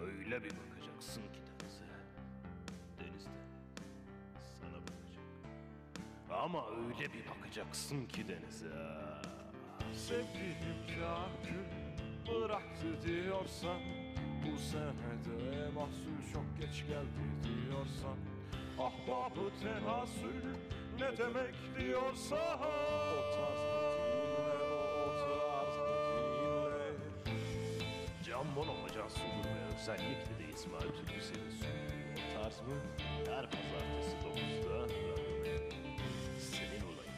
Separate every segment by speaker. Speaker 1: Öyle bir bakacaksın ki denize. Denizde sana bakacak. Ama öyle bir bakacaksın ki denize.
Speaker 2: Sevdiğim kahkül bıraktı diyorsan Bu senede mahsul çok geç geldi diyorsan Ahbabı tenasül ne demek diyorsan O tarz metinler o tarz metinler
Speaker 1: Can Bono Can Sungur özellikle de İsmail Türk'ü seviyorsun. O tarz mı? Her pazartesi 9'da radyonda. Senin olayın.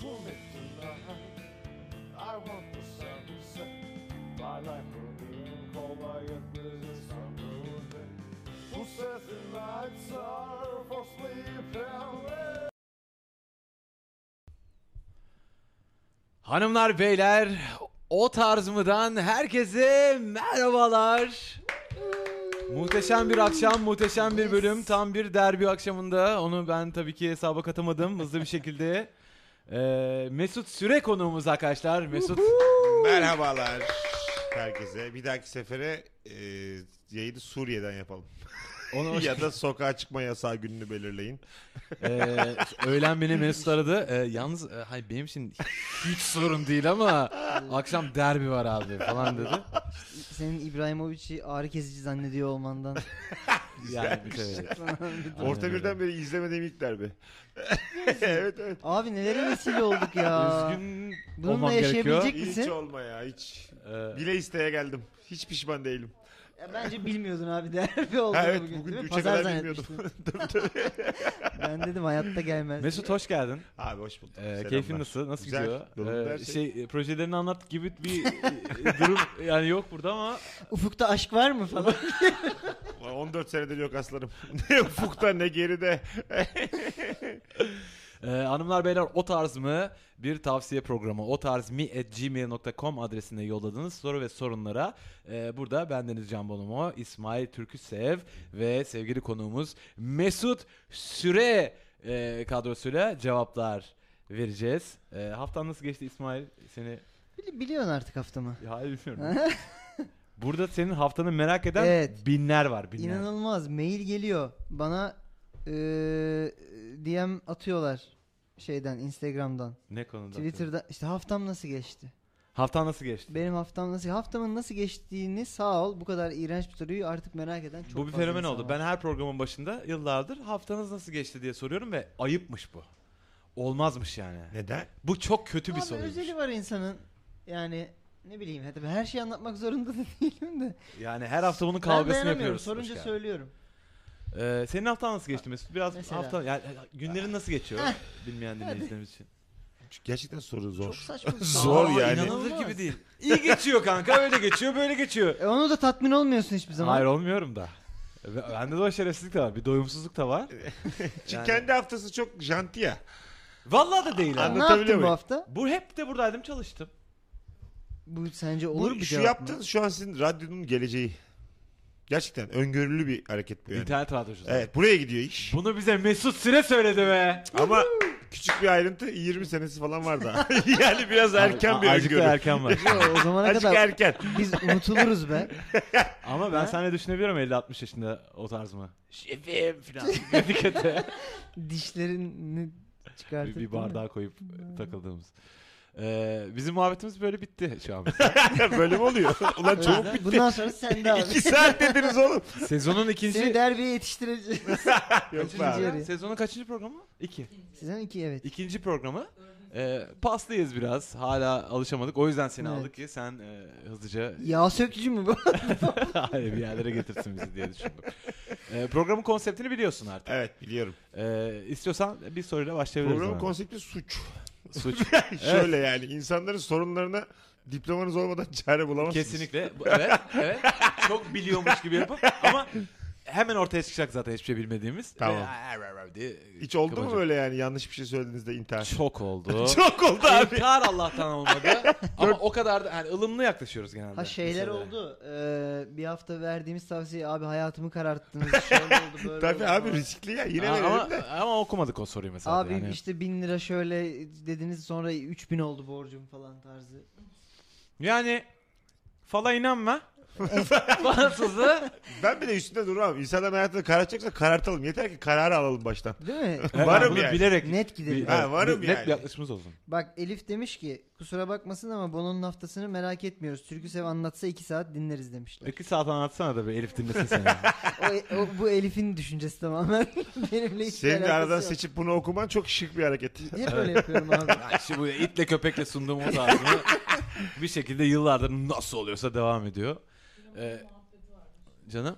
Speaker 2: For me tonight, I want the sunset. My life will be in cold by a prison summer day. Who says the nights are for sleep and rest?
Speaker 3: Hanımlar beyler o tarz mıdan herkese merhabalar. Muhteşem bir akşam, muhteşem bir bölüm. Tam bir derbi akşamında. Onu ben tabii ki hesaba katamadım hızlı bir şekilde. Ee, Mesut Süre konuğumuz arkadaşlar. Mesut
Speaker 4: Merhabalar herkese. Bir dahaki sefere e, yayını Suriye'den yapalım.
Speaker 3: onu
Speaker 4: ya da sokağa çıkma yasağı gününü belirleyin.
Speaker 3: Ee, öğlen beni Mesut aradı. Ee, yalnız e, hayır benim için hiç sorun değil ama akşam derbi var abi falan dedi.
Speaker 5: Senin İbrahimovic'i ağrı kesici zannediyor olmandan.
Speaker 3: Yani evet.
Speaker 4: Orta
Speaker 3: öyle.
Speaker 4: birden beri izlemediğim ilk derbi. evet evet.
Speaker 5: Abi nelere vesile olduk ya.
Speaker 3: Üzgün
Speaker 5: Bununla
Speaker 3: olmam gerekiyor.
Speaker 5: yaşayabilecek-
Speaker 4: Hiç
Speaker 5: Misin?
Speaker 4: olma ya hiç.
Speaker 3: Ee,
Speaker 4: Bile isteye geldim. Hiç pişman değilim.
Speaker 5: Ya bence bilmiyordun abi derbi oldu
Speaker 4: Ha, evet,
Speaker 5: bugün.
Speaker 4: bugün
Speaker 5: değil mi?
Speaker 4: üçe kadar
Speaker 5: zannetmiştim. ben dedim hayatta gelmez.
Speaker 3: Ee, Mesut hoş geldin.
Speaker 4: Abi hoş bulduk.
Speaker 3: Ee,
Speaker 4: Selamlar.
Speaker 3: keyfin nasıl? Nasıl
Speaker 4: Güzel.
Speaker 3: gidiyor?
Speaker 4: Yolunda
Speaker 3: Ee,
Speaker 4: her
Speaker 3: şey...
Speaker 4: şey.
Speaker 3: e, projelerini anlat gibi bir e, durum yani yok burada ama
Speaker 5: Ufukta aşk var mı falan.
Speaker 4: 14 senedir yok aslanım. ne ufukta ne geride.
Speaker 3: e, hanımlar beyler o tarz mı bir tavsiye programı o tarz mi at gmail.com adresine yolladığınız soru ve sorunlara e, burada bendeniz Can Bonomo, İsmail Türküsev ve sevgili konuğumuz Mesut Süre e, kadrosuyla cevaplar vereceğiz. E, haftan nasıl geçti İsmail? Seni
Speaker 5: Bili- Biliyorsun artık haftamı.
Speaker 3: Ya hayır bilmiyorum. Burada senin haftanı merak eden
Speaker 5: Evet.
Speaker 3: binler var binler.
Speaker 5: İnanılmaz mail geliyor. Bana eee DM atıyorlar şeyden Instagram'dan.
Speaker 3: Ne konuda?
Speaker 5: Twitter'da işte haftam nasıl geçti?
Speaker 3: Haftan nasıl geçti?
Speaker 5: Benim haftam nasıl? Haftamın nasıl geçtiğini sağ ol bu kadar iğrenç bir soruyu artık merak eden çok
Speaker 3: bu bir
Speaker 5: fazla
Speaker 3: fenomen
Speaker 5: insan
Speaker 3: oldu.
Speaker 5: var.
Speaker 3: Ben her programın başında yıllardır haftanız nasıl geçti diye soruyorum ve ayıpmış bu. Olmazmış yani.
Speaker 4: Neden?
Speaker 3: Bu çok kötü bir
Speaker 5: Abi özeli
Speaker 3: soruymuş.
Speaker 5: var insanın. Yani ne bileyim tabii her şeyi anlatmak zorunda da değilim de.
Speaker 3: Yani her hafta bunun
Speaker 5: Ben
Speaker 3: kavgasını
Speaker 5: dayanamıyorum.
Speaker 3: yapıyoruz. Hoş
Speaker 5: Sorunca
Speaker 3: geldin.
Speaker 5: söylüyorum.
Speaker 3: Ee, senin haftan nasıl geçti Mesut? Biraz
Speaker 5: Mesela.
Speaker 3: hafta yani e, günlerin nasıl geçiyor? Bilmeyen dinleyicilerimiz için.
Speaker 4: Çünkü gerçekten soru
Speaker 5: Çok
Speaker 4: zor.
Speaker 5: saçma. bir soru.
Speaker 4: Zor
Speaker 3: Aa,
Speaker 4: yani.
Speaker 3: İnanılır gibi değil. İyi geçiyor kanka. Öyle geçiyor, böyle geçiyor.
Speaker 5: E onu da tatmin olmuyorsun hiçbir zaman.
Speaker 3: Hayır olmuyorum da. Ve- Bende de o şerefsizlik de var. Bir doyumsuzluk da var.
Speaker 4: Çünkü
Speaker 3: Yani-
Speaker 4: kendi haftası çok janti ya.
Speaker 3: Vallahi da değil abi.
Speaker 5: ne
Speaker 4: anlatabiliyor
Speaker 5: yaptın bu
Speaker 4: muyum?
Speaker 5: hafta?
Speaker 3: Bu hep de buradaydım çalıştım.
Speaker 5: Bu sence olur
Speaker 4: bu,
Speaker 5: mu
Speaker 4: şu
Speaker 5: cevap
Speaker 4: yaptığın
Speaker 5: mı?
Speaker 4: şu an sizin radyonun geleceği. Gerçekten öngörülü bir hareket bu yani.
Speaker 3: İnternet radyocusu.
Speaker 4: Evet buraya gidiyor iş.
Speaker 3: Bunu bize Mesut Süre söyledi be.
Speaker 4: Ama Küçük bir ayrıntı 20 senesi falan var daha. yani biraz erken bir
Speaker 3: Azıcık da
Speaker 4: öngörü.
Speaker 3: erken var.
Speaker 5: o zamana
Speaker 4: Azıcık
Speaker 5: kadar
Speaker 4: erken.
Speaker 5: biz unutuluruz be.
Speaker 3: Ama ben
Speaker 5: Ha?
Speaker 3: seninle düşünebiliyorum 50-60 yaşında o tarz mı? Şefim falan. Memlekete
Speaker 5: Dişlerini
Speaker 3: bir,
Speaker 5: çıkartıp
Speaker 3: bir
Speaker 5: değil mi?
Speaker 3: bardağa koyup e, takıldığımız. Ee, bizim muhabbetimiz böyle bitti şu an.
Speaker 4: Böyle mi oluyor? Ulan çabuk
Speaker 5: Öyle. Bundan sonra sen de abi.
Speaker 4: İki saat dediniz oğlum.
Speaker 3: Sezonun
Speaker 5: Seni
Speaker 3: ikinci...
Speaker 5: derbiye yetiştireceğiz.
Speaker 4: Yok be
Speaker 3: Kaçıncı
Speaker 4: abi.
Speaker 3: ya? Sezonun kaçıncı programı? İki.
Speaker 5: Sizin iki evet.
Speaker 3: İkinci programı. Ee, paslıyız biraz. Hala alışamadık. O yüzden seni
Speaker 5: Evet.
Speaker 3: aldık ki sen e, hızlıca
Speaker 5: Yağ sökücü mü bu?
Speaker 3: bir yerlere getirsin bizi diye düşündüm. Ee, programın konseptini biliyorsun artık.
Speaker 4: Evet biliyorum.
Speaker 3: Ee, istiyorsan bir soruyla başlayabiliriz.
Speaker 4: Programın
Speaker 3: hemen.
Speaker 4: konsepti suç.
Speaker 3: Suç.
Speaker 4: Şöyle yani insanların sorunlarına diplomanız olmadan çare bulamazsınız.
Speaker 3: Kesinlikle. Bu- Evet, evet. Çok biliyormuş gibi yapıp ama hemen ortaya çıkacak zaten hiçbir şey bilmediğimiz.
Speaker 4: Tamam.
Speaker 3: Ve "Aa, ra, ra" diye
Speaker 4: Hiç oldu mu
Speaker 3: kapatacak.
Speaker 4: böyle yani yanlış bir şey söylediğinizde intihar?
Speaker 3: Çok oldu.
Speaker 4: Çok oldu abi.
Speaker 3: İntihar Allah'tan olmadı. ama o kadar da yani ılımlı yaklaşıyoruz genelde.
Speaker 5: Ha şeyler
Speaker 3: Mesela.
Speaker 5: oldu. Ee, bir hafta verdiğimiz tavsiye abi hayatımı kararttınız. Şöyle oldu böyle
Speaker 4: Tabii
Speaker 5: oldu
Speaker 4: abi
Speaker 5: falan.
Speaker 4: riskli ya yine
Speaker 3: Aa, ama,
Speaker 4: verelim de.
Speaker 3: ama okumadık o soruyu mesela.
Speaker 5: Abi
Speaker 3: yani.
Speaker 5: işte bin lira şöyle dediniz sonra 3000 oldu borcum falan tarzı.
Speaker 3: yani fala inanma. Fransızı
Speaker 4: Ben bile üstünde duramam. İnsanların hayatını karartacaksa karartalım. Yeter ki kararı alalım baştan.
Speaker 5: Değil mi?
Speaker 4: Varım
Speaker 3: bunu
Speaker 4: yani.
Speaker 3: bilerek
Speaker 5: Net gidelim.
Speaker 4: Ha, varım
Speaker 3: net
Speaker 4: yani.
Speaker 3: bir yaklaşımımız olsun.
Speaker 5: Bak Elif demiş ki kusura bakmasın ama Bono'nun haftasını merak etmiyoruz. Türkü Sev anlatsa 2 saat dinleriz demişler.
Speaker 3: İki saat anlatsana da bir Elif dinlesin seni.
Speaker 5: o, o- bu Elif'in düşüncesi tamamen. Benimle hiç
Speaker 4: Senin de
Speaker 5: alakası
Speaker 4: aradan
Speaker 5: yok.
Speaker 4: seçip bunu okuman çok şık bir hareket.
Speaker 5: Hep böyle yapıyorum abi.
Speaker 3: Ay Şimdi bu itle köpekle sunduğum o tarzını bir şekilde yıllardır nasıl oluyorsa devam ediyor. Ee, canım?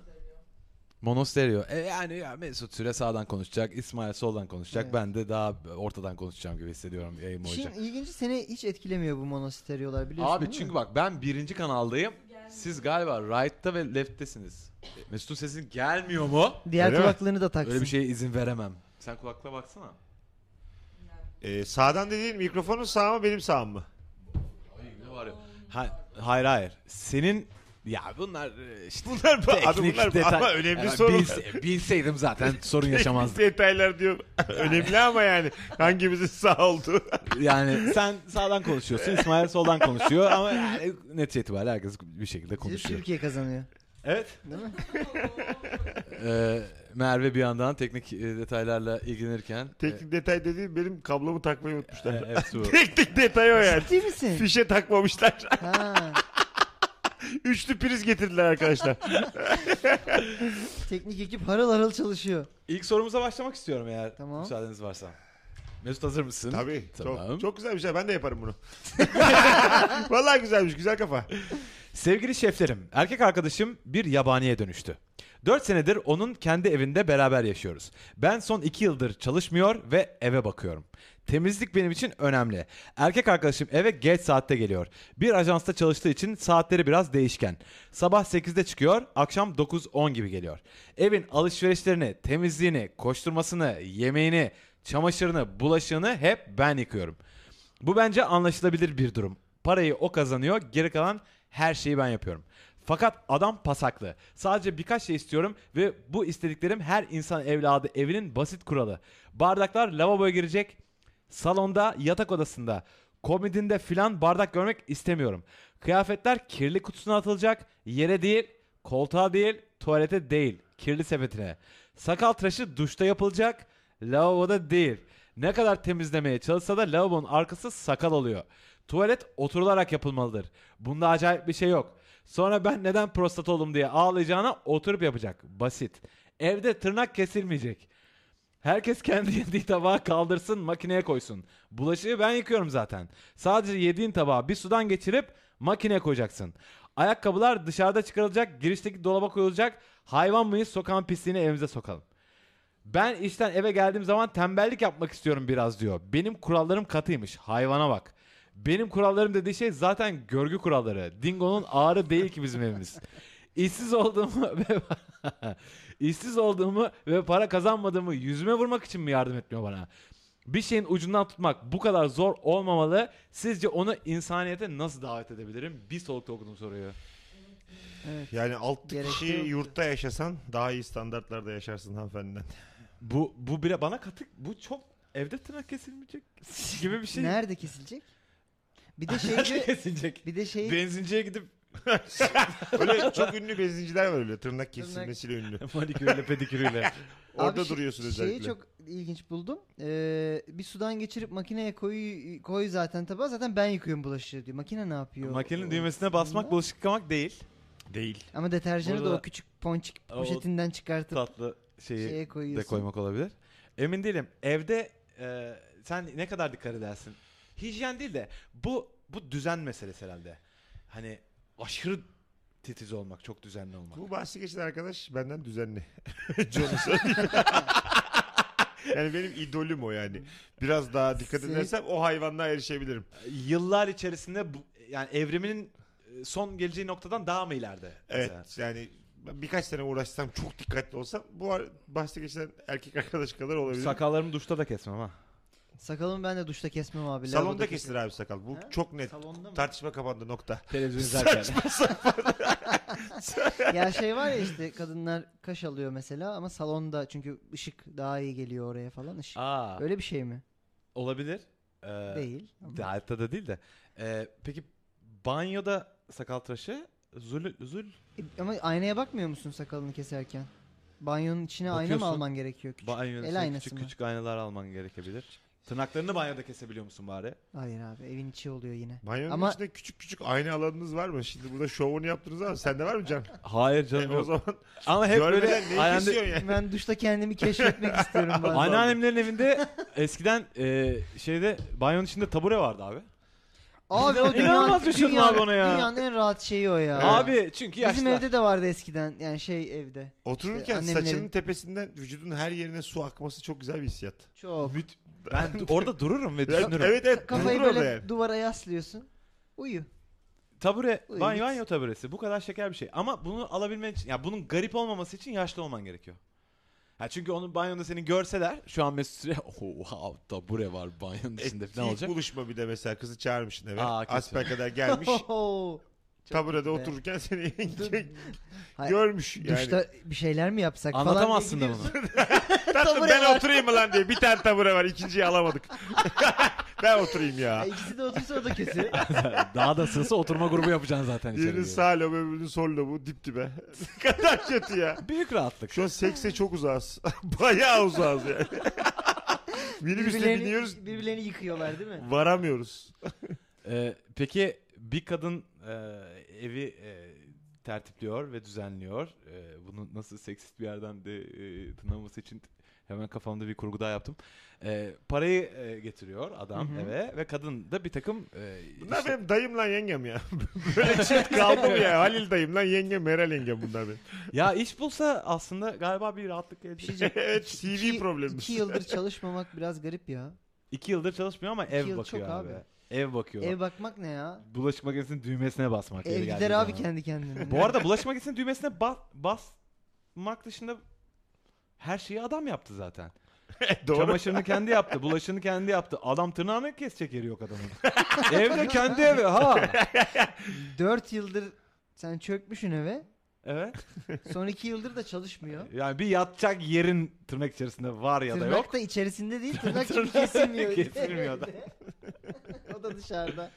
Speaker 3: Monostereo. E yani ya Mesut Süre sağdan konuşacak, İsmail soldan konuşacak.
Speaker 5: Evet.
Speaker 3: Ben de daha ortadan konuşacağım gibi hissediyorum yayın boyunca.
Speaker 5: İşin ilginci seni hiç etkilemiyor bu monasteryolar biliyorsun
Speaker 3: Abi
Speaker 5: şey değil mi?
Speaker 3: çünkü bak ben birinci kanaldayım. Siz galiba right'ta ve left'tesiniz. E, Mesut'un sesi gelmiyor mu?
Speaker 5: Diğer
Speaker 4: Öyle mi?
Speaker 5: kulaklarını da taksın.
Speaker 3: Öyle bir şey şeye izin veremem. Sen kulakla baksana.
Speaker 4: Ee, sağdan dediğin mikrofonun sağ mı benim sağım mı?
Speaker 3: Ne var ya? Ha, hayır hayır. Senin ya bunlar e, işte
Speaker 4: Bunlar bu- abi bunlar bu- ama önemli
Speaker 3: Yani
Speaker 4: sorular.
Speaker 3: bilse- bilseydim zaten sorun yaşamazdım.
Speaker 4: Detaylar diyor. Önemli ama yani hangimizin sağ olduğu.
Speaker 3: Yani sen sağdan konuşuyorsun, İsmail soldan konuşuyor ama yani netice itibariyle herkes bir şekilde konuşuyor.
Speaker 5: Türkiye kazanıyor.
Speaker 3: Evet.
Speaker 5: Değil mi?
Speaker 3: Ee, Merve bir yandan teknik e, detaylarla ilgilenirken
Speaker 4: Teknik detay dediğim benim kablomu takmayı
Speaker 3: e,
Speaker 4: unutmuşlar.
Speaker 3: e, evet su.
Speaker 4: Teknik detay o yani.
Speaker 5: Ciddi misin?
Speaker 4: Fişe takmamışlar.
Speaker 5: ha.
Speaker 4: Üçlü priz getirdiler arkadaşlar.
Speaker 5: Teknik ekip harıl harıl çalışıyor.
Speaker 3: İlk sorumuza başlamak istiyorum eğer
Speaker 5: Tamam.
Speaker 3: müsaadeniz varsa. Mesut hazır mısın?
Speaker 4: Tabii.
Speaker 3: Tamam.
Speaker 4: Çok, çok güzel bir şey. Ben de yaparım bunu. Vallahi güzelmiş. Güzel kafa.
Speaker 3: Sevgili şeflerim, erkek arkadaşım bir yabaniye dönüştü. 4 senedir onun kendi evinde beraber yaşıyoruz. Ben son 2 yıldır çalışmıyor ve eve bakıyorum. Temizlik benim için önemli. Erkek arkadaşım eve geç saatte geliyor. Bir ajansta çalıştığı için saatleri biraz değişken. Sabah 8'de çıkıyor, akşam 9-10 gibi geliyor. Evin alışverişlerini, temizliğini, koşturmasını, yemeğini, çamaşırını, bulaşığını hep ben yıkıyorum. Bu bence anlaşılabilir bir durum. Parayı o kazanıyor, geri kalan her şeyi ben yapıyorum. Fakat adam pasaklı. Sadece birkaç şey istiyorum ve bu istediklerim her insan evladı evinin basit kuralı. Bardaklar lavaboya girecek, salonda, yatak odasında, komodinde filan bardak görmek istemiyorum. Kıyafetler kirli kutusuna atılacak, yere değil, koltuğa değil, tuvalete değil, kirli sepetine. Sakal tıraşı duşta yapılacak, lavaboda değil. Ne kadar temizlemeye çalışsa da lavabonun arkası sakal oluyor. Tuvalet oturularak yapılmalıdır. Bunda acayip bir şey yok. Sonra ben neden prostat oldum diye ağlayacağına oturup yapacak. Basit. Evde tırnak kesilmeyecek. Herkes kendi yediği tabağı kaldırsın makineye koysun. Bulaşığı ben yıkıyorum zaten. Sadece yediğin tabağı bir sudan geçirip makineye koyacaksın. Ayakkabılar dışarıda çıkarılacak, girişteki dolaba koyulacak. Hayvan mıyız sokan pisliğini evimize sokalım. Ben işten eve geldiğim zaman tembellik yapmak istiyorum biraz diyor. Benim kurallarım katıymış. Hayvana bak. Benim kurallarım dediği şey zaten görgü kuralları. Dingo'nun ağrı değil ki bizim evimiz. İşsiz olduğumu ve işsiz olduğumu ve para kazanmadığımı yüzüme vurmak için mi yardım etmiyor bana? Bir şeyin ucundan tutmak bu kadar zor olmamalı. Sizce onu insaniyete nasıl davet edebilirim? Bir solukta okudum soruyu.
Speaker 4: Yani altı
Speaker 5: Gerek
Speaker 4: kişi
Speaker 5: yok.
Speaker 4: yurtta yaşasan daha iyi standartlarda yaşarsın hanımefendiden.
Speaker 3: Bu bu bile bana katık bu çok Evde tırnak kesilmeyecek gibi bir şey.
Speaker 5: Nerede kesilecek? Bir de şeyde
Speaker 3: kesilecek?
Speaker 5: bir de şey
Speaker 3: Benzinciye gidip
Speaker 4: Öyle çok ünlü benzinciler var öyle tırnak kesilmesiyle ünlü.
Speaker 3: manikürle pedikürle.
Speaker 4: Orada
Speaker 5: Abi şey-
Speaker 4: duruyorsun
Speaker 5: Şeyi
Speaker 4: özellikle.
Speaker 5: çok ilginç buldum. Ee, bir sudan geçirip makineye koy koy zaten tabağa zaten ben yıkıyorum bulaşığı diyor. Makine ne yapıyor?
Speaker 3: Makinenin
Speaker 5: O-
Speaker 3: düğmesine basmak
Speaker 5: bunda?
Speaker 3: bulaşık yıkamak değil. Değil.
Speaker 5: Ama deterjanı da
Speaker 3: Burada-
Speaker 5: o küçük ponçik
Speaker 3: O-
Speaker 5: poşetinden çıkartıp
Speaker 3: Tatlı şeyi
Speaker 5: şeye
Speaker 3: de
Speaker 5: koyuyorsun.
Speaker 3: koymak olabilir. Emin değilim. Evde e, sen ne kadar dikkat edersin? Hijyen değil de bu bu düzen meselesi herhalde. Hani aşırı titiz olmak, çok düzenli olmak.
Speaker 4: Bu bahsi geçen arkadaş benden düzenli. John'u söyleyeyim. yani benim idolüm o yani. Biraz daha dikkat
Speaker 5: Senin-
Speaker 4: edersem o hayvanlığa erişebilirim.
Speaker 3: E, Yıllar içerisinde bu, yani evriminin e, son geleceği noktadan daha mı ileride?
Speaker 4: Evet
Speaker 3: mesela?
Speaker 4: yani ben birkaç sene uğraşsam çok dikkatli olsam bu ar- bahsi geçen erkek arkadaş kadar olabilirim.
Speaker 3: Sakallarımı duşta da kesmem ha.
Speaker 5: Sakalımı ben de duşta kesmem abi.
Speaker 4: Salonda
Speaker 5: lavaboda
Speaker 4: kesilir
Speaker 5: keserim.
Speaker 4: abi sakal. Bu
Speaker 5: Ha?
Speaker 4: çok net.
Speaker 5: Salonda mı?
Speaker 4: Tartışma kapandı nokta.
Speaker 3: Televizyon izlerken.
Speaker 4: Saçma sapan.
Speaker 5: ya şey var ya işte kadınlar kaş alıyor mesela ama salonda çünkü ışık daha iyi geliyor oraya falan ışık.
Speaker 3: Aa,
Speaker 5: Öyle bir şey mi?
Speaker 3: olabilir. Ee,
Speaker 5: Değil.
Speaker 3: de- Hatta da değil de. Ee, peki banyoda sakal tıraşı zül, zül
Speaker 5: E, ama aynaya bakmıyor musun sakalını keserken? Banyonun içine ayna mı
Speaker 3: Bakıyorsun.
Speaker 5: alman gerekiyor? Küçük?
Speaker 3: Banyoda
Speaker 5: El
Speaker 3: şöyle
Speaker 5: aynası
Speaker 3: küçük
Speaker 5: mı?
Speaker 3: küçük aynalar alman gerekebilir. Tırnaklarını banyoda kesebiliyor musun bari?
Speaker 5: Hayır abi evin içi oluyor yine.
Speaker 4: Banyonun
Speaker 5: Ama-
Speaker 4: içinde küçük küçük ayna alanınız var mı? Şimdi burada şovunu yaptınız ama sende var mı Can?
Speaker 3: Hayır canım
Speaker 4: E, o zaman
Speaker 3: Ama hep
Speaker 4: görmeden
Speaker 3: böyle
Speaker 4: neyi
Speaker 3: ayağında-
Speaker 4: kesiyorsun yani?
Speaker 5: Ben duşta kendimi keşfetmek istiyorum bazen.
Speaker 3: Anneannemlerin evinde eskiden e, şeyde banyonun içinde tabure vardı abi.
Speaker 5: Abi o dünyanın,
Speaker 3: İnanılmaz düşündün
Speaker 5: dünyanın,
Speaker 3: abi onu ya.
Speaker 5: dünyanın en rahat şeyi o ya.
Speaker 3: Abi çünkü yaşlı.
Speaker 5: Bizim evde de vardı eskiden yani şey evde.
Speaker 4: Otururken
Speaker 5: İşte annemlerin-
Speaker 4: saçının tepesinden vücudun her yerine su akması çok güzel bir hissiyat.
Speaker 5: Çok.
Speaker 3: Ben du- orada dururum ve
Speaker 4: Evet
Speaker 3: düşünürüm.
Speaker 4: evet, evet
Speaker 5: Kafayı
Speaker 4: durur orada
Speaker 5: böyle
Speaker 4: yani.
Speaker 5: duvara yaslıyorsun. Uyu.
Speaker 3: Tabure,
Speaker 5: Uy,
Speaker 3: banyo,
Speaker 5: git.
Speaker 3: banyo taburesi. Bu kadar şeker bir şey. Ama bunu alabilmen için, ya bunun garip olmaması için yaşlı olman gerekiyor. Ha çünkü onun banyonda seni görseler, şu an Mesut Süre, oha tabure var banyonun içinde
Speaker 4: E,
Speaker 3: ne
Speaker 4: ilk
Speaker 3: olacak?
Speaker 4: buluşma bir de mesela kızı çağırmışsın eve.
Speaker 3: Aa, kötü.
Speaker 4: Asper kadar gelmiş.
Speaker 5: Oho.
Speaker 4: taburede
Speaker 5: be.
Speaker 4: otururken seni
Speaker 5: Hayır,
Speaker 4: görmüş yani.
Speaker 5: Duşta bir şeyler mi yapsak
Speaker 3: Anlatamazsın da
Speaker 5: falan diye
Speaker 3: bunu.
Speaker 4: Tatlım
Speaker 5: tabure
Speaker 4: ben
Speaker 5: var.
Speaker 4: oturayım mı lan diye. Bir tane tabure var ikinciyi alamadık. ben oturayım ya.
Speaker 5: gidiyorsun. Ya İkisi de otursa o da kötü.
Speaker 3: Daha da sığsa oturma grubu yapacaksın zaten içeri.
Speaker 4: Birinin
Speaker 3: diyor.
Speaker 4: sağ lobu öbürünün sol lobu dip dibe. ne kadar kötü ya.
Speaker 3: Büyük rahatlık.
Speaker 4: Şu an sekse çok uzağız. Bayağı uzağız yani. Minibüste biniyoruz
Speaker 5: birbirlerini yıkıyorlar değil mi?
Speaker 4: varamıyoruz.
Speaker 3: Ee, peki bir kadın e, evi e, tertipliyor ve düzenliyor. E, bunu nasıl seksist bir yerden de e, tınlaması için hemen kafamda bir kurgu daha yaptım. E, parayı e, getiriyor adam
Speaker 5: Hı hı.
Speaker 3: eve ve kadın da bir takım e,
Speaker 4: Bunlar
Speaker 3: işte-
Speaker 4: benim dayım lan yengem ya. Böyle çift kaldı mı ya? Halil dayım lan yengem, Meral yengem bunlar benim.
Speaker 3: ya iş bulsa aslında galiba bir rahatlık gelecek.
Speaker 4: evet CV
Speaker 5: şey İki-
Speaker 4: problemimiz.
Speaker 5: İki yıldır çalışmamak biraz garip ya.
Speaker 3: İki yıldır çalışmıyor ama ev
Speaker 5: yıl
Speaker 3: bakıyor
Speaker 5: çok
Speaker 3: abi.
Speaker 5: abi.
Speaker 3: Ev bakıyor.
Speaker 5: Ev bakmak ne ya?
Speaker 3: Bulaşık makinesinin düğmesine basmak.
Speaker 5: Ev
Speaker 3: yeri
Speaker 5: gider
Speaker 3: geldiği
Speaker 5: abi
Speaker 3: zaman.
Speaker 5: kendi kendine.
Speaker 3: Bu arada bulaşık makinesinin düğmesine ba- basmak dışında her şeyi adam yaptı zaten.
Speaker 4: Doğru.
Speaker 3: Çamaşırını kendi yaptı, bulaşığını kendi yaptı. Adam tırnağını kesecek yeri yok adamın. Evde kendi evi ha.
Speaker 5: 4 yıldır sen çökmüşsün eve.
Speaker 3: Evet.
Speaker 5: Son 2 yıldır da çalışmıyor.
Speaker 3: Yani bir yatacak yerin tırnak içerisinde var ya da
Speaker 5: tırnak
Speaker 3: yok.
Speaker 5: da içerisinde değil tırnak çünkü
Speaker 3: Tırnak
Speaker 5: kesilmiyor.
Speaker 3: kesilmiyor da.
Speaker 5: o da dışarıda.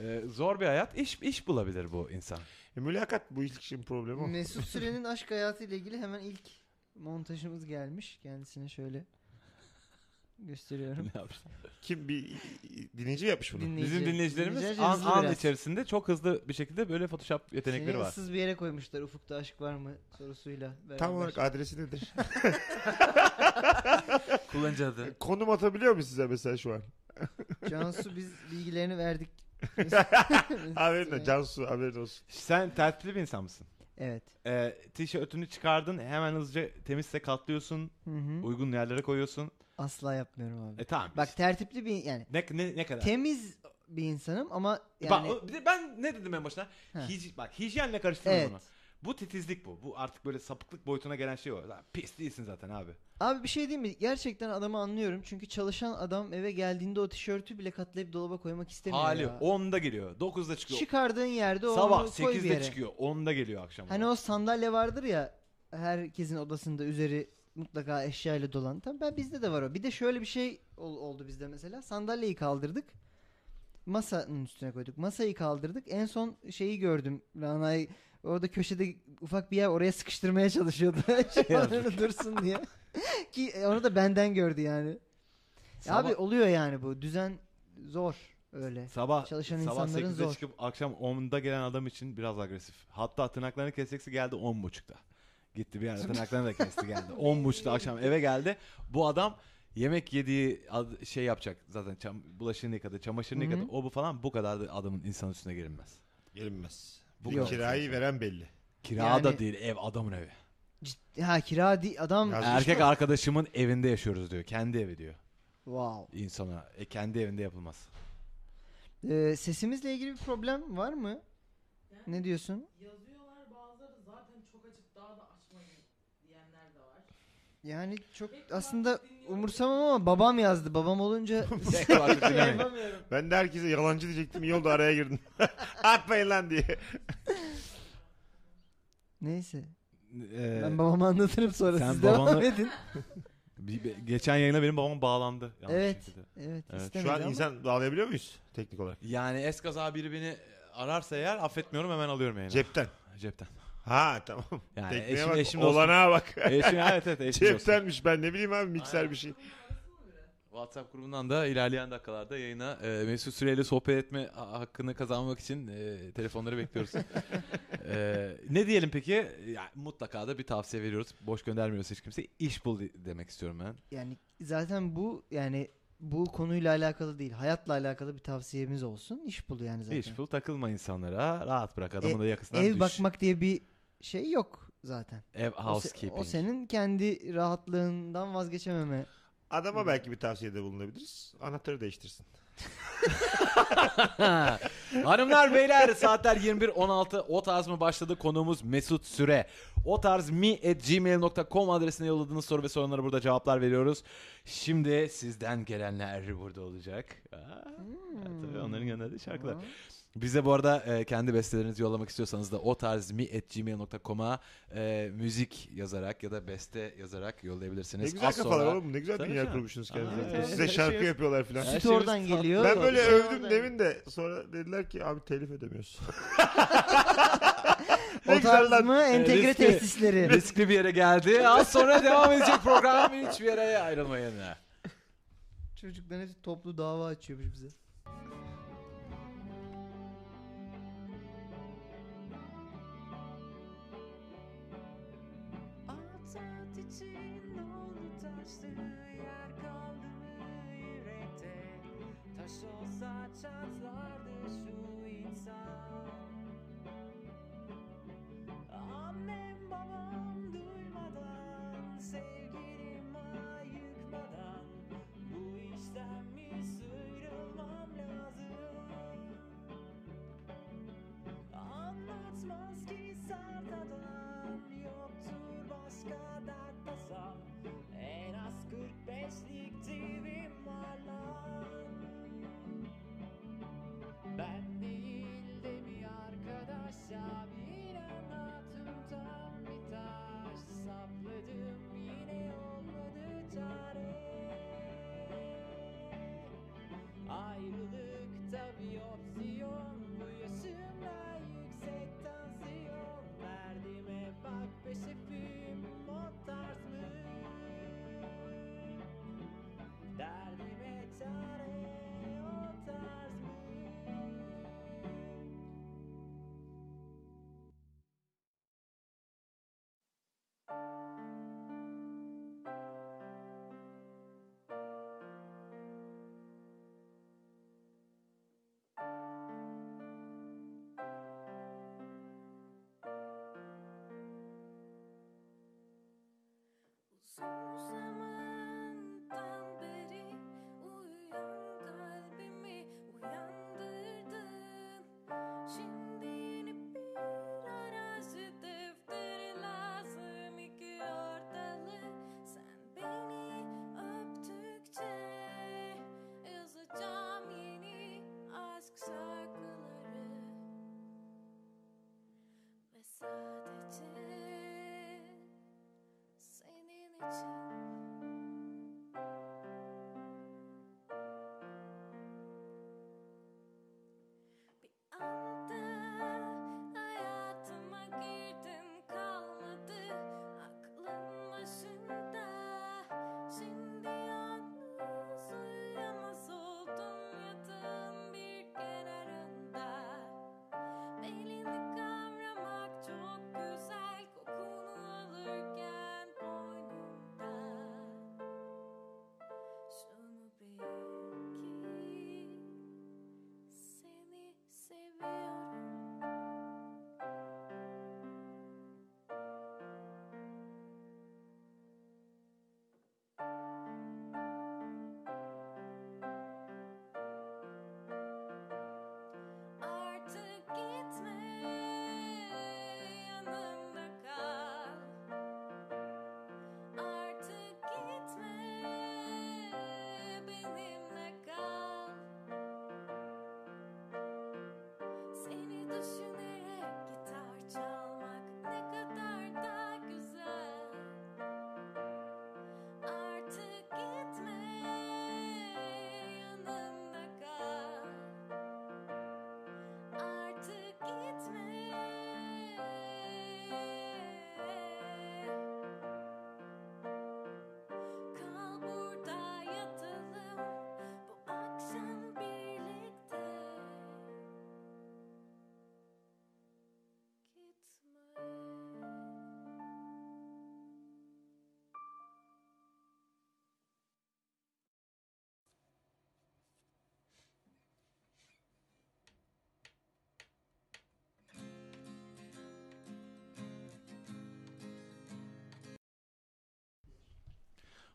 Speaker 3: Ee, zor bir hayat. İş iş bulabilir bu insan.
Speaker 4: E, mülakat bu ilişkinin problemi o.
Speaker 5: Mesut Süren'in aşk hayatıyla ilgili hemen ilk montajımız gelmiş. Kendisine şöyle gösteriyorum.
Speaker 4: Kim bir dinleyici yapmış bunu?
Speaker 5: Dinleyici-
Speaker 3: Bizim dinleyicilerimiz
Speaker 5: dinleyiciler
Speaker 3: an,
Speaker 5: hızlı
Speaker 3: an
Speaker 5: biraz.
Speaker 3: içerisinde çok hızlı bir şekilde böyle Photoshop yetenekleri
Speaker 5: Seni
Speaker 3: var.
Speaker 5: ıssız bir yere koymuşlar ufukta aşk var mı sorusuyla beraber.
Speaker 4: Tam olarak adresi nedir?
Speaker 3: Kullanıcı adı.
Speaker 4: Konum atabiliyor mu size mesela şu an?
Speaker 5: Cansu biz bilgilerini verdik.
Speaker 4: Haberin de Cansu haberin olsun.
Speaker 3: Sen tertipli bir insan mısın?
Speaker 5: Evet.
Speaker 3: Ee, tişörtünü çıkardın hemen hızlıca temizse katlıyorsun.
Speaker 5: Hı hı.
Speaker 3: Uygun yerlere koyuyorsun.
Speaker 5: Asla yapmıyorum abi.
Speaker 3: E tamam.
Speaker 5: Bak tertipli bir yani
Speaker 3: ne, ne, ne kadar?
Speaker 5: temiz bir insanım ama yani
Speaker 3: Bak, o- bir de ben ne dedim en başına?
Speaker 5: He.
Speaker 3: Hij, bak hijyenle karıştırma
Speaker 5: evet.
Speaker 3: bunu. Bu titizlik bu. Bu artık böyle sapıklık boyutuna gelen şey o. Lan pis değilsin zaten abi.
Speaker 5: Abi bir şey diyeyim mi? Gerçekten adamı anlıyorum. Çünkü çalışan adam eve geldiğinde o tişörtü bile katlayıp dolaba koymak istemiyor
Speaker 3: Hali
Speaker 5: ya.
Speaker 3: 10'da geliyor. 9'da çıkıyor.
Speaker 5: Çıkardığın yerde onu
Speaker 3: Sabah
Speaker 5: koy bir yere.
Speaker 3: 8'de çıkıyor. 10'da geliyor akşam.
Speaker 5: Hani o sandalye vardır ya herkesin odasında üzeri mutlaka eşyayla dolan. Tabii ben bizde de var o. Bir de şöyle bir şey ol- oldu bizde mesela. Sandalyeyi kaldırdık. Masanın üstüne koyduk. Masayı kaldırdık. En son şeyi gördüm. Rana'yı orada köşede ufak bir yer oraya sıkıştırmaya çalışıyordu. Şöyle dursun diye. Ki e, onu da benden gördü yani. Ya
Speaker 3: Sabah-
Speaker 5: Abi oluyor yani bu. Düzen zor öyle.
Speaker 3: Sabah
Speaker 5: Çalışan
Speaker 3: sabah
Speaker 5: insanların
Speaker 3: 8'de
Speaker 5: zor.
Speaker 3: çıkıp akşam 10'da gelen adam için biraz agresif. Hatta tırnaklarını kesecekse geldi 10.30'da. Gitti bir yerde tırnaklarını da kesti geldi. 10.30'da akşam eve geldi. Bu adam yemek yediği ad- şey yapacak zaten çam, bulaşığını yıkadı, çamaşırını
Speaker 5: Hı hı.
Speaker 3: yıkadı. O bu falan bu kadar da adamın insan üstüne gelinmez.
Speaker 4: Gelinmez.
Speaker 3: Bu
Speaker 4: Bu
Speaker 3: kadar.
Speaker 4: kirayı veren belli.
Speaker 3: Kira
Speaker 5: Yani-
Speaker 3: da değil ev adamın evi.
Speaker 5: Cid- ha kira di adam.
Speaker 4: Ya- Yazmış
Speaker 3: Erkek
Speaker 4: mı?
Speaker 3: arkadaşımın evinde yaşıyoruz diyor. Kendi evi diyor
Speaker 5: Wow.
Speaker 3: insana. E, kendi evinde yapılmaz.
Speaker 5: Ee, sesimizle ilgili bir problem var mı? Ne diyorsun?
Speaker 6: Yazıyorlar bazıları zaten çok açık daha da açmayın diyenler de var.
Speaker 5: Yani çok aslında umursamam ama babam yazdı. Babam olunca yapamıyorum.
Speaker 4: Ben de herkese yalancı diyecektim. iyi oldu araya girdim. Atmayın lan diye.
Speaker 5: Neyse.
Speaker 3: Ee,
Speaker 5: Ben babama anlatırım sonra
Speaker 3: sen
Speaker 5: siz devam
Speaker 3: babanı-
Speaker 5: edin.
Speaker 3: bir- bir- geçen yayına benim babam bağlandı. yanlış
Speaker 5: Evet.
Speaker 3: şekilde.
Speaker 5: Evet,
Speaker 3: Evet.
Speaker 5: istemedi
Speaker 4: Şu an
Speaker 5: ama.
Speaker 4: insan bağlayabiliyor muyuz teknik olarak?
Speaker 3: Yani eskaza biri beni ararsa eğer affetmiyorum hemen alıyorum yani.
Speaker 4: Cepten.
Speaker 3: Cepten.
Speaker 4: Ha tamam.
Speaker 3: Yani
Speaker 4: Tekneye
Speaker 3: eşim-
Speaker 4: bak.
Speaker 3: eşim dostum.
Speaker 4: olanağa bak.
Speaker 3: Eşim evet evet eşim olsun.
Speaker 4: Ceptenmiş ben ne bileyim abi mikser bir şey.
Speaker 3: WhatsApp grubundan da ilerleyen dakikalarda yayına e, Mesut Süreyle sohbet etme ha- hakkını kazanmak için e, telefonları bekliyoruz. E, ne diyelim peki? Ya, mutlaka da bir tavsiye veriyoruz. Boş göndermiyoruz hiç kimse. İş bul de- demek istiyorum ben.
Speaker 5: Yani zaten bu yani bu konuyla alakalı değil. Hayatla alakalı bir tavsiyemiz olsun. İş bul yani zaten.
Speaker 3: İş bul takılma insanlara. Rahat bırak adamın
Speaker 5: E,
Speaker 3: da yakasından
Speaker 5: Ev
Speaker 3: düş.
Speaker 5: bakmak diye bir şey yok zaten.
Speaker 3: Ev
Speaker 5: O se-
Speaker 3: housekeeping.
Speaker 5: O, senin kendi rahatlığından vazgeçememe.
Speaker 4: Adama belki bir tavsiyede bulunabiliriz. Anahtarı değiştirsin.
Speaker 3: Hanımlar beyler saatler 21.16 o tarz mı başladı konuğumuz Mesut Süre. O tarz mi at gmail.com adresine yolladığınız soru ve sorunlara burada cevaplar veriyoruz. Şimdi sizden gelenler burada olacak. Aa, Tabii onların gönderdiği şarkılar. Bize bu arada e, kendi bestelerinizi yollamak istiyorsanız da o tarz mi at gmail.com'a e, müzik yazarak ya da beste yazarak
Speaker 4: Ne
Speaker 3: yollayabilirsiniz.
Speaker 4: güzel
Speaker 3: Az
Speaker 4: kafalar
Speaker 3: sonra-
Speaker 4: oğlum. Ne güzel
Speaker 3: Tabii
Speaker 4: dünya
Speaker 3: canım.
Speaker 4: kurmuşsunuz
Speaker 3: Aa,
Speaker 4: kendinize.
Speaker 3: evet,
Speaker 4: Size
Speaker 3: evet.
Speaker 4: şarkı yapıyorlar filan.
Speaker 3: Her
Speaker 5: Süt
Speaker 3: şey
Speaker 5: oradan
Speaker 3: tatlı.
Speaker 5: geliyor.
Speaker 4: Ben böyle
Speaker 5: Şey
Speaker 4: övdüm
Speaker 5: oradan-
Speaker 4: demin de sonra dediler ki abi telif ödemiyorsun.
Speaker 5: O
Speaker 4: güzel
Speaker 5: tarz
Speaker 4: lan.
Speaker 5: mı?
Speaker 3: E,
Speaker 5: Entegre
Speaker 3: riskli.
Speaker 5: tesisleri.
Speaker 3: Riskli bir yere geldi. Az sonra devam edecek program. Hiçbir yere ayrılmayın.
Speaker 5: Çocukların hepsi toplu dava açıyormuş bize.
Speaker 6: Atat için dolu taştı yer kaldı yürekte Taş olsa çatlardı şu insan Annem babam duymadan Sevgilim ayıkmadan Bu işten bir sıyrılmam lazım Anlatmaz ki sardadan Yoktur başka dert tasam En az 45'lik TV'm var lan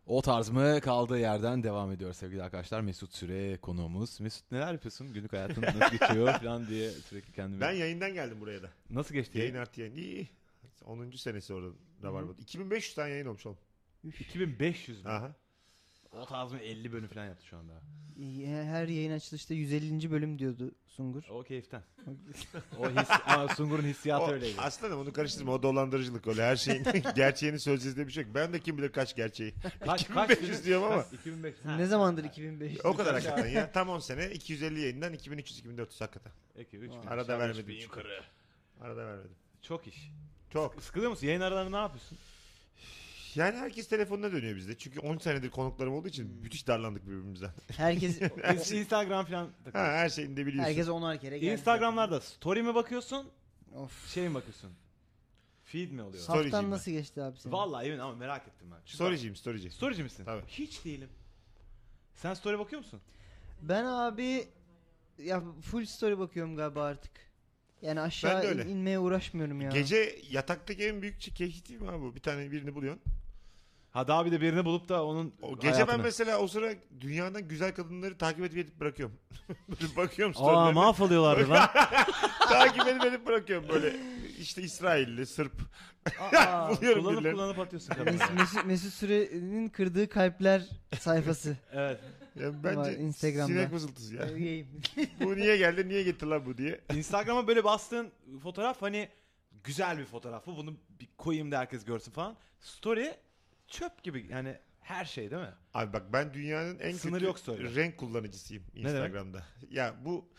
Speaker 3: O tarz mı kaldığı yerden devam ediyor sevgili arkadaşlar. Mesut Süre konuğumuz. Mesut neler yapıyorsun? Günlük hayatın nasıl geçiyor falan diye sürekli kendimi...
Speaker 4: Ben yayından geldim buraya da.
Speaker 3: Nasıl geçti?
Speaker 4: Yayın artı yayın. İyi iyi. 10. senesi orada da var. 2500 tane yayın olmuş oğlum.
Speaker 3: 2500 mü?
Speaker 4: Aha.
Speaker 3: O tarz mı 50 bölüm falan yaptı şu anda.
Speaker 5: Her yayın açılışta 150. bölüm diyordu Sungur.
Speaker 3: O keyiften. o his, ama Sungur'un hissiyatı
Speaker 4: O,
Speaker 3: öyleydi.
Speaker 4: aslanım onu karıştırma. O dolandırıcılık öyle. Her şeyin gerçeğini sözcüğünde bir şey yok. Ben de kim bilir kaç gerçeği.
Speaker 3: Kaç,
Speaker 4: 2500
Speaker 3: bölüm?
Speaker 4: diyorum ama.
Speaker 3: Kaç? 2500.
Speaker 5: Ne zamandır 2005?
Speaker 4: O kadar hakikaten ya. Tam 10 sene. 250 yayından 2300-2400 hakikaten.
Speaker 3: Peki, üç bin.
Speaker 4: Arada
Speaker 1: Aşağı
Speaker 4: vermedim
Speaker 1: üç bin
Speaker 4: çünkü.
Speaker 1: yukarı.
Speaker 4: Arada vermedim.
Speaker 3: Çok iş.
Speaker 4: Çok.
Speaker 3: Sıkılıyor musun? Yayın aralarında ne yapıyorsun?
Speaker 4: Yani herkes telefonuna dönüyor bizde. Çünkü 10 senedir konuklarım olduğu için müthiş darlandık birbirimizden.
Speaker 5: Herkes
Speaker 3: Biz Instagram falan
Speaker 4: Ha,
Speaker 3: takıyoruz.
Speaker 4: her şeyini de biliyorsun.
Speaker 5: herkes onar kere geldi.
Speaker 3: Instagram'larda story mi bakıyorsun,
Speaker 5: Of.
Speaker 3: şey mi bakıyorsun? Feed mi oluyor?
Speaker 4: Sa- Storyciyim ben.
Speaker 5: Haftan nasıl geçti abi senin?
Speaker 3: Vallahi emin ama merak ettim ben. Çünkü
Speaker 4: Storyciyim storyci.
Speaker 3: Storyci misin?
Speaker 4: Tabii.
Speaker 3: Hiç değilim. Sen story bakıyor musun?
Speaker 5: Ben abi ya full story bakıyorum galiba artık. Yani aşağı
Speaker 4: öyle.
Speaker 5: in- inmeye uğraşmıyorum ya.
Speaker 4: Gece yataktaki en büyük keyif değil mi abi bu? Bir tane birini buluyorsun.
Speaker 3: Ha daha bir de birini bulup da onun
Speaker 4: O gece ben
Speaker 3: hayatını-
Speaker 4: mesela o sıra dünyadan güzel kadınları takip edip edip bırakıyorum. böyle bakıyorum
Speaker 3: Aa
Speaker 4: storylerine.
Speaker 3: mahvoluyorlardı lan.
Speaker 4: takip edip edip bırakıyorum böyle. İşte İsrailli, Sırp.
Speaker 5: Aa,
Speaker 4: Buluyorum
Speaker 3: kullanıp
Speaker 4: birilerini.
Speaker 3: kullanıp atıyorsun kadını.
Speaker 5: Mes- Mesut, Mesut Süre'nin kırdığı kalpler sayfası.
Speaker 3: evet.
Speaker 4: Ya
Speaker 5: Var,
Speaker 4: bence
Speaker 5: Instagram'da.
Speaker 4: sinek vızıltısı ya.
Speaker 5: Sevgiyim.
Speaker 4: bu niye geldi, niye getir lan bu diye.
Speaker 3: Instagram'a böyle bastığın fotoğraf hani güzel bir fotoğraf bu. Bunu bir koyayım da herkes görsün falan. Story çöp gibi yani her şey değil mi?
Speaker 4: Abi bak ben dünyanın en
Speaker 3: Sınır
Speaker 4: kötü
Speaker 3: yok söyle.
Speaker 4: renk kullanıcısıyım
Speaker 3: demek?
Speaker 4: Instagram'da. Ya bu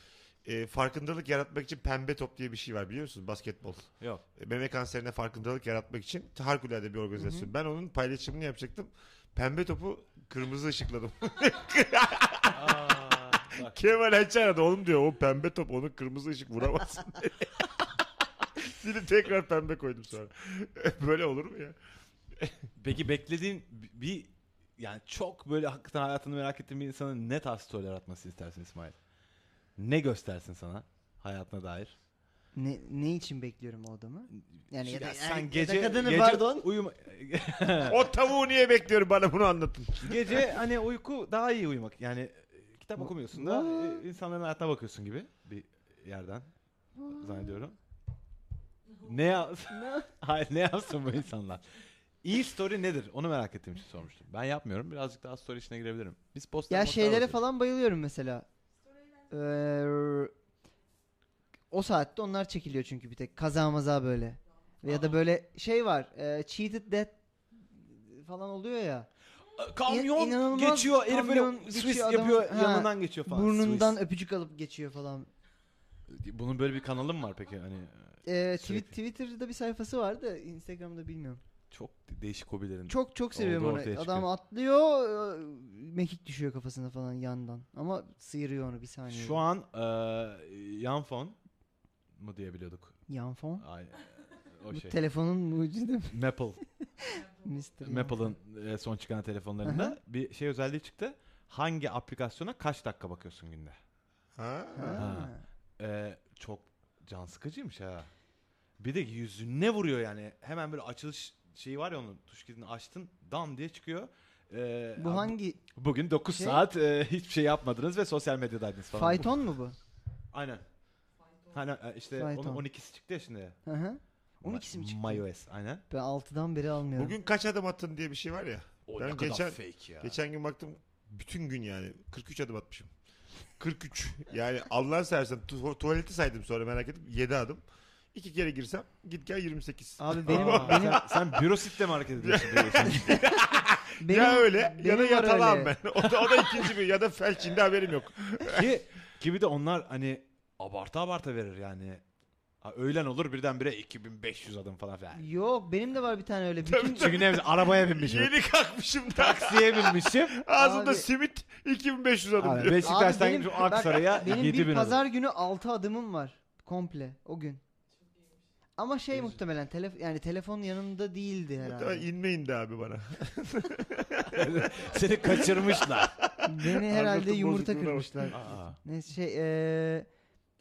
Speaker 4: e, farkındalık yaratmak için pembe top diye bir şey var biliyor musunuz? Basketbol.
Speaker 3: Yok.
Speaker 4: E, Meme kanserine farkındalık yaratmak için harikulade bir organizasyon. Ben onun paylaşımını yapacaktım. Pembe topu kırmızı ışıkladım.
Speaker 3: Aa, bak.
Speaker 4: Kemal Ayça aradı oğlum diyor o pembe top onu kırmızı ışık vuramazsın diye. Seni tekrar pembe koydum sonra. Böyle olur mu ya?
Speaker 3: Peki beklediğin bi- bir yani çok böyle hakikaten hayatını merak ettiğin bir insanın ne tarz storyler atmasını istersin İsmail? Ne göstersin sana hayatına dair?
Speaker 5: ne, ne için bekliyorum o adamı? Yani ya da,
Speaker 3: sen
Speaker 5: yani- ya da
Speaker 3: gece
Speaker 5: kadını
Speaker 3: gece
Speaker 5: pardon.
Speaker 3: uyuma-
Speaker 4: O tavuğu niye bekliyorum bana bunu anlatın.
Speaker 3: gece hani uyku daha iyi uyumak. Yani e, kitap okumuyorsun da e, insanların hayatına bakıyorsun gibi bir yerden zannediyorum. Ne yap Hayır ne yapsın bu insanlar? İyi story nedir? Onu merak ettiğim için sormuştum. Ben yapmıyorum. Birazcık daha story işine girebilirim. Biz postlara
Speaker 5: Ya
Speaker 3: postlara
Speaker 5: şeylere
Speaker 3: bakıyoruz.
Speaker 5: falan bayılıyorum mesela. Ee, o saatte onlar çekiliyor çünkü bir tek. Kaza maza böyle. Ya da böyle şey var. E, cheated death falan oluyor ya.
Speaker 3: E, Kamyon
Speaker 5: İnanılmaz
Speaker 3: geçiyor. Herif
Speaker 5: kamyon
Speaker 3: böyle
Speaker 5: geçiyor,
Speaker 3: Swiss
Speaker 5: adamın-
Speaker 3: yapıyor.
Speaker 5: Ha,
Speaker 3: yanından geçiyor falan.
Speaker 5: Burnundan
Speaker 3: Swiss.
Speaker 5: öpücük alıp geçiyor falan.
Speaker 3: Bunun böyle bir kanalı mı var peki? Hani
Speaker 5: Ee,
Speaker 3: Sürekli.
Speaker 5: tweet, Twitter'da bir sayfası var da Instagram'da bilmiyorum.
Speaker 3: çok değişik hobilerin.
Speaker 5: Çok çok seviyorum
Speaker 3: Oldu
Speaker 5: onu.
Speaker 3: ortaya
Speaker 5: Adam
Speaker 3: çıkıyor.
Speaker 5: atlıyor, e, mekik düşüyor kafasına falan yandan. Ama sıyırıyor onu bir saniye.
Speaker 3: Şu an e, yan fon mu diyebiliyorduk?
Speaker 5: Yan fon.
Speaker 3: Ay, o
Speaker 5: Bu
Speaker 3: şey.
Speaker 5: telefonun mucidi mi?
Speaker 3: Maple.
Speaker 5: Mr. Yan
Speaker 3: Maple'ın e, son çıkan telefonlarında bir şey özelliği çıktı. Hangi aplikasyona kaç dakika bakıyorsun günde?
Speaker 4: Ha.
Speaker 5: Fon. Ha.
Speaker 3: E, çok can sıkıcıymış ha. Bir de yüzüne vuruyor yani. Hemen böyle açılış şeyi var ya onun tuş kilidini açtın dam diye çıkıyor. E,
Speaker 5: Bu
Speaker 3: abi-
Speaker 5: hangi?
Speaker 3: Bugün 9
Speaker 5: Şey-
Speaker 3: saat e, hiçbir şey yapmadınız ve sosyal medyadaydınız falan.
Speaker 5: Fayton mu bu?
Speaker 3: Aynen. Hani e, işte
Speaker 5: Fayton.
Speaker 3: onun 12'si çıktı ya şimdi.
Speaker 5: Hı hı. 12'si mi çıktı?
Speaker 3: MyOS aynen.
Speaker 5: Ben 6'dan beri almıyorum.
Speaker 4: Bugün kaç adım attın diye bir şey var ya.
Speaker 1: O
Speaker 4: Ben
Speaker 1: ne kadar
Speaker 4: geçen-
Speaker 1: fake ya.
Speaker 4: Geçen gün baktım bütün gün yani 43 adım atmışım. 43. Yani Allah'ın seversen tu- tuvaleti saydım sonra merak ettim 7 adım. İki kere girsem git gel 28.
Speaker 5: Abi benim
Speaker 3: Aa,
Speaker 5: benim
Speaker 3: sen, sen bürositle mi hareket ediyorsun? diye.
Speaker 5: benim
Speaker 4: ya öyle ya da
Speaker 5: benim var
Speaker 4: yatalağım
Speaker 5: öyle.
Speaker 4: ben. O da, o da ikinci bir ya da felçinde haberim yok.
Speaker 3: ki, ki bir de onlar hani abarta abarta verir yani. Ha, öğlen olur birdenbire 2500 adım falan filan.
Speaker 5: Yok benim de var bir tane öyle. Bütün
Speaker 3: Çünkü ne bileyim, arabaya binmişim.
Speaker 4: Yeni kalkmışım da
Speaker 3: Taksiye binmişim.
Speaker 4: ağzımda
Speaker 5: Abi.
Speaker 4: simit 2500 adım
Speaker 3: Abi,
Speaker 4: diyor.
Speaker 3: Beşiktaş'tan
Speaker 5: benim-
Speaker 3: şu Aksaray'a
Speaker 5: bak, benim
Speaker 3: 7000
Speaker 5: bir
Speaker 3: adım.
Speaker 5: pazar günü 6 adımım var komple o gün. Ama şey muhtemelen telef yani telefon yanımda değildi herhalde.
Speaker 4: İnmeyin de abi bana.
Speaker 3: Seni kaçırmışlar.
Speaker 5: Beni herhalde
Speaker 4: Anlatım
Speaker 5: yumurta
Speaker 4: bozukluğuna bak.
Speaker 5: kırmışlar.
Speaker 3: Aa.
Speaker 5: Neyse şey eee,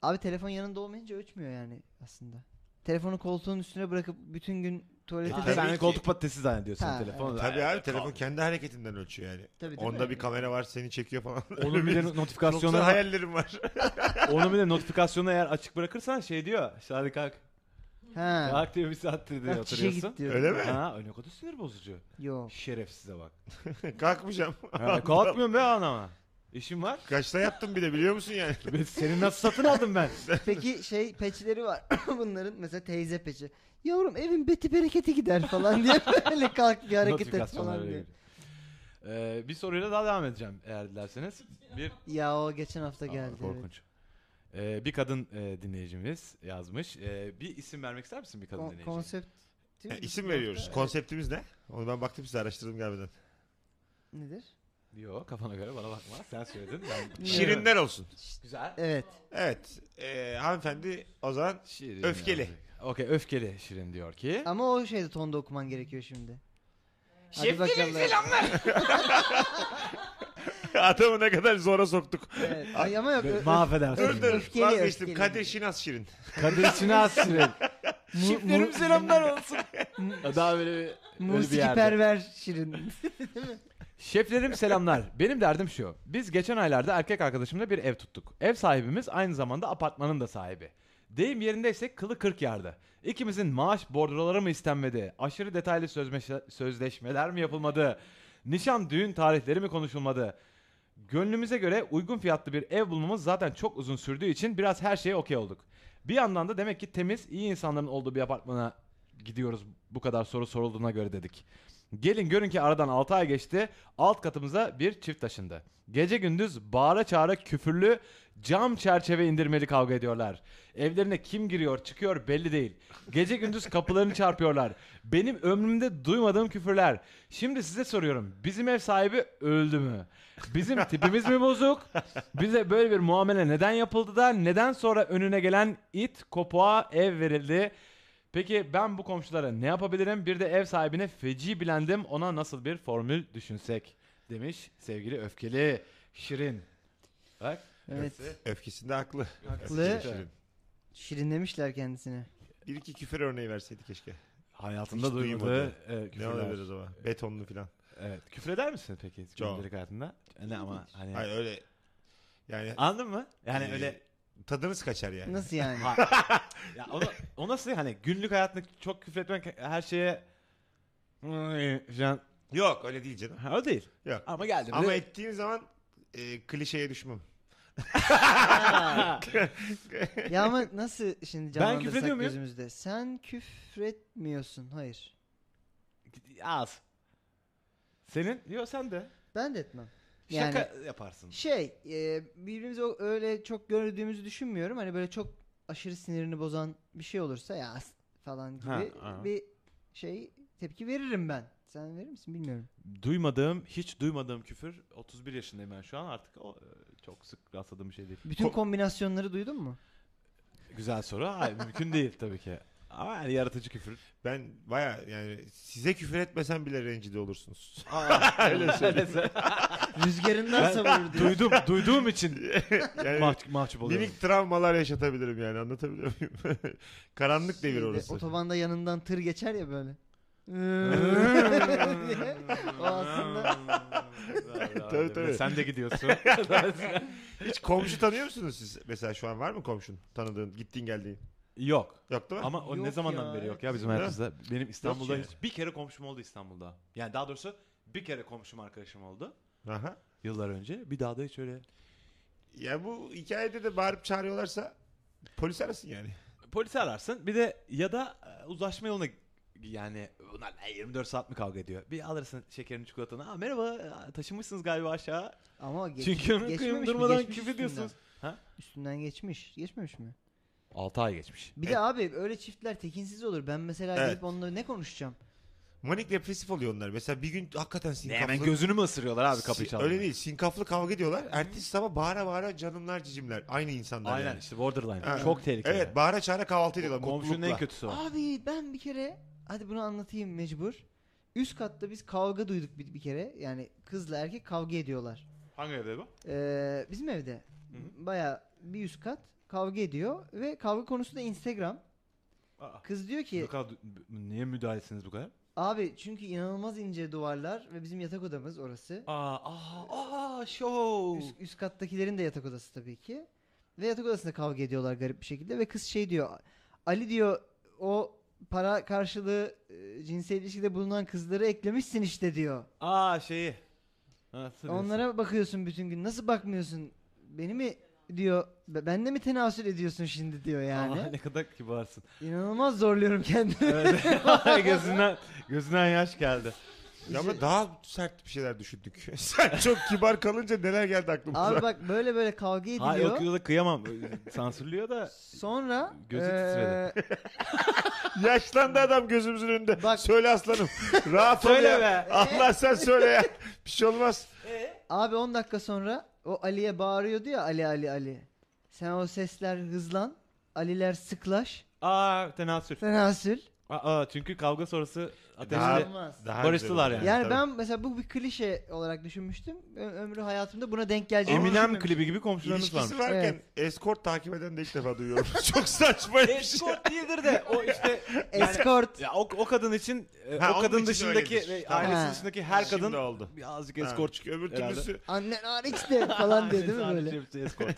Speaker 5: abi telefon yanında olmayınca ölçmüyor yani aslında. Telefonu koltuğun üstüne bırakıp bütün gün tuvalete
Speaker 3: Ha,
Speaker 5: de... şey-
Speaker 3: sen
Speaker 4: ki.
Speaker 3: koltuk patatesi zannediyorsun
Speaker 5: Ha,
Speaker 3: telefonu.
Speaker 4: Tabii abi
Speaker 1: Ayakta
Speaker 4: telefon
Speaker 1: kal.
Speaker 4: kendi hareketinden ölçüyor yani.
Speaker 5: Tabii değil
Speaker 4: Onda
Speaker 5: mi?
Speaker 4: bir kamera var seni çekiyor falan.
Speaker 3: Onun bile
Speaker 4: Yoksa
Speaker 3: notifikasyonu
Speaker 4: hayallerim var.
Speaker 3: onun bile notifikasyonu eğer açık bırakırsan şey diyor. "İşte Hadi kalk.
Speaker 5: Ha.
Speaker 3: Kalk diyor bir saattir diyor
Speaker 5: Bak çişe
Speaker 3: oturuyorsun.
Speaker 5: git diyor.
Speaker 4: Öyle mi?
Speaker 3: Ha, öyle kadar sinir bozucu.
Speaker 5: Yok.
Speaker 3: Şerefsize bak.
Speaker 4: Kalkmayacağım.
Speaker 3: Ha, e, kalkmıyorum be anama. İşim var.
Speaker 4: Kaçta yattım bir de biliyor musun yani?
Speaker 3: Ben seni nasıl satın aldım ben?
Speaker 5: Peki şey peçleri var bunların mesela teyze peçi. Yavrum evin beti bereketi gider falan diye böyle kalk bir hareket et
Speaker 3: Notifikasyonlar
Speaker 5: falan
Speaker 3: öyle
Speaker 5: diyor.
Speaker 3: geliyor. Ee, bir soruyla daha devam edeceğim eğer dilerseniz. Bir
Speaker 5: Ya o geçen hafta
Speaker 3: Aa,
Speaker 5: geldi. evet.
Speaker 3: korkunç. Ee, bir kadın e, dinleyicimiz yazmış. Ee, bir isim vermek ister misin bir kadın E,
Speaker 5: Kon-
Speaker 3: dinleyicimiz?
Speaker 5: konsept değil mi?
Speaker 4: isim veriyoruz. Konseptimiz ne? Onu ben baktım size araştırdım gelmeden.
Speaker 5: Nedir?
Speaker 3: Yok kafana göre bana bakma. Sen söyledin. Ben...
Speaker 4: Şirinler olsun.
Speaker 3: Güzel.
Speaker 5: Evet.
Speaker 4: Evet. Ee, hanımefendi o zaman
Speaker 3: Şirin
Speaker 4: Öfkeli.
Speaker 3: yazdık. Okey öfkeli Şirin diyor ki.
Speaker 5: Ama o şeyde tonda okuman gerekiyor şimdi. Şefkilim
Speaker 4: adamı ne kadar zora soktuk.
Speaker 5: Evet. Ay ama yok. ö-
Speaker 4: Dur
Speaker 3: Mahvedersin.
Speaker 4: dur
Speaker 5: Öfkeli,
Speaker 4: vazgeçtim.
Speaker 5: öfkeli.
Speaker 4: Kadir Şinas Şirin.
Speaker 3: Kadın Şinas Şirin.
Speaker 5: mu- mu-
Speaker 3: Şiflerim selamlar olsun. Daha böyle bir, böyle bir
Speaker 5: Musiki
Speaker 3: yerde.
Speaker 5: perver şirin.
Speaker 3: Şeflerim selamlar. Benim derdim şu. Biz geçen aylarda erkek arkadaşımla bir ev tuttuk. Ev sahibimiz aynı zamanda apartmanın da sahibi. Deyim yerindeyse kılı kırk yardı. İkimizin maaş bordroları mı istenmedi? Aşırı detaylı sözmeşe- sözleşmeler mi yapılmadı? Nişan düğün tarihleri mi konuşulmadı? Gönlümüze göre uygun fiyatlı bir ev bulmamız zaten çok uzun sürdüğü için biraz her şeye okey olduk. Bir yandan da demek ki temiz, iyi insanların olduğu bir apartmana gidiyoruz bu kadar soru sorulduğuna göre dedik. Gelin görün ki aradan 6 ay geçti. Alt katımıza bir çift taşındı. Gece gündüz bağıra çağıra küfürlü cam çerçeve indirmeli kavga ediyorlar. Evlerine kim giriyor çıkıyor belli değil. Gece gündüz kapılarını çarpıyorlar. Benim ömrümde duymadığım küfürler. Şimdi size soruyorum. Bizim ev sahibi öldü mü? Bizim tipimiz mi bozuk? Bize böyle bir muamele neden yapıldı da neden sonra önüne gelen it kopuğa ev verildi? Peki ben bu komşulara ne yapabilirim? Bir de ev sahibine feci bilendim. Ona nasıl bir formül düşünsek? Demiş sevgili öfkeli Şirin. Bak.
Speaker 5: Evet.
Speaker 4: Öfkesinde haklı.
Speaker 5: Haklı.
Speaker 4: Şirin.
Speaker 5: Şirinlemişler kendisini.
Speaker 4: Bir iki küfür örneği verseydi keşke.
Speaker 3: Hayatında
Speaker 4: Hiç
Speaker 3: duymadığı
Speaker 4: duymadı.
Speaker 3: e,
Speaker 4: Ne
Speaker 3: küfürler.
Speaker 4: olabilir o zaman? Betonlu falan.
Speaker 3: Evet. Küfür eder misin peki
Speaker 4: Çok.
Speaker 3: gündelik hayatında? Ne ama hani
Speaker 4: Hayır öyle. Yani
Speaker 3: anladın mı? Yani
Speaker 4: e,
Speaker 3: öyle
Speaker 4: tadınız kaçar yani.
Speaker 5: Nasıl yani?
Speaker 3: ya o, o nasıl hani günlük hayatında çok küfür etmek her şeye falan
Speaker 4: Yok öyle değil canım.
Speaker 3: ha, o değil.
Speaker 4: Yok.
Speaker 3: Ama geldim.
Speaker 4: Ama ettiğim zaman e, klişeye düşmem.
Speaker 5: ya ama nasıl şimdi
Speaker 3: Ben
Speaker 5: canlandırsak
Speaker 3: küfrediyor muyum?
Speaker 5: gözümüzde? Sen küfretmiyorsun. Hayır.
Speaker 3: az. Senin? Yok sen de.
Speaker 5: Ben de etmem. Yani
Speaker 3: Şaka yaparsın.
Speaker 5: şey e, birbirimizi o- öyle çok gördüğümüzü düşünmüyorum. Hani böyle çok aşırı sinirini bozan bir şey olursa ya as- falan gibi
Speaker 3: Ha, ha.
Speaker 5: bir şey tepki veririm ben. Sen verir misin bilmiyorum.
Speaker 3: Duymadığım, hiç duymadığım küfür 31 yaşındayım ben şu an artık o e, çok sık rastladığım bir şey değil.
Speaker 5: Bütün kombinasyonları duydun mu?
Speaker 3: Güzel soru. Hayır mümkün değil tabii ki. Ama yani yaratıcı küfür.
Speaker 4: Ben baya yani size küfür etmesem bile rencide olursunuz.
Speaker 3: Öyle söyle.
Speaker 5: Rüzgarından savurur diyor.
Speaker 3: Duydum, duyduğum için
Speaker 4: yani
Speaker 3: mahcup, mahcup oluyorum.
Speaker 4: minik travmalar yaşatabilirim yani anlatabiliyor muyum?
Speaker 3: Şey
Speaker 4: Karanlık devir
Speaker 5: Şeyde,
Speaker 4: orası.
Speaker 5: Otobanda yanından tır geçer ya böyle. o aslında
Speaker 4: Tabii, tabii.
Speaker 3: Sen de gidiyorsun.
Speaker 4: Hiç komşu tanıyor musunuz siz? Mesela şu an var mı komşun tanıdığın, gittiğin geldiğin?
Speaker 3: yok.
Speaker 4: Yok değil mi?
Speaker 3: Ama o ne
Speaker 5: Yok
Speaker 3: zamandan
Speaker 5: ya,
Speaker 3: beri yok ya
Speaker 5: evet.
Speaker 3: bizim
Speaker 4: Değil mi?
Speaker 3: hayatımızda. Benim İstanbul'da
Speaker 4: yani.
Speaker 3: hiç bir kere komşum oldu İstanbul'da. Yani daha doğrusu bir kere komşum arkadaşım oldu.
Speaker 4: Aha.
Speaker 3: Yıllar önce. Bir daha da hiç öyle.
Speaker 4: Ya bu hikayede de bağırıp çağırıyorlarsa polis arasın yani.
Speaker 3: Polisi ararsın. Bir de ya da e, uzlaşma yoluna yani bunlar ne, 24 saat mi kavga ediyor? Bir alırsın şekerini çikolatanı. Aa merhaba e, taşınmışsınız galiba aşağı.
Speaker 5: ama geç,
Speaker 3: Çünkü onu
Speaker 5: geçmemiş mi?
Speaker 3: kıyındırmadan
Speaker 5: Geçmiş
Speaker 3: küfür diyorsunuz.
Speaker 5: üstünden.
Speaker 3: Ha?
Speaker 5: Üstünden geçmiş. Geçmemiş mi?
Speaker 3: 6 ay geçmiş.
Speaker 5: Bir
Speaker 4: E-
Speaker 5: de abi öyle çiftler tekinsiz olur. Ben mesela
Speaker 4: Evet.
Speaker 5: gidip onunla ne konuşacağım?
Speaker 4: Manik depresif oluyor onlar. Mesela bir gün hakikaten
Speaker 3: Ne,
Speaker 4: sinkaflı...
Speaker 3: hemen gözünü mü ısırıyorlar abi kapıyı
Speaker 4: Sin-
Speaker 3: çaldı.
Speaker 4: Öyle değil. Sinkaflı kavga ediyorlar. Ertesi sabah bağıra bağıra canımlar cicimler. Aynı insanlar
Speaker 3: Aynen
Speaker 4: yani.
Speaker 3: işte borderline.
Speaker 4: Ha.
Speaker 3: Çok tehlikeli.
Speaker 4: Evet bağıra çağıra kahvaltı ediyorlar.
Speaker 3: Komşunun en
Speaker 4: mutlulukla.
Speaker 3: kötüsü o.
Speaker 5: Abi ben bir kere hadi bunu anlatayım mecbur. Üst katta biz kavga duyduk bir, bir kere. Yani kızla erkek kavga ediyorlar.
Speaker 3: Hangi evde bu?
Speaker 5: Ee, bizim evde
Speaker 3: Hı
Speaker 5: baya bir üst kat kavga ediyor ve kavga konusu da Instagram.
Speaker 3: Aa.
Speaker 5: Kız diyor ki
Speaker 3: Gökhan, niye müdahalesiniz bu kadar?
Speaker 5: abi çünkü inanılmaz ince duvarlar ve bizim yatak odamız orası.
Speaker 3: Aa, aa, aa, show.
Speaker 5: Üst, üst kattakilerin de yatak odası tabii ki. Ve yatak odasında kavga ediyorlar garip bir şekilde ve kız şey diyor. Ali diyor o para karşılığı e, cinsel ilişkide bulunan kızları eklemişsin işte diyor.
Speaker 3: Aa şeyi. Ha, sırıyorsun.
Speaker 5: Onlara bakıyorsun bütün gün. Nasıl bakmıyorsun? Beni mi diyor. "Be- Ben de mi tenasül ediyorsun şimdi diyor yani.
Speaker 3: Aa, ne kadar kibarsın.
Speaker 5: İnanılmaz zorluyorum kendimi.
Speaker 3: Evet. gözünden, gözünden yaş geldi.
Speaker 4: Ya
Speaker 3: şey-
Speaker 4: ama daha sert bir şeyler düşündük. Sen çok kibar kalınca neler geldi aklımıza.
Speaker 5: Abi bak böyle böyle kavga
Speaker 3: Ha
Speaker 5: ediliyor.
Speaker 3: yok yok kıyamam. Sansürlüyor da.
Speaker 5: Sonra
Speaker 3: Gözü
Speaker 5: eee,
Speaker 3: titredi.
Speaker 4: Yaşlandı adam gözümüzün önünde.
Speaker 5: Bak-
Speaker 4: Söyle aslanım. Rahat ol
Speaker 3: Söyle
Speaker 4: ya.
Speaker 3: be.
Speaker 4: Allah sen söyle ya. Bir şey olmaz.
Speaker 5: Abi 10 dakika sonra o Ali'ye bağırıyordu ya Ali Ali Ali. Sen o sesler hızlan. Aliler sıklaş.
Speaker 3: Aa tenasül.
Speaker 5: Tenasül.
Speaker 3: Aa, çünkü kavga sonrası
Speaker 4: Daha-
Speaker 3: ateşli.
Speaker 5: Olmaz.
Speaker 4: Daha
Speaker 3: Barıştılar
Speaker 4: güzel oldu.
Speaker 5: Yani
Speaker 4: Tabii.
Speaker 5: ben mesela bu bir klişe olarak düşünmüştüm. Ö- ömrü hayatımda buna denk geleceğini
Speaker 3: Eminem
Speaker 5: düşünmemiştim.
Speaker 3: klibi gibi komşularınız varmış.
Speaker 4: İlişkisi varken eskort takip eden de ilk defa duyuyorum. Çok saçma bir şey.
Speaker 3: Escort değildir de o işte yani-
Speaker 5: Escort.
Speaker 3: ya o, o kadın için e,
Speaker 4: Ha,
Speaker 3: o
Speaker 4: onun
Speaker 3: kadın
Speaker 4: için
Speaker 3: dışındaki
Speaker 4: öyledir.
Speaker 3: ve
Speaker 4: Tamam.
Speaker 3: ailesi
Speaker 5: Ha.
Speaker 3: dışındaki her
Speaker 4: Şimdi
Speaker 3: kadın
Speaker 4: oldu.
Speaker 3: birazcık
Speaker 4: Escort
Speaker 3: escort
Speaker 4: çünkü öbür
Speaker 3: herhalde.
Speaker 4: türlüsü
Speaker 5: Annen Arix de falan diyor değil mi böyle?
Speaker 3: Hepsi escort.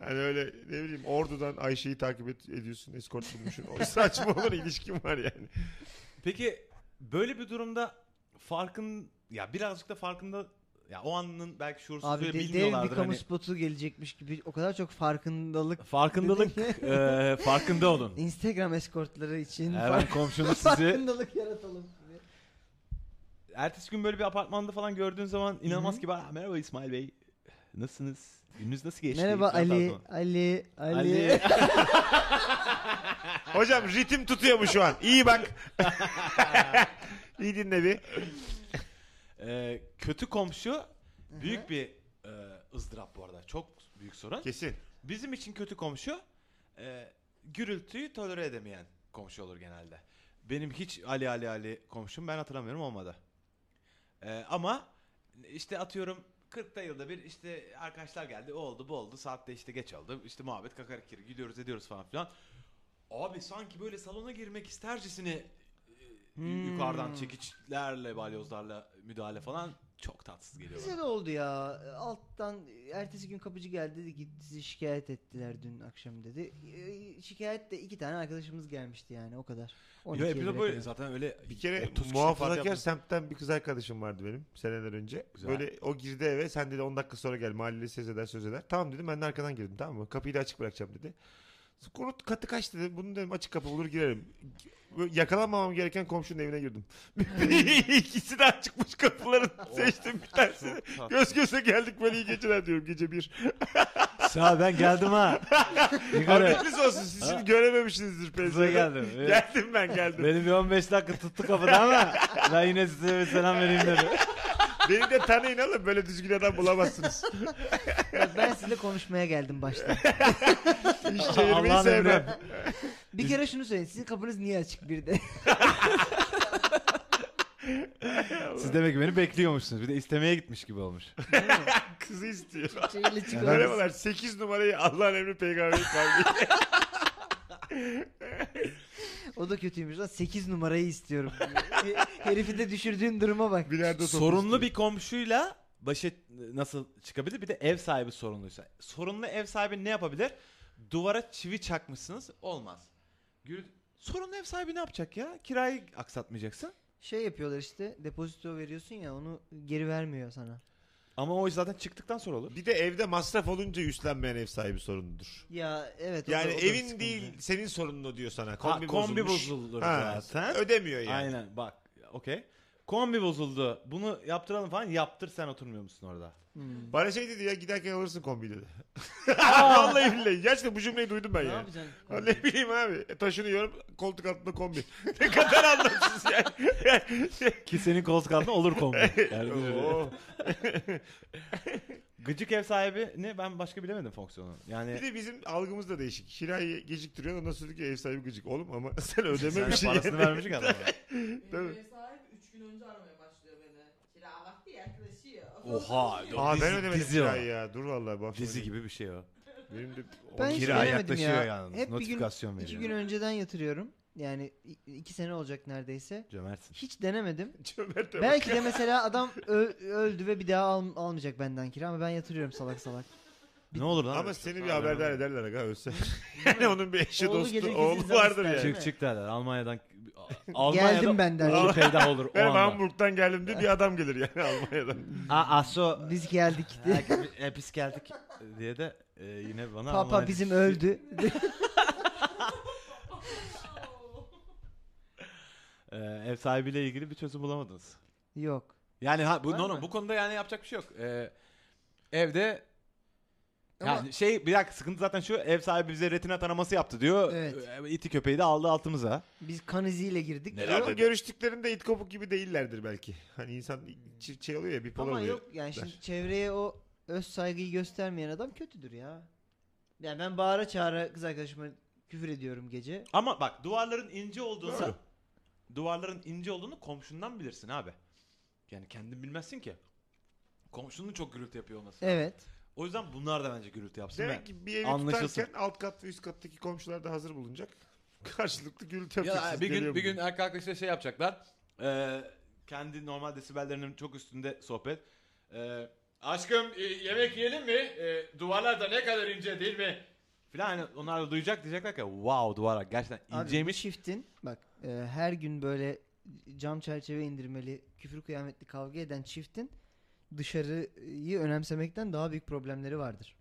Speaker 4: hani öyle ne bileyim ordudan Ayşe'yi takip et, ediyorsun eskort bulmuşsun. O saçma olur ilişkin var yani.
Speaker 3: Peki böyle bir durumda farkın ya birazcık da farkında ya o anın belki
Speaker 5: Abi
Speaker 3: şuursuzluğu
Speaker 5: de, dev bir
Speaker 3: bilmiyorlardır
Speaker 5: kamu
Speaker 3: hani.
Speaker 5: spotu gelecekmiş gibi o kadar çok farkındalık.
Speaker 3: Farkındalık e, farkında olun.
Speaker 5: Instagram eskortları için
Speaker 3: Her an
Speaker 5: fark-
Speaker 3: komşunuz sizi
Speaker 5: farkındalık yaratalım. gibi.
Speaker 3: ertesi gün böyle bir apartmanda falan gördüğün zaman inanılmaz ki "Aa, merhaba İsmail Bey. Nasılsınız? Gününüz nasıl geçti?
Speaker 5: Merhaba
Speaker 3: Falan
Speaker 5: Ali,
Speaker 3: tarzı.
Speaker 5: Ali, Ali,
Speaker 3: Ali.
Speaker 4: Hocam ritim tutuyor mu şu an? İyi bak. İyi dinle bir.
Speaker 3: E, kötü komşu büyük bir e, ızdırap bu arada. Çok büyük sorun.
Speaker 4: Kesin.
Speaker 3: Bizim için kötü komşu e, gürültüyü tolere edemeyen komşu olur genelde. Benim hiç Ali Ali Ali komşum ben hatırlamıyorum olmadı. E, ama işte atıyorum 40 da yılda bir işte arkadaşlar geldi o oldu bu oldu saatte işte geç oldu işte muhabbet kakara kiri gidiyoruz ediyoruz falan filan. Abi sanki böyle salona girmek istercesine e,
Speaker 5: Hmm.
Speaker 3: yukarıdan çekiçlerle balyozlarla müdahale falan çok tatsız geliyor. bana.
Speaker 5: Bize de oldu ya. Alttan ertesi gün kapıcı geldi dedi ki sizi şikayet ettiler dün akşam dedi. Ee, Şikayet de iki tane arkadaşımız gelmişti yani o kadar. 12'ye
Speaker 3: Ya hep de
Speaker 5: bile
Speaker 3: böyle
Speaker 5: kadar.
Speaker 3: zaten öyle
Speaker 4: Bir kere
Speaker 3: 30 kişilik parti
Speaker 4: muhafazakar
Speaker 3: yaptınız.
Speaker 4: semtten bir kız arkadaşım vardı benim seneler önce.
Speaker 3: Güzel.
Speaker 4: Böyle o girdi eve sen dedi 10 dakika sonra gel mahalleli ses eder söz eder. Tamam dedim ben de arkadan girdim tamam mı? Kapıyı da açık bırakacağım dedi. Konut katı kaç dedi. Bunu dedim açık kapı olur girerim. Böyle Yakalanmamam gereken komşunun evine girdim. İkisi de açıkmış kapıların.
Speaker 3: Oh.
Speaker 4: Seçtim bir tanesini.
Speaker 3: Çok tatlı.
Speaker 4: Göz göze geldik böyle iyi geceler diyorum gece bir.
Speaker 3: Sağ ol, ben geldim ha. Yukarı.
Speaker 4: Haberiniz olsun siz şimdi görememişsinizdir
Speaker 3: Size
Speaker 4: pencereden.
Speaker 3: geldim. Evet.
Speaker 4: Geldim ben geldim.
Speaker 3: Beni bir 15 dakika tuttu kapıda ama ben yine size bir selam vereyim dedi.
Speaker 4: Beni de tanıyın oğlum böyle düzgün adam bulamazsınız.
Speaker 5: Bak ben sizinle konuşmaya geldim başta.
Speaker 4: İş çevirmeyi
Speaker 3: Allah'ın
Speaker 4: sevmem.
Speaker 3: emri.
Speaker 5: Bir kere şunu söyleyin sizin kapınız niye açık bir de?
Speaker 3: Siz demek ki beni bekliyormuşsunuz. Bir de istemeye gitmiş gibi olmuş.
Speaker 4: Kızı istiyor.
Speaker 5: Şeyle çıkıyoruz.
Speaker 4: Merhabalar 8 numarayı Allah'ın emri peygamberin kavli.
Speaker 5: O da kötüymüş lan 8 numarayı istiyorum. He- Herifi de düşürdüğün duruma bak.
Speaker 4: Bilardo topu
Speaker 3: Sorunlu
Speaker 4: istiyor.
Speaker 3: bir komşuyla başa nasıl çıkabilir? Bir de ev sahibi sorunluysa. Sorunlu ev sahibi ne yapabilir? Duvara çivi çakmışsınız. Olmaz. Gül... Sorunlu ev sahibi ne yapacak ya? Kirayı aksatmayacaksın.
Speaker 5: Şey yapıyorlar işte depozito veriyorsun ya onu geri vermiyor sana.
Speaker 3: Ama o iş zaten çıktıktan sonra olur.
Speaker 4: Bir de evde masraf olunca üstlenmeyen ev sahibi sorunludur.
Speaker 5: Ya evet. o da-
Speaker 4: Yani
Speaker 5: o da
Speaker 4: evin
Speaker 5: sıkıntı.
Speaker 4: değil senin sorunlu diyor sana. Kombi,
Speaker 3: Kombi, ha, kombi
Speaker 4: bozulmuş.
Speaker 3: bozulur
Speaker 4: Ha,
Speaker 3: zaten.
Speaker 4: Ödemiyor şey yani.
Speaker 3: Aynen bak okey. Kombi bozuldu. Bunu yaptıralım falan. Yaptır sen oturmuyor musun orada?
Speaker 5: Hmm.
Speaker 4: Bana şey dedi ya giderken alırsın kombi dedi. Vallahi billahi. Gerçekten bu cümleyi duydum ben
Speaker 5: Ne
Speaker 4: yani.
Speaker 5: yapacaksın?
Speaker 4: Ha, ne bileyim abi. E, taşınıyorum koltuk altında kombi. ne kadar anlamsız yani.
Speaker 3: Ki senin koltuk altında olur kombi. Yani bir-
Speaker 4: Oo.
Speaker 3: Gıcık ev sahibi ne ben başka bilemedim fonksiyonu. Yani
Speaker 4: Bir de bizim algımız da değişik. Kirayı geciktiriyor ondan sonra diyor ki ev sahibi gıcık. Oğlum ama sen şey ödememişsin.
Speaker 3: sen parasını
Speaker 4: yani.
Speaker 3: vermişsin adama.
Speaker 4: Tabii.
Speaker 7: Benim ev sahibi 3 gün önce aramaya başlıyor beni. Kira vakti yaklaşıyor.
Speaker 3: Oha,
Speaker 7: Diyor.
Speaker 3: doğru.
Speaker 4: Aa
Speaker 3: Dizi-
Speaker 4: ben ödemedim
Speaker 3: dizi
Speaker 4: kirayı ya. Dur vallahi bu akşam.
Speaker 3: Dizi
Speaker 4: ödeyeyim.
Speaker 3: gibi bir şey o.
Speaker 4: Benim de
Speaker 5: Ben hiç
Speaker 6: Kira
Speaker 5: veremedim
Speaker 6: yaklaşıyor
Speaker 5: ya.
Speaker 6: yalnız.
Speaker 5: Hep bir gün-
Speaker 6: Notifikasyon
Speaker 5: İki
Speaker 6: veriyor.
Speaker 5: gün önceden yatırıyorum. Yani i- iki sene olacak neredeyse.
Speaker 3: Cömertsin.
Speaker 5: Hiç denemedim.
Speaker 4: Cömert de bak.
Speaker 5: Belki de mesela adam ö- öldü ve bir daha al- almayacak benden kira ama ben yatırıyorum salak salak.
Speaker 3: Ne olur lan?
Speaker 4: Ama seni bir haberdar ederler aga ölse. yani onun bir eşi
Speaker 5: Oğlu
Speaker 4: dostu
Speaker 5: gelir
Speaker 4: oğlu
Speaker 5: gizli
Speaker 4: vardır
Speaker 5: zaten.
Speaker 4: yani.
Speaker 5: Değil
Speaker 3: Çık
Speaker 5: mi?
Speaker 3: çık derler. Almanya'dan Almanya'da
Speaker 5: Geldim ben derler.
Speaker 3: oğlu peydah olur o
Speaker 4: Ben
Speaker 3: anda.
Speaker 4: Hamburg'dan geldim diye bir adam gelir yani Almanya'dan.
Speaker 6: Aa, aso.
Speaker 5: Biz geldik.
Speaker 3: Hep biz "E, geldik diye de e, yine bana
Speaker 5: Papa
Speaker 3: Almanya-
Speaker 5: bizim öldü.
Speaker 3: E, ev sahibiyle ilgili bir çözüm bulamadınız.
Speaker 5: Yok.
Speaker 3: Yani ha bu
Speaker 5: Var
Speaker 3: no,
Speaker 5: mı?
Speaker 3: no, bu konuda yani yapacak bir şey yok. E, evde
Speaker 5: Ama-
Speaker 3: yani şey bir dakika sıkıntı zaten şu ev sahibi bize retina taraması yaptı diyor.
Speaker 5: Evet.
Speaker 3: E, iti köpeği de aldı altımıza.
Speaker 5: Biz kan iziyle girdik.
Speaker 3: Neler
Speaker 4: Ama
Speaker 3: dedi?
Speaker 4: görüştüklerinde it kopuk gibi değillerdir belki. Hani insan çi- şey oluyor ya bipolar
Speaker 5: Ama
Speaker 4: oluyor.
Speaker 5: yok yani şimdi çevreye o öz saygıyı göstermeyen adam kötüdür ya. Yani ben bağıra çağıra kız arkadaşıma küfür ediyorum gece.
Speaker 3: Ama bak duvarların ince olduğunu
Speaker 4: Doğru.
Speaker 3: duvarların ince olduğunu komşundan bilirsin abi. Yani kendin bilmezsin ki. Komşunun çok gürültü yapıyor olması. lazım.
Speaker 5: Evet.
Speaker 3: O yüzden bunlar da bence gürültü yapsın.
Speaker 4: Demek
Speaker 3: ben.
Speaker 4: ki bir evi
Speaker 3: Anlaşılsın.
Speaker 4: tutarken alt kat ve üst kattaki komşular da hazır bulunacak. Karşılıklı gürültü
Speaker 3: Ya
Speaker 4: yapacaksınız.
Speaker 3: bir
Speaker 4: geliyor
Speaker 3: gün bir
Speaker 4: bugün.
Speaker 3: gün erkek arkadaşlar şey yapacaklar. Ee, kendi normal desibellerinin çok üstünde sohbet. Ee, aşkım e, yemek yiyelim mi? E, duvarlar da ne kadar ince değil mi? Filan hani onlar da duyacak diyecekler ki wow duvarlar gerçekten
Speaker 5: Abi bu
Speaker 3: inceymiş.
Speaker 5: Çiftin bak e, her gün böyle cam çerçeve indirmeli küfür kıyametli kavga eden çiftin dışarıyı önemsemekten daha büyük problemleri vardır.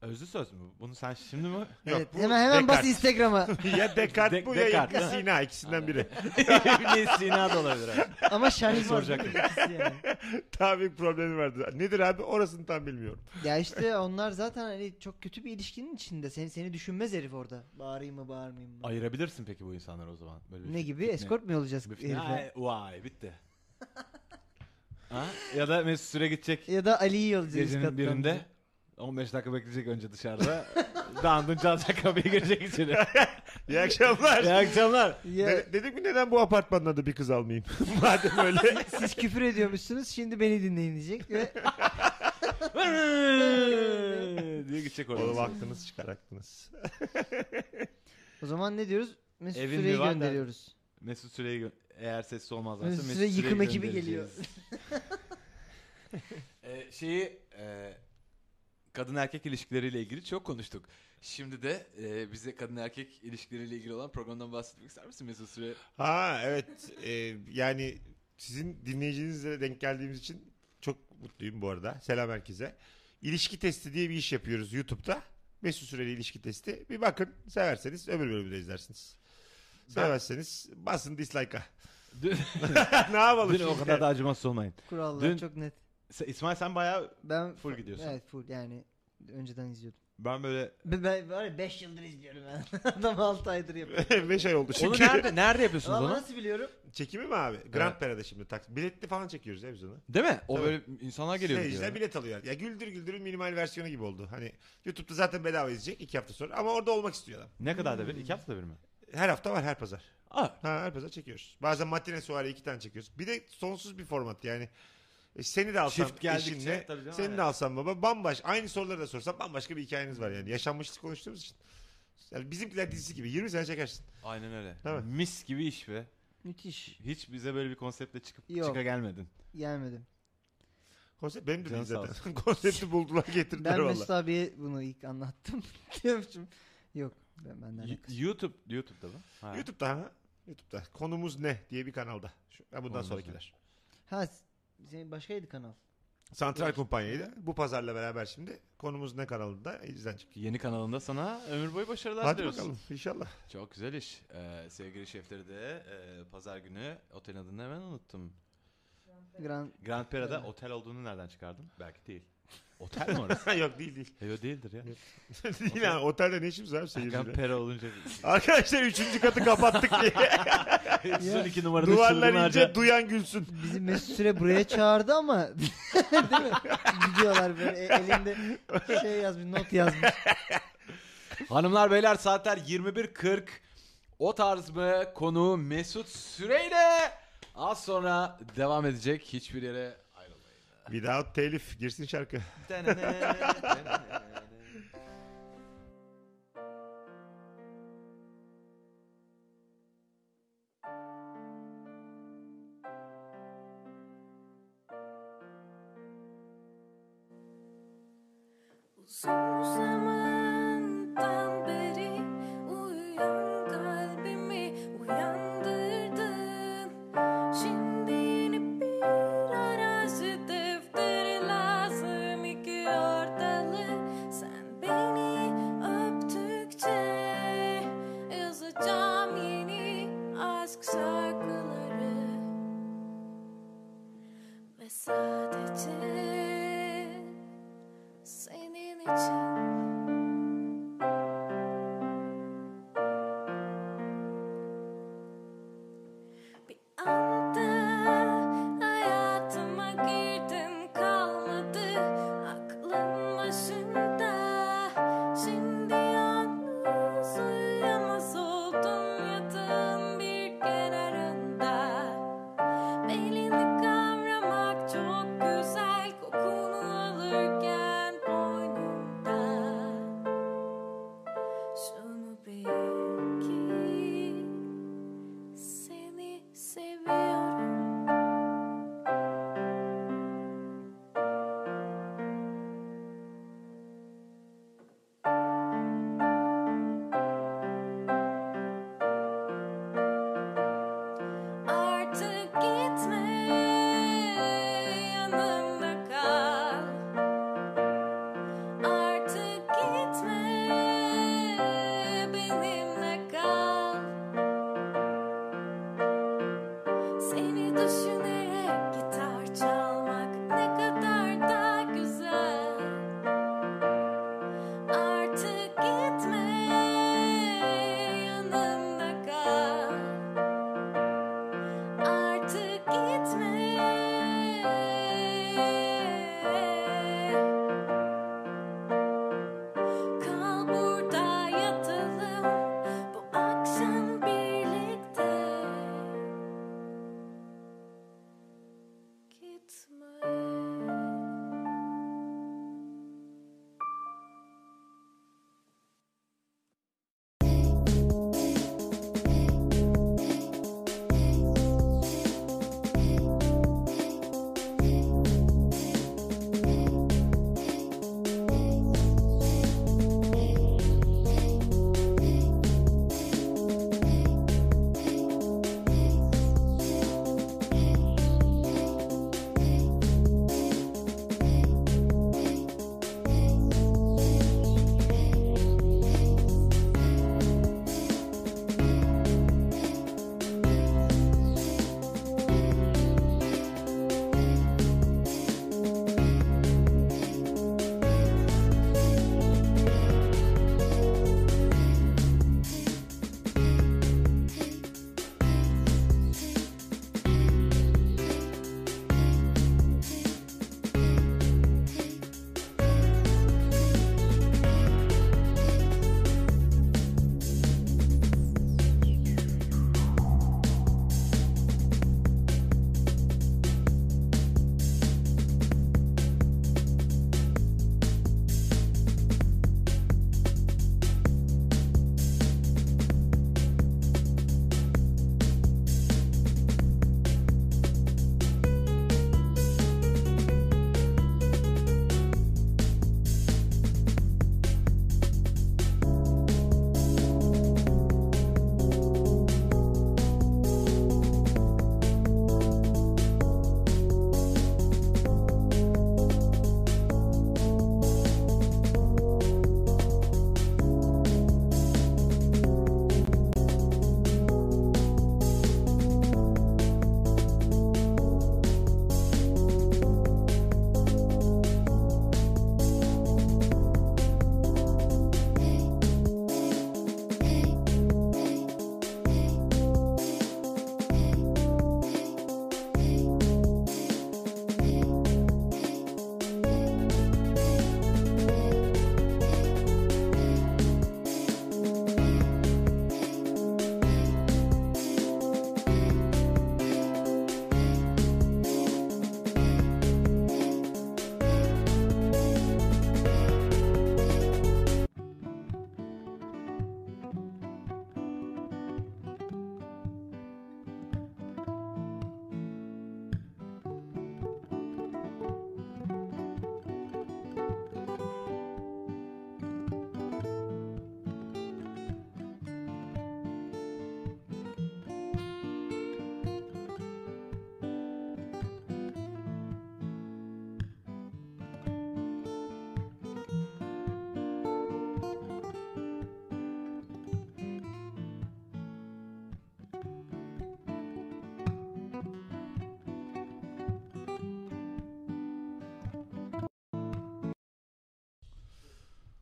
Speaker 3: Özlü söz mü? Bunu sen şimdi mi?
Speaker 4: Yok,
Speaker 5: evet
Speaker 4: bu
Speaker 5: hemen hemen bas
Speaker 4: Descartes.
Speaker 5: Instagram'a.
Speaker 4: ya Descartes bu
Speaker 3: De-
Speaker 4: ya
Speaker 3: Descartes,
Speaker 4: İbn
Speaker 3: değil mi?
Speaker 4: Sina ikisinden biri.
Speaker 3: İbn Sina da olabilir. abi.
Speaker 5: Ama şahin
Speaker 3: Soracak.
Speaker 5: yani.
Speaker 4: Daha büyük problemi vardı. Nedir abi orasını tam bilmiyorum.
Speaker 5: Ya işte onlar zaten hani çok kötü bir ilişkinin içinde. Seni seni düşünmez herif orada. Bağırayım mı bağırmayayım mı?
Speaker 3: Ayırabilirsin peki bu insanları o zaman. Böyle bir
Speaker 5: ne
Speaker 3: fit-
Speaker 5: gibi?
Speaker 3: fitne-
Speaker 5: Eskort mu olacağız
Speaker 3: bir fitne-
Speaker 5: herife?
Speaker 3: Ay, Vay bitti. ha? Ya da Mesut Süre gidecek
Speaker 5: Ya da Ali'yi yollayacağız.
Speaker 3: gecenin
Speaker 5: katlanacak.
Speaker 3: birinde. 15 dakika bekleyecek önce dışarıda. Dandun çalacak kapıyı girecek içeri.
Speaker 4: İyi akşamlar.
Speaker 3: İyi akşamlar.
Speaker 5: Ya,
Speaker 4: De- dedik mi neden bu apartmanın adı bir kız almayayım? Madem öyle.
Speaker 5: siz küfür ediyormuşsunuz şimdi beni dinleyin diyecek ve
Speaker 3: diye gidecek
Speaker 4: Oğlum
Speaker 3: orada.
Speaker 4: aklınız çıkar aklınız.
Speaker 5: o zaman ne diyoruz? Mesut
Speaker 3: Evin
Speaker 5: Süre'yi
Speaker 3: mi var da-
Speaker 5: gönderiyoruz.
Speaker 3: Mesut Süre'yi gö- eğer sessiz olmazlarsa
Speaker 5: Mesut Süre
Speaker 3: Süre'yi
Speaker 5: yıkım ekibi
Speaker 3: göndereceğiz. Ee, şeyi e, kadın erkek ilişkileriyle ilgili çok konuştuk. Şimdi de e, bize kadın erkek ilişkileriyle ilgili olan programdan bahsetmek ister misin Mesut Süre?
Speaker 4: Ha evet Ee, yani sizin dinleyicinizle denk geldiğimiz için çok mutluyum bu arada. Selam herkese. İlişki testi diye bir iş yapıyoruz YouTube'da. Mesut Süreli ilişki testi. Bir bakın severseniz öbür bölümü de izlersiniz. Sevmezseniz basın dislike'a.
Speaker 3: Dün,
Speaker 4: ne yapalım
Speaker 3: dün
Speaker 4: şimdi?
Speaker 3: o kadar da acımasız olmayın.
Speaker 5: Kurallar
Speaker 3: Dün-
Speaker 5: çok net.
Speaker 3: Se- İsmail sen bayağı
Speaker 5: Ben
Speaker 3: Full gidiyorsun.
Speaker 5: Evet full yani önceden izliyordum.
Speaker 3: ben böyle
Speaker 5: Ben, ben var ya 5 yıldır izliyorum ben. Adam 6 aydır yapıyor.
Speaker 4: Beş ay oldu
Speaker 3: Onu
Speaker 4: çünkü.
Speaker 3: nerede nerede yapıyorsunuz
Speaker 5: Ama
Speaker 3: onu?
Speaker 5: nasıl biliyorum?
Speaker 4: Çekimi mi abi? Grand Pera'da şimdi tak. Biletli falan çekiyoruz ya biz onu.
Speaker 3: Değil mi? O
Speaker 4: Tabii. Şey,
Speaker 3: böyle insanlar geliyor
Speaker 4: Seyirciler
Speaker 3: diyor.
Speaker 4: bilet alıyor. Ya Güldür Güldür'ün minimal versiyonu gibi oldu. Hani YouTube'da zaten bedava izleyecek iki hafta sonra. Ama orada olmak istiyor adam.
Speaker 3: Ne kadar da bir? İki haftada bir mi?
Speaker 4: Her hafta var her pazar.
Speaker 3: Aa,
Speaker 4: Ha her pazar çekiyoruz. Bazen matine suare iki tane çekiyoruz. Bir de sonsuz bir format yani. E, seni de alsam
Speaker 3: Shift geldikçe,
Speaker 4: eşinle,
Speaker 3: tabii canım,
Speaker 4: seni
Speaker 3: aynen.
Speaker 4: de alsam baba bambaşka. Aynı soruları da sorsam bambaşka bir hikayeniz var yani. Yaşanmışlık konuştuğumuz için. Yani bizimkiler dizisi gibi 20 sene çekersin.
Speaker 3: aynen öyle.
Speaker 4: Değil mi?
Speaker 3: Mis gibi iş be.
Speaker 5: Müthiş.
Speaker 3: Hiç bize böyle bir konseptle çıkıp
Speaker 5: Yok.
Speaker 3: çıka gelmedin.
Speaker 5: Gelmedim.
Speaker 4: Konsept benim de
Speaker 3: Canı
Speaker 4: değil
Speaker 3: sağ
Speaker 4: zaten. Konsepti buldular getirdiler
Speaker 5: Ben
Speaker 4: valla.
Speaker 5: Mesut abiye bunu ilk anlattım. Diyormuşum. Yok ben benden
Speaker 3: Y-
Speaker 5: alakası.
Speaker 3: YouTube YouTube'da mı? Ha.
Speaker 4: YouTube'da ha. YouTube'da. Konumuz ne diye bir kanalda. Şu, ya bundan
Speaker 3: Konumuz
Speaker 4: sonrakiler.
Speaker 5: Ha s- senin başkaydı kanal.
Speaker 4: Santral Kumpanya'ydı. Bu pazarla beraber şimdi konumuz ne kanalında izlenecek.
Speaker 3: Yeni kanalında sana ömür boyu başarılar
Speaker 4: Hadi
Speaker 3: diliyoruz.
Speaker 4: bakalım inşallah.
Speaker 3: Çok güzel iş. Ee, sevgili şefleri de e, pazar günü otelin adını hemen unuttum.
Speaker 5: Grand
Speaker 3: Grand Pera'da
Speaker 5: Evet.
Speaker 3: otel olduğunu nereden çıkardın? Belki değil. Otel mi orası?
Speaker 4: Yok değil değil.
Speaker 3: Yo değildir ya.
Speaker 4: değil yani otelde ne işimiz var
Speaker 3: Grand
Speaker 4: seyirciyle.
Speaker 3: Pera olunca
Speaker 4: Arkadaşlar üçüncü katı kapattık diye.
Speaker 3: son iki numaranın çılgın
Speaker 4: Duvarlar
Speaker 3: harca-
Speaker 4: ince duyan gülsün.
Speaker 5: Bizi Mesut Süre buraya çağırdı ama değil mi? Gidiyorlar böyle e- elinde şey yazmış, not yazmış.
Speaker 3: Hanımlar beyler saatler 21.40. O tarz mı konu Mesut Süreyle az sonra devam edecek. Hiçbir yere ayrılmayın.
Speaker 4: Without telif girsin şarkı.
Speaker 6: Uzun zamandan beri uyuyan kalbimi uyandırdım. Şimdi yeni bir arazi defteri lazım iki ortalı. Sen beni öptükçe yazacağım yeni aşk şarkıları. Ve sadece senin için Bir anda hayatıma girdim kalmadı aklım başında Şimdi yalnız uyuyamaz oldum yatağın bir kenarında Belini kavramak çok güzel kokunu alırken boynumda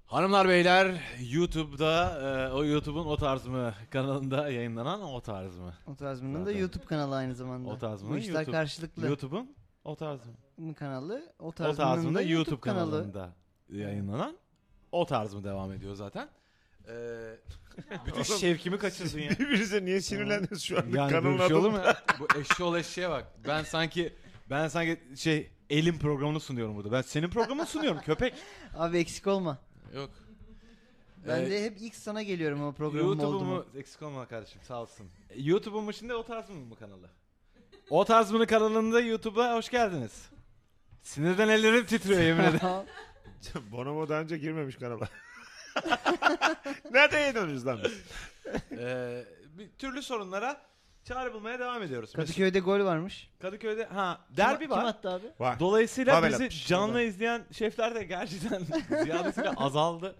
Speaker 3: Hanımlar beyler YouTube'da e, o YouTube'un o tarz mı kanalında yayınlanan o tarz mı?
Speaker 5: O tarz bunun da
Speaker 3: Zaten.
Speaker 5: YouTube kanalı aynı zamanda.
Speaker 3: O tarz
Speaker 5: Bu
Speaker 3: bunun
Speaker 5: işler
Speaker 3: YouTube.
Speaker 5: karşılıklı
Speaker 3: YouTube'un o tarz mı?
Speaker 5: kanalı. O tarz,
Speaker 3: O tarz
Speaker 5: bunun
Speaker 3: mı da YouTube
Speaker 5: kanalı.
Speaker 3: kanalında yayınlanan o tarz mı devam ediyor zaten. E, bütün
Speaker 4: Oğlum,
Speaker 3: şevkimi kaçırdın ya.
Speaker 4: Birbirinize niye sinirlendiniz şu anda?
Speaker 3: Yani böyle
Speaker 4: Kanalın
Speaker 3: bir şey
Speaker 4: adı-
Speaker 3: olur mu? ya? Bu eşşoğlu eşeğe bak. Ben sanki ben sanki şey elin programını sunuyorum burada. Ben senin programını sunuyorum köpek.
Speaker 5: Abi eksik olma.
Speaker 3: Yok.
Speaker 5: Ben
Speaker 3: Ee,
Speaker 5: de hep ilk sana geliyorum o programım oldu mu?
Speaker 3: YouTube'umu eksik olma kardeşim sağ olsun. E, YouTube'umu şimdi o tarz mı bu kanalı? O tarz mı kanalında YouTube'a hoş geldiniz. Sinirden ellerim titriyor yemin ederim.
Speaker 4: Bonomo daha önce girmemiş kanala. Nerede yayınlanıyoruz lan biz?
Speaker 3: Ee, bir türlü sorunlara çare bulmaya devam ediyoruz. Mesela
Speaker 5: Kadıköy'de gol varmış.
Speaker 3: Kadıköy'de ha derbi
Speaker 5: kim,
Speaker 3: var.
Speaker 5: Kim attı abi?
Speaker 4: Var.
Speaker 3: Dolayısıyla
Speaker 4: Pavel
Speaker 3: bizi
Speaker 4: atmış.
Speaker 3: canlı izleyen şefler de gerçekten ziyadesiyle azaldı.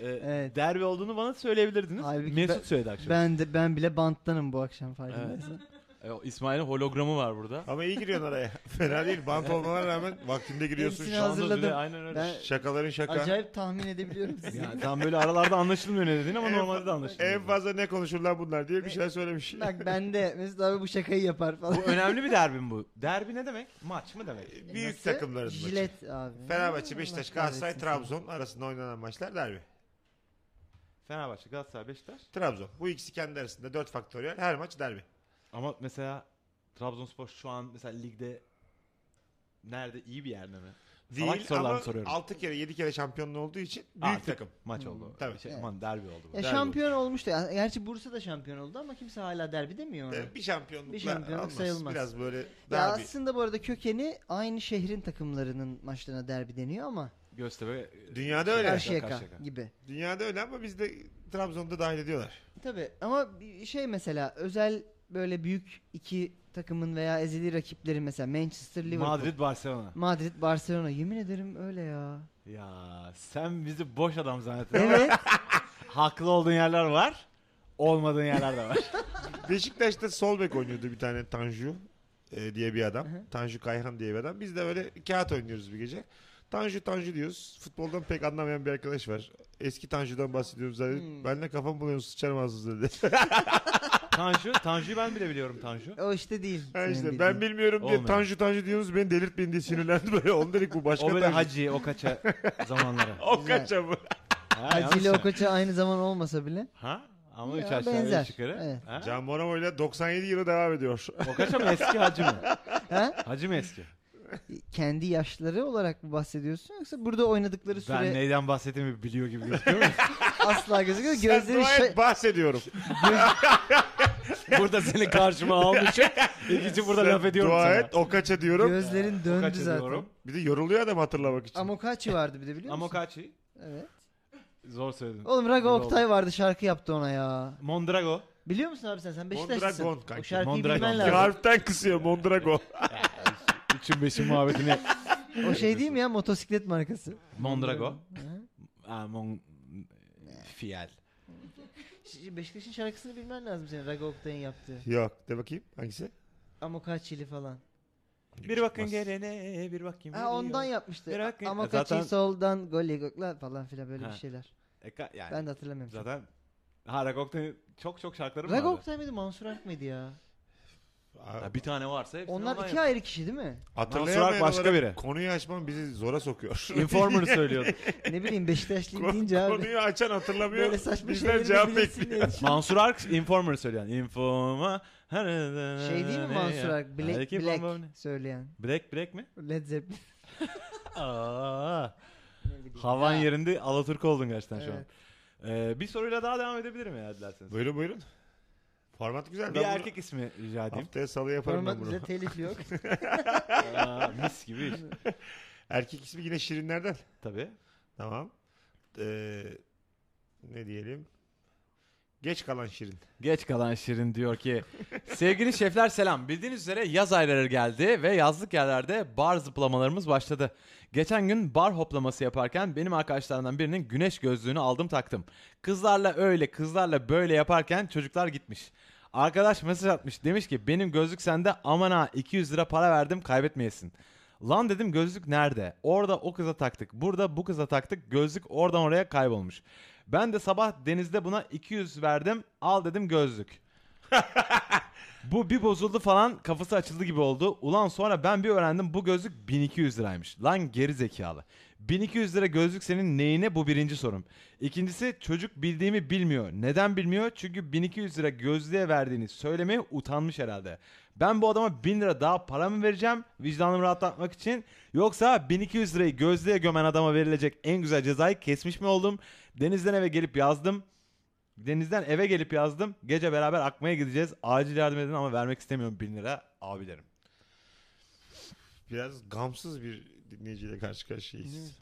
Speaker 3: Ee,
Speaker 5: Evet.
Speaker 3: Derbi olduğunu bana söyleyebilirdiniz.
Speaker 5: Halbuki
Speaker 3: Mesut
Speaker 5: ben-
Speaker 3: söyledi akşam.
Speaker 5: Ben de ben bile banttanım bu akşam farkındaysan.
Speaker 3: Ee, o İsmail'in hologramı var burada.
Speaker 4: Ama iyi giriyorsun oraya. Fena değil. Bant olmana rağmen vaktinde giriyorsun.
Speaker 5: Hepsini
Speaker 4: Şu an-
Speaker 5: hazır- hazırladım.
Speaker 3: Şanzöre, Aynen öyle.
Speaker 5: Ben
Speaker 4: Şakaların şaka.
Speaker 5: acayip tahmin edebiliyorum sizi.
Speaker 3: Yani tam böyle aralarda anlaşılmıyor ne dediğin ama
Speaker 4: En-
Speaker 3: normalde de anlaşılmıyor.
Speaker 4: En fazla ne konuşurlar bunlar diye bir
Speaker 5: Ne-
Speaker 4: şeyler söylemiş.
Speaker 5: Bak ben de Mesut abi bu şakayı yapar falan.
Speaker 3: Bu önemli bir derbi mi bu? Derbi ne demek? Maç mı demek?
Speaker 4: E, Büyük
Speaker 5: Nasıl?
Speaker 4: takımların maçı.
Speaker 5: Jilet abi.
Speaker 4: Fenerbahçe,
Speaker 5: Allah
Speaker 4: Beşiktaş,
Speaker 5: kahretsin
Speaker 4: Galatasaray,
Speaker 5: seni.
Speaker 4: Trabzon arasında oynanan maçlar derbi.
Speaker 3: Fenerbahçe, Galatasaray, Beşiktaş.
Speaker 4: Trabzon. Bu ikisi kendi arasında 4 faktöriyel her maç derbi.
Speaker 3: Ama mesela Trabzonspor şu an mesela ligde nerede iyi bir yerde mi? Salak
Speaker 4: Değil
Speaker 3: sorularımı
Speaker 4: ama
Speaker 3: soruyorum.
Speaker 4: 6 kere 7 kere şampiyonluğu olduğu için büyük
Speaker 3: Artık
Speaker 4: takım.
Speaker 3: Maç oldu.
Speaker 4: Tabii.
Speaker 3: Şey,
Speaker 5: Evet.
Speaker 3: aman derbi oldu. bu.
Speaker 5: Ya
Speaker 3: Derbi oldu.
Speaker 5: şampiyon olmuştu. Ya, Gerçi Bursa da şampiyon oldu ama kimse hala derbi demiyor ona.
Speaker 4: Ee, Bir şampiyonlukla
Speaker 5: Bir şampiyonluk
Speaker 4: almaz.
Speaker 5: sayılmaz.
Speaker 4: Biraz böyle
Speaker 5: Ya
Speaker 4: derbi.
Speaker 5: aslında bu arada kökeni aynı şehrin takımlarının maçlarına derbi deniyor ama
Speaker 3: Göztepe.
Speaker 4: Dünyada öyle.
Speaker 5: Karşıyaka gibi.
Speaker 4: Dünyada öyle ama bizde Trabzon'da dahil ediyorlar.
Speaker 5: Tabii ama bir şey mesela özel böyle büyük iki takımın veya ezeli rakipleri mesela Manchester, Liverpool, Madrid,
Speaker 3: Madrid Barcelona.
Speaker 5: Barcelona. Yemin ederim öyle ya.
Speaker 3: Ya sen bizi boş adam zannettin. ama
Speaker 5: Evet.
Speaker 3: Haklı olduğun yerler var. Olmadığın yerler de var.
Speaker 4: Beşiktaş'ta sol bek oynuyordu bir tane Tanju e, diye bir adam.
Speaker 5: Hı hı.
Speaker 4: Tanju Kayhan diye bir adam. Biz de böyle kağıt oynuyoruz bir gece. Tanju Tanju diyoruz. Futboldan pek anlamayan bir arkadaş var. Eski Tanju'dan bahsediyoruz. Hani, zaten.
Speaker 5: Hmm.
Speaker 4: Benle kafam buluyorsun sıçarım ağzınıza dedi.
Speaker 3: Tanju, Tanju'yu ben bile biliyorum Tanju.
Speaker 5: o işte değil.
Speaker 4: Ha
Speaker 5: senin
Speaker 4: işte,
Speaker 5: dediğin.
Speaker 4: ben bilmiyorum diye
Speaker 3: Olmuyor.
Speaker 4: Tanju Tanju diyorsunuz beni delirtmeyin diye sinirlendi böyle. Onu dedik bu başka
Speaker 3: O böyle
Speaker 4: Tanju.
Speaker 3: Hacı, o kaça zamanları.
Speaker 4: O
Speaker 5: Güzel.
Speaker 4: kaça bu?
Speaker 3: Ha,
Speaker 5: Hacı
Speaker 3: yanlış
Speaker 5: ile
Speaker 3: mı?
Speaker 5: Okoç'a aynı zaman olmasa bile.
Speaker 3: Ha? Ama
Speaker 5: Ya,
Speaker 3: üç aşağı
Speaker 5: benzer.
Speaker 3: beş yukarı.
Speaker 5: Evet.
Speaker 3: Ha?
Speaker 4: Can Bonomo ile 97 yılı devam ediyor.
Speaker 3: O kaça mı eski hacı mı?
Speaker 5: Ha?
Speaker 3: Hacı mı eski?
Speaker 5: Kendi yaşları olarak mı bahsediyorsun yoksa burada oynadıkları süre
Speaker 3: Ben neyden bahsettiğimi biliyor gibi gözüküyor mu?
Speaker 5: asla gözüküyor.
Speaker 4: Sen
Speaker 5: Gözleri şey-
Speaker 4: dua et
Speaker 5: şa-
Speaker 4: bahsediyorum.
Speaker 3: Burada seni karşıma almışım. İkinci burada
Speaker 4: Sen
Speaker 3: laf ediyorum
Speaker 4: dua
Speaker 3: sana.
Speaker 4: et o kaça diyorum.
Speaker 5: gözlerin döndü
Speaker 3: Kaç
Speaker 5: zaten.
Speaker 3: ediyorum?
Speaker 4: Bir de yoruluyor adam hatırlamak için.
Speaker 5: Amokachi vardı bir de biliyor musun?
Speaker 3: Amokachi.
Speaker 5: Evet.
Speaker 3: Zor söyledin.
Speaker 5: Oğlum Raga
Speaker 3: Bilmiyorum.
Speaker 5: Oktay vardı şarkı yaptı ona ya.
Speaker 3: Mondrago.
Speaker 5: Biliyor musun abi sen? Sen Beşiktaşlısın.
Speaker 4: Mondragon
Speaker 5: O
Speaker 4: kanki,
Speaker 5: şarkıyı bilmen
Speaker 3: Mondragon.
Speaker 5: lazım.
Speaker 4: Harften kısıyor Mondragon.
Speaker 3: Üçün beşin muhabbetini.
Speaker 5: O şey değil mi ya motosiklet markası?
Speaker 3: Mondrago.
Speaker 5: Hı.
Speaker 3: Ha, mon... Fiel.
Speaker 5: Ş- Beşiktaş'ın şarkısını bilmen lazım senin Raga Oktay'ın yaptığı.
Speaker 4: Yok de bakayım hangisi?
Speaker 5: Amokachi'li falan.
Speaker 3: Bir bakın gelene, bir bakayım.
Speaker 5: Ha ondan
Speaker 3: ya. Bir
Speaker 5: yapmıştı.
Speaker 3: dakika. E,
Speaker 5: Amokachi
Speaker 3: zaten-
Speaker 5: soldan golli gokla falan filan böyle
Speaker 3: Ha.
Speaker 5: bir şeyler.
Speaker 3: E, yani
Speaker 5: Ben de hatırlamıyorum. çok.
Speaker 3: zaten ha Ragok'tan çok çok şarkıları
Speaker 5: Raga
Speaker 3: vardı.
Speaker 5: Oktay mıydı Mansur Ark mıydı ya?
Speaker 3: Ha, bir tane varsa hepsini
Speaker 5: Onlar
Speaker 3: ondan
Speaker 5: iki ayrı kişi değil mi?
Speaker 4: Hatırlayamayan
Speaker 3: Mansur Ark başka
Speaker 4: olarak
Speaker 3: biri.
Speaker 4: Konuyu açmam bizi zora sokuyor.
Speaker 3: yap- Informer söylüyordu.
Speaker 5: Ne bileyim Beşiktaşlıyım deyince
Speaker 4: Ko-
Speaker 5: abi.
Speaker 4: konuyu açan hatırlamıyor.
Speaker 5: Böyle saçma
Speaker 4: Bizden
Speaker 5: şeyleri
Speaker 4: cevap
Speaker 5: de
Speaker 4: bekliyor.
Speaker 5: bilesin diye düşün-
Speaker 3: Mansur Ark Informer söylüyor. yani. Informa.
Speaker 5: Şey değil mi Mansur Ark?
Speaker 3: Hani
Speaker 5: Black, Black söyleyen.
Speaker 3: Black Black mi?
Speaker 5: Led Zeppelin.
Speaker 3: Aa,
Speaker 5: Ne bileyim.
Speaker 3: havan
Speaker 5: Ya,
Speaker 3: yerinde Alaturk oldun gerçekten şu an.
Speaker 5: evet.
Speaker 3: Ee, bir soruyla daha devam edebilirim eğer dilerseniz.
Speaker 4: Buyurun buyurun. Format güzel.
Speaker 3: Bir
Speaker 4: ben bunu
Speaker 3: erkek ismi rica edeyim.
Speaker 4: Haftaya salı yaparım
Speaker 5: Format
Speaker 4: ben bunu.
Speaker 5: bize telif yok.
Speaker 3: Aa, mis gibi.
Speaker 4: Erkek ismi yine Şirinlerden.
Speaker 3: Tabii.
Speaker 4: Tamam. Ee, ne diyelim? Geç kalan Şirin.
Speaker 3: Geç kalan Şirin diyor ki Sevgili şefler selam. Bildiğiniz üzere yaz ayları geldi ve yazlık yerlerde bar zıplamalarımız başladı. Geçen gün bar hoplaması yaparken benim arkadaşlarımdan birinin güneş gözlüğünü aldım taktım. Kızlarla öyle kızlarla böyle yaparken çocuklar gitmiş. Arkadaş mesaj atmış demiş ki benim gözlük sende aman ha 200 lira para verdim kaybetmeyesin. Lan dedim gözlük nerede? Orada o kıza taktık. Burada bu kıza taktık. Gözlük oradan oraya kaybolmuş. Ben de sabah denizde buna 200 verdim. Al dedim gözlük. bu bir bozuldu falan kafası açıldı gibi oldu. Ulan sonra ben bir öğrendim bu gözlük 1200 liraymış. Lan geri zekalı. 1200 lira gözlük senin neyine bu birinci sorum. İkincisi çocuk bildiğimi bilmiyor. Neden bilmiyor? Çünkü 1200 lira gözlüğe verdiğini söylemeye utanmış herhalde. Ben bu adama 1000 lira daha para mı vereceğim vicdanımı rahatlatmak için? Yoksa 1200 lirayı gözlüğe gömen adama verilecek en güzel cezayı kesmiş mi oldum? Denizden eve gelip yazdım. Denizden eve gelip yazdım. Gece beraber akmaya gideceğiz. Acil yardım edin ama vermek istemiyorum 1000 lira abilerim.
Speaker 4: Biraz gamsız bir dinleyiciyle karşı karşıyayız.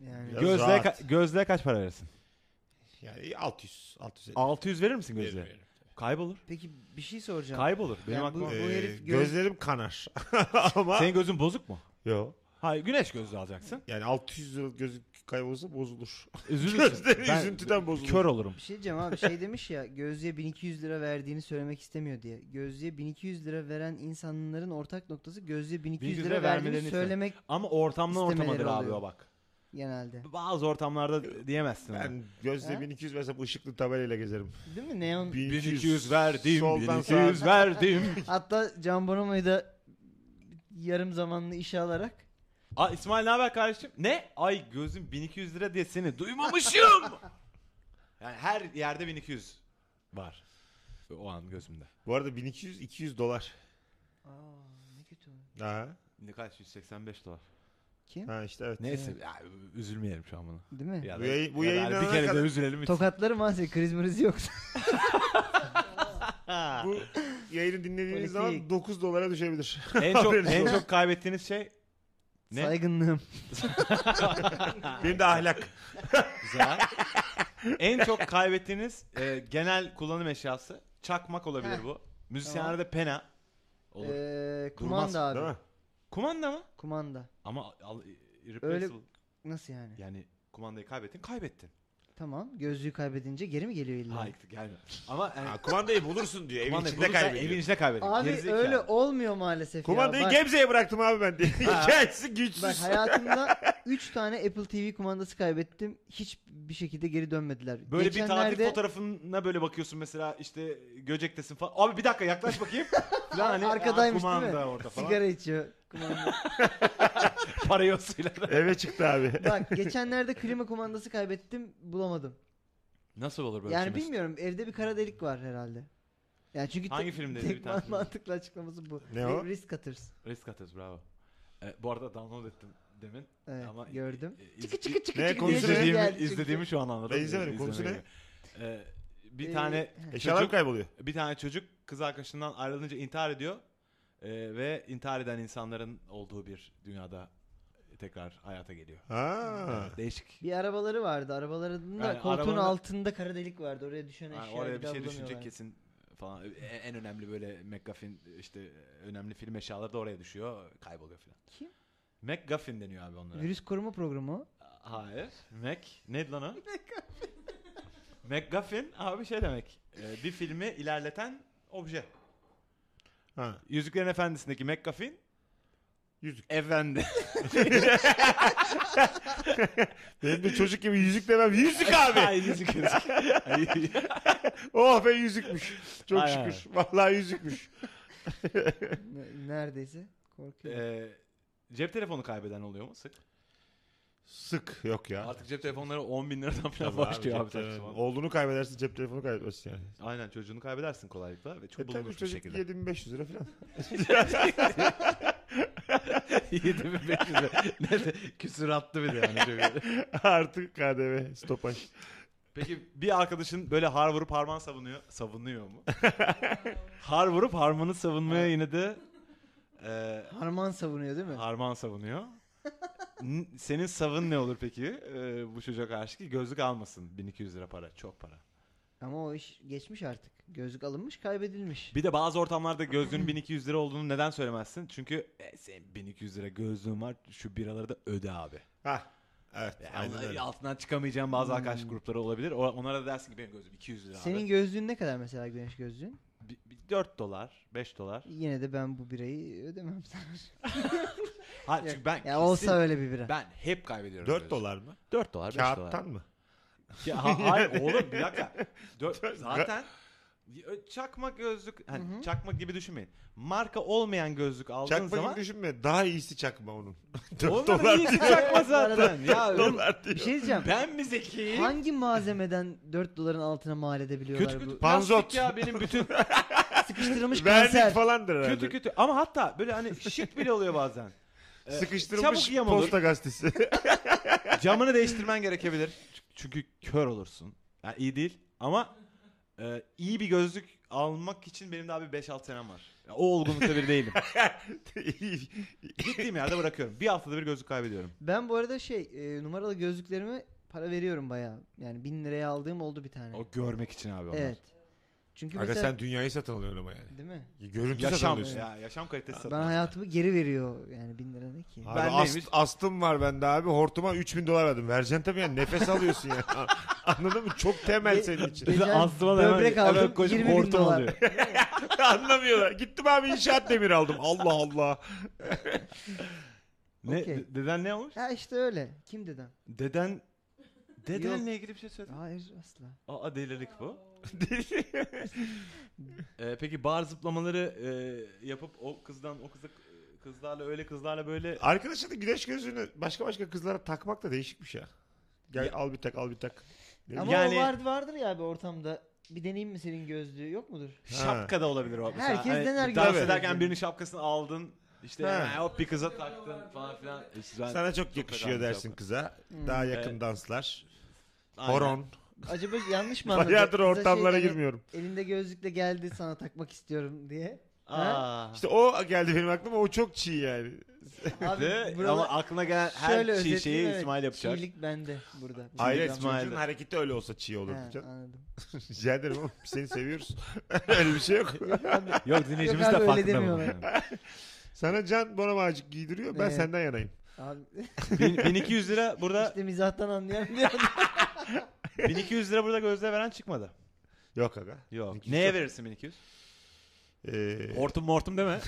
Speaker 5: Yani
Speaker 4: Biraz
Speaker 3: Gözlüğe,
Speaker 4: rahat.
Speaker 3: ka- gözlüğe kaç para verirsin?
Speaker 4: Yani 600, 650.
Speaker 3: 600 verir misin
Speaker 4: Veririm,
Speaker 3: gözlüğe?
Speaker 4: E, veririm.
Speaker 3: Kaybolur.
Speaker 5: peki bir şey soracağım.
Speaker 3: Kaybolur. Benim
Speaker 5: Yani
Speaker 3: aklıma...
Speaker 5: Bu
Speaker 4: Ee,
Speaker 5: herif göz-
Speaker 4: Gözlerim kanar. Ama
Speaker 3: Senin gözün bozuk mu?
Speaker 4: Yo.
Speaker 3: Hayır güneş gözlüğü alacaksın.
Speaker 4: Yani 600 liralık gözlük kaybolsa bozulur.
Speaker 3: Üzülürsün.
Speaker 4: Gözleri
Speaker 3: Ben
Speaker 4: üzüntüden bozulur.
Speaker 3: kör olurum.
Speaker 5: bir şey diyeceğim abi şey demiş ya gözlüğe 1200 lira verdiğini söylemek istemiyor diye. Gözlüğe 1200 lira veren insanların ortak noktası gözlüğe 1200 lira, verdiğini
Speaker 3: vermelerini
Speaker 5: söylemek
Speaker 3: Ama ortamdan ortamadır
Speaker 5: İstemeleri
Speaker 3: abi
Speaker 5: oluyor.
Speaker 3: o bak.
Speaker 5: genelde.
Speaker 3: Bazı ortamlarda diyemezsin. onu.
Speaker 4: Ben gözle
Speaker 5: Ha?
Speaker 4: 1200 versem ışıklı tabelayla gezerim.
Speaker 5: Değil mi? Neon
Speaker 4: 1200
Speaker 3: verdim,
Speaker 4: Soldan
Speaker 3: 1200
Speaker 4: sağa.
Speaker 3: verdim.
Speaker 5: Hatta Can Bonomo'yu da yarım zamanlı işe alarak
Speaker 3: Aa, İsmail ne haber kardeşim? Ne? Ay gözüm 1200 lira diye seni duymamışım. yani her yerde 1200 var. O an gözümde.
Speaker 4: Bu arada 1200 200 dolar.
Speaker 5: Aa, ne kötü.
Speaker 4: Ha.
Speaker 3: Ne kaç? 185 dolar.
Speaker 5: Kim?
Speaker 4: Ha işte evet.
Speaker 3: Neyse ya, üzülmeyelim şu an buna.
Speaker 5: Değil mi?
Speaker 3: Ya
Speaker 4: Bu yayın- bu
Speaker 3: ya da
Speaker 4: yayınlanana
Speaker 3: bir kere
Speaker 4: kadar-
Speaker 3: de üzülelim. hiç.
Speaker 5: Tokatları maalesef kriz mriz yoksa.
Speaker 4: Bu yayını dinlediğiniz zaman
Speaker 5: Politik.
Speaker 4: 9 dolara düşebilir.
Speaker 3: en çok
Speaker 4: Haberiniz
Speaker 3: en
Speaker 4: olsun.
Speaker 3: çok kaybettiğiniz şey Ne?
Speaker 5: Saygınlığım.
Speaker 4: Benim de ahlak.
Speaker 3: Güzel. en çok kaybettiğiniz e, genel kullanım eşyası çakmak olabilir bu. Müzisyenlerde pena olur.
Speaker 5: Ee, kumanda
Speaker 3: Durmaz,
Speaker 5: abi.
Speaker 4: Değil mi?
Speaker 3: kumanda mı?
Speaker 5: Kumanda.
Speaker 3: Ama al, irreplaceable.
Speaker 5: Öyle- Nasıl yani?
Speaker 3: Yani kumandayı kaybettin, kaybettin.
Speaker 5: Tamam. Gözlüğü kaybedince geri mi geliyor illa?
Speaker 3: Hayır gelme. Ama yani,
Speaker 4: Ha, kumandayı bulursun diyor. Evin
Speaker 3: kumandayı
Speaker 4: içinde
Speaker 3: bulursan
Speaker 4: kaybediyor.
Speaker 3: Evin içinde kaybediyor.
Speaker 5: Abi
Speaker 3: Gerizekalı.
Speaker 5: öyle olmuyor maalesef
Speaker 4: Kumandayı
Speaker 5: ya. Bak-
Speaker 4: Gebze'ye bıraktım abi ben diye. Hikayesi güçsüz.
Speaker 5: Bak hayatımda 3 tane Apple TV kumandası kaybettim. Hiçbir şekilde geri dönmediler.
Speaker 3: Böyle bir tatil
Speaker 5: Geçenlerde
Speaker 3: fotoğrafına böyle bakıyorsun mesela işte Göcek'tesin falan. Abi bir dakika yaklaş bakayım. Falan hani
Speaker 5: Arkadaymış
Speaker 3: "Aa,
Speaker 5: değil mi?
Speaker 3: kumanda orada falan.
Speaker 5: sigara içiyor kumanda.
Speaker 3: Para yosuyla da.
Speaker 4: Eve çıktı abi.
Speaker 5: Bak geçenlerde klima kumandası kaybettim. Bulamadım.
Speaker 3: Nasıl olur böyle
Speaker 5: Yani
Speaker 3: bir şey?
Speaker 5: bilmiyorum evde bir kara delik var herhalde. Yani çünkü
Speaker 3: Hangi
Speaker 5: tek-
Speaker 3: filmdeydi
Speaker 5: tek
Speaker 3: bir tane
Speaker 5: man-
Speaker 3: filmde?
Speaker 5: mantıklı açıklaması bu.
Speaker 4: Ne o?
Speaker 5: Risk Cutters.
Speaker 3: Risk atıyoruz bravo. E, bu arada download ettim demin.
Speaker 5: Evet,
Speaker 3: Ama
Speaker 5: gördüm.
Speaker 3: e, e,
Speaker 5: Çıkı
Speaker 3: iz-
Speaker 5: çıkı çıkı
Speaker 4: Ne
Speaker 5: çıkı diye
Speaker 4: konusu ne?
Speaker 5: ses
Speaker 3: izlediğimi,
Speaker 5: geldi çünkü.
Speaker 3: izlediğimi şu an anladım.
Speaker 4: Ben izlemedim, konusu ne?
Speaker 3: E, bir
Speaker 5: Ee,
Speaker 3: tane
Speaker 4: Eşyalarım
Speaker 3: çocuk,
Speaker 4: kayboluyor.
Speaker 3: bir tane çocuk kız arkadaşından ayrılınca intihar ediyor. E, ve intihar eden insanların olduğu bir dünyada tekrar hayata geliyor.
Speaker 4: Ha.
Speaker 3: Evet, değişik.
Speaker 5: Bir arabaları vardı. Arabalarında
Speaker 3: Yani
Speaker 5: koltuğun
Speaker 3: arabanın-
Speaker 5: altında kara delik vardı. Oraya düşen
Speaker 3: Yani
Speaker 5: eşya
Speaker 3: oraya
Speaker 5: bir
Speaker 3: bir
Speaker 5: daha
Speaker 3: şey
Speaker 5: bulamıyorlar.
Speaker 3: düşünecek kesin falan. E, En önemli böyle McGuffin işte önemli film eşyaları da oraya düşüyor. Kayboluyor falan.
Speaker 5: Kim?
Speaker 3: McGuffin deniyor abi onlara.
Speaker 5: Virüs koruma programı o.
Speaker 3: Hayır. Mac. Neydi lan o? MacGuffin abi şey demek. e, bir filmi ilerleten obje.
Speaker 4: Ha.
Speaker 3: Yüzüklerin Efendisi'ndeki MacGuffin
Speaker 4: Yüzük.
Speaker 3: efendi.
Speaker 4: Benim de çocuk gibi yüzük demem. Yüzük abi.
Speaker 3: Ay, yüzük yüzük. Ay,
Speaker 4: oh be yüzükmüş. Çok
Speaker 3: Aynen.
Speaker 4: şükür. Vallahi yüzükmüş.
Speaker 5: Ne- Neredeyse. Korkuyorum.
Speaker 3: e, cep telefonu kaybeden oluyor mu sık?
Speaker 4: Sık. Yok ya.
Speaker 3: Artık cep telefonları 10 bin liradan
Speaker 4: Tabii
Speaker 3: falan
Speaker 4: abi,
Speaker 3: başlıyor
Speaker 4: cep
Speaker 3: abi.
Speaker 4: telefonu.
Speaker 3: saçma.
Speaker 4: Oğlunu kaybedersin cep telefonu kaybedersin yani.
Speaker 3: Aynen çocuğunu kaybedersin kolaylıkla ve çok
Speaker 4: E tabii
Speaker 3: bulunmuş bir
Speaker 4: çocuk
Speaker 3: şekilde.
Speaker 4: 7500 lira falan.
Speaker 3: 7500 lira. Ne de küsür attı bir de yani. çocuğu.
Speaker 4: Artık KDV stopaj.
Speaker 3: Peki bir arkadaşın böyle har vurup harman savunuyor. Savunuyor mu? har vurup harmanı savunmaya yine de e,
Speaker 5: Harman savunuyor değil mi?
Speaker 3: harman savunuyor. N- Senin savun ne olur peki e, bu çocuğa karşı ki gözlük almasın 1200 lira para çok para.
Speaker 5: Ama o iş geçmiş artık. Gözlük alınmış kaybedilmiş.
Speaker 3: Bir de bazı ortamlarda gözlüğün 1200 lira olduğunu neden söylemezsin? Çünkü e, senin 1200 lira gözlüğün var şu biraları da öde abi.
Speaker 4: Ha. Evet.
Speaker 3: Yani
Speaker 4: aynen
Speaker 3: onlar-
Speaker 4: öyle. Hmm.
Speaker 3: altından çıkamayacağın bazı arkadaş grupları olabilir. O- Onlara da dersin ki benim gözlüğüm 200 lira abi.
Speaker 5: Senin gözlüğün ne kadar mesela güneş gözlüğün?
Speaker 3: Bi- bi- 4 dolar, 5 dolar.
Speaker 5: Yine de ben bu birayı ödemem sana.
Speaker 3: Ha çünkü ben
Speaker 5: ya olsa
Speaker 3: kesin-
Speaker 5: öyle bir bira.
Speaker 3: ben hep kaybediyorum.
Speaker 4: 4 dolar mı?
Speaker 3: 4 dolar, 5 dolar.
Speaker 4: Kağıttan mı?
Speaker 3: Ya ha- hayır oğlum bir dakika. Dö- zaten çakma gözlük hani
Speaker 5: Hı hı.
Speaker 3: çakma gibi düşünmeyin. Marka olmayan gözlük aldığın
Speaker 4: Çakma
Speaker 3: zaman
Speaker 4: gibi düşünme. Daha iyisi çakma onun. 4
Speaker 3: Onların
Speaker 4: dolar
Speaker 3: iyisi
Speaker 4: diyor.
Speaker 3: çakma zaten. ya
Speaker 4: 4 dolar
Speaker 5: Bir
Speaker 4: diyor.
Speaker 5: şey diyeceğim.
Speaker 3: ben mi zekiyim?
Speaker 5: Hangi malzemeden 4 doların altına mal edebiliyorlar
Speaker 3: Kötü
Speaker 5: bu?
Speaker 3: kötü
Speaker 4: Panzot.
Speaker 3: plastik ya benim bütün
Speaker 5: Sıkıştırılmış kanser.
Speaker 4: Vernik falandır herhalde.
Speaker 3: kötü kötü ama hatta böyle hani şık bile oluyor bazen. Ee,
Speaker 4: Sıkıştırılmış
Speaker 3: çabuk yam olur.
Speaker 4: posta gazetesi.
Speaker 3: Camını değiştirmen gerekebilir. Ç- Çünkü kör olursun. Yani iyi değil ama e, iyi bir gözlük almak için benim daha bir 5-6 senem var. Ya o olgunlukta bir değilim. Gittiğim yerde bırakıyorum. Bir haftada bir gözlük kaybediyorum.
Speaker 5: Ben bu arada şey e, numaralı gözlüklerime para veriyorum bayağı. Yani 1000 liraya aldığım oldu bir tane.
Speaker 3: O görmek için abi onlar.
Speaker 5: Evet. Çünkü
Speaker 4: Aga
Speaker 5: mesela...
Speaker 4: sen dünyayı satın alıyorsun ama yani.
Speaker 5: Değil mi?
Speaker 4: Görüntü satın
Speaker 3: Yaşam,
Speaker 4: alıyorsun.
Speaker 3: ya, yaşam kalitesi satın
Speaker 5: Ben
Speaker 3: aldım.
Speaker 5: hayatımı geri veriyor yani 1000 lira ne ki?
Speaker 4: Abi
Speaker 3: Ben
Speaker 4: ast-
Speaker 3: neymiş?
Speaker 4: astım var bende abi. Hortuma 3000 dolar verdim. Vereceksin tabii yani. Nefes alıyorsun yani. Anladın mı? Çok temel
Speaker 5: Be-
Speaker 4: senin için.
Speaker 5: Geçen
Speaker 3: Aslıma da hemen-
Speaker 5: böbrek
Speaker 3: hemen
Speaker 5: aldım,
Speaker 3: koşup
Speaker 5: 20 bin
Speaker 3: hortum
Speaker 5: dolar.
Speaker 3: alıyor.
Speaker 4: Anlamıyorlar. Gittim abi inşaat demir aldım. Allah Allah.
Speaker 3: Ne,
Speaker 5: Okey.
Speaker 3: de- Deden ne olmuş?
Speaker 5: Ha işte öyle. Kim dedem?
Speaker 3: Deden Dedenle
Speaker 5: Yok.
Speaker 3: ilgili bir şey söyle.
Speaker 5: Hayır asla.
Speaker 3: Aa delilik bu. Ee, peki bar zıplamaları e, yapıp o kızdan o kıza kızlarla öyle kızlarla böyle
Speaker 4: Arkadaşının güneş gözlüğünü başka başka kızlara takmak da değişikmiş ya. Gel al bir tak al bir tak.
Speaker 5: Ama
Speaker 3: Yani-
Speaker 5: o vardı vardır ya bir ortamda. Bir deneyeyim mi senin gözlüğü? Yok mudur?
Speaker 3: şapka da olabilir o. Mesela hani
Speaker 5: Herkes dener gibi.
Speaker 3: Dans
Speaker 4: Tabii.
Speaker 3: ederken birinin şapkasını aldın. işte
Speaker 4: Ha.
Speaker 3: hemen hop bir kıza taktın falan filan. İşte E, ben-
Speaker 4: Sana çok yakışıyor
Speaker 3: önemli
Speaker 4: dersin
Speaker 3: şapka.
Speaker 4: kıza.
Speaker 5: Hmm.
Speaker 4: Daha yakın
Speaker 3: Evet.
Speaker 4: danslar.
Speaker 3: Aynen.
Speaker 4: Horon.
Speaker 5: Acaba yanlış mı anladım?
Speaker 4: Bayağıdır
Speaker 5: Kıza şey
Speaker 4: ortamlara
Speaker 5: hani
Speaker 4: girmiyorum.
Speaker 5: Elinde gözlükle geldi sana takmak istiyorum diye.
Speaker 3: Aa.
Speaker 4: İşte o geldi benim aklıma. O çok çiğ yani.
Speaker 5: Abi
Speaker 3: Ve-
Speaker 5: buralar-
Speaker 3: ama aklına gelen her
Speaker 5: Şöyle
Speaker 3: çiğ şeyi
Speaker 5: özetleyeyim, evet,
Speaker 3: İsmail yapacak.
Speaker 5: Çiğlik bende burada.
Speaker 4: Hayır
Speaker 3: İsmail'de.
Speaker 4: çocuğun hareketi öyle olsa çiğ olur.
Speaker 5: He,
Speaker 4: diyeceğim.
Speaker 5: anladım.
Speaker 4: Rica ederim oğlum. Biz seni seviyoruz. öyle bir şey yok.
Speaker 5: Yok abi,
Speaker 3: Yok dinleyicimiz
Speaker 5: Yok
Speaker 3: de
Speaker 5: abi, öyle
Speaker 3: farkında bunun
Speaker 5: demiyorlar.
Speaker 3: yani.
Speaker 4: Sana Can Bonamacık giydiriyor.
Speaker 3: Ee.
Speaker 4: Ben
Speaker 5: Evet.
Speaker 4: senden yanayım.
Speaker 5: abi
Speaker 3: Bin- 1200 lira burada
Speaker 5: işte mizahtan anlayan bir adam.
Speaker 3: 1200 lira burada gözle veren çıkmadı.
Speaker 4: Yok aga.
Speaker 3: Yok.
Speaker 4: 1200
Speaker 3: Neye
Speaker 4: çok-
Speaker 3: verirsin 1200?
Speaker 4: Ee,
Speaker 3: Hortum mortum deme.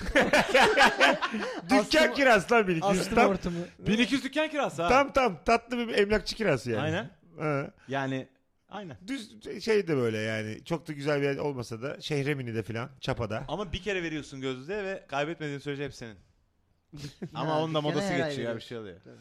Speaker 4: dükkan
Speaker 5: Astım-
Speaker 4: kirası lan 1200.
Speaker 5: astım
Speaker 4: Tam,
Speaker 5: ortamı.
Speaker 3: 1200 dükkan kirası ha.
Speaker 4: tam tam tatlı bir emlakçı kirası yani.
Speaker 3: Aynen.
Speaker 4: Ha.
Speaker 3: Yani aynen.
Speaker 4: Düz şey de böyle yani çok da güzel bir yer olmasa da Şehremini de filan Çapa'da.
Speaker 3: Ama bir kere veriyorsun gözlüğe ve kaybetmediğin sürece hep senin.
Speaker 5: Ha,
Speaker 3: Ama onun da
Speaker 5: dükkana
Speaker 3: modası
Speaker 5: her
Speaker 3: geçiyor
Speaker 5: ay
Speaker 3: ya bir
Speaker 5: veriyorsun.
Speaker 3: şey oluyor.
Speaker 5: Tabii.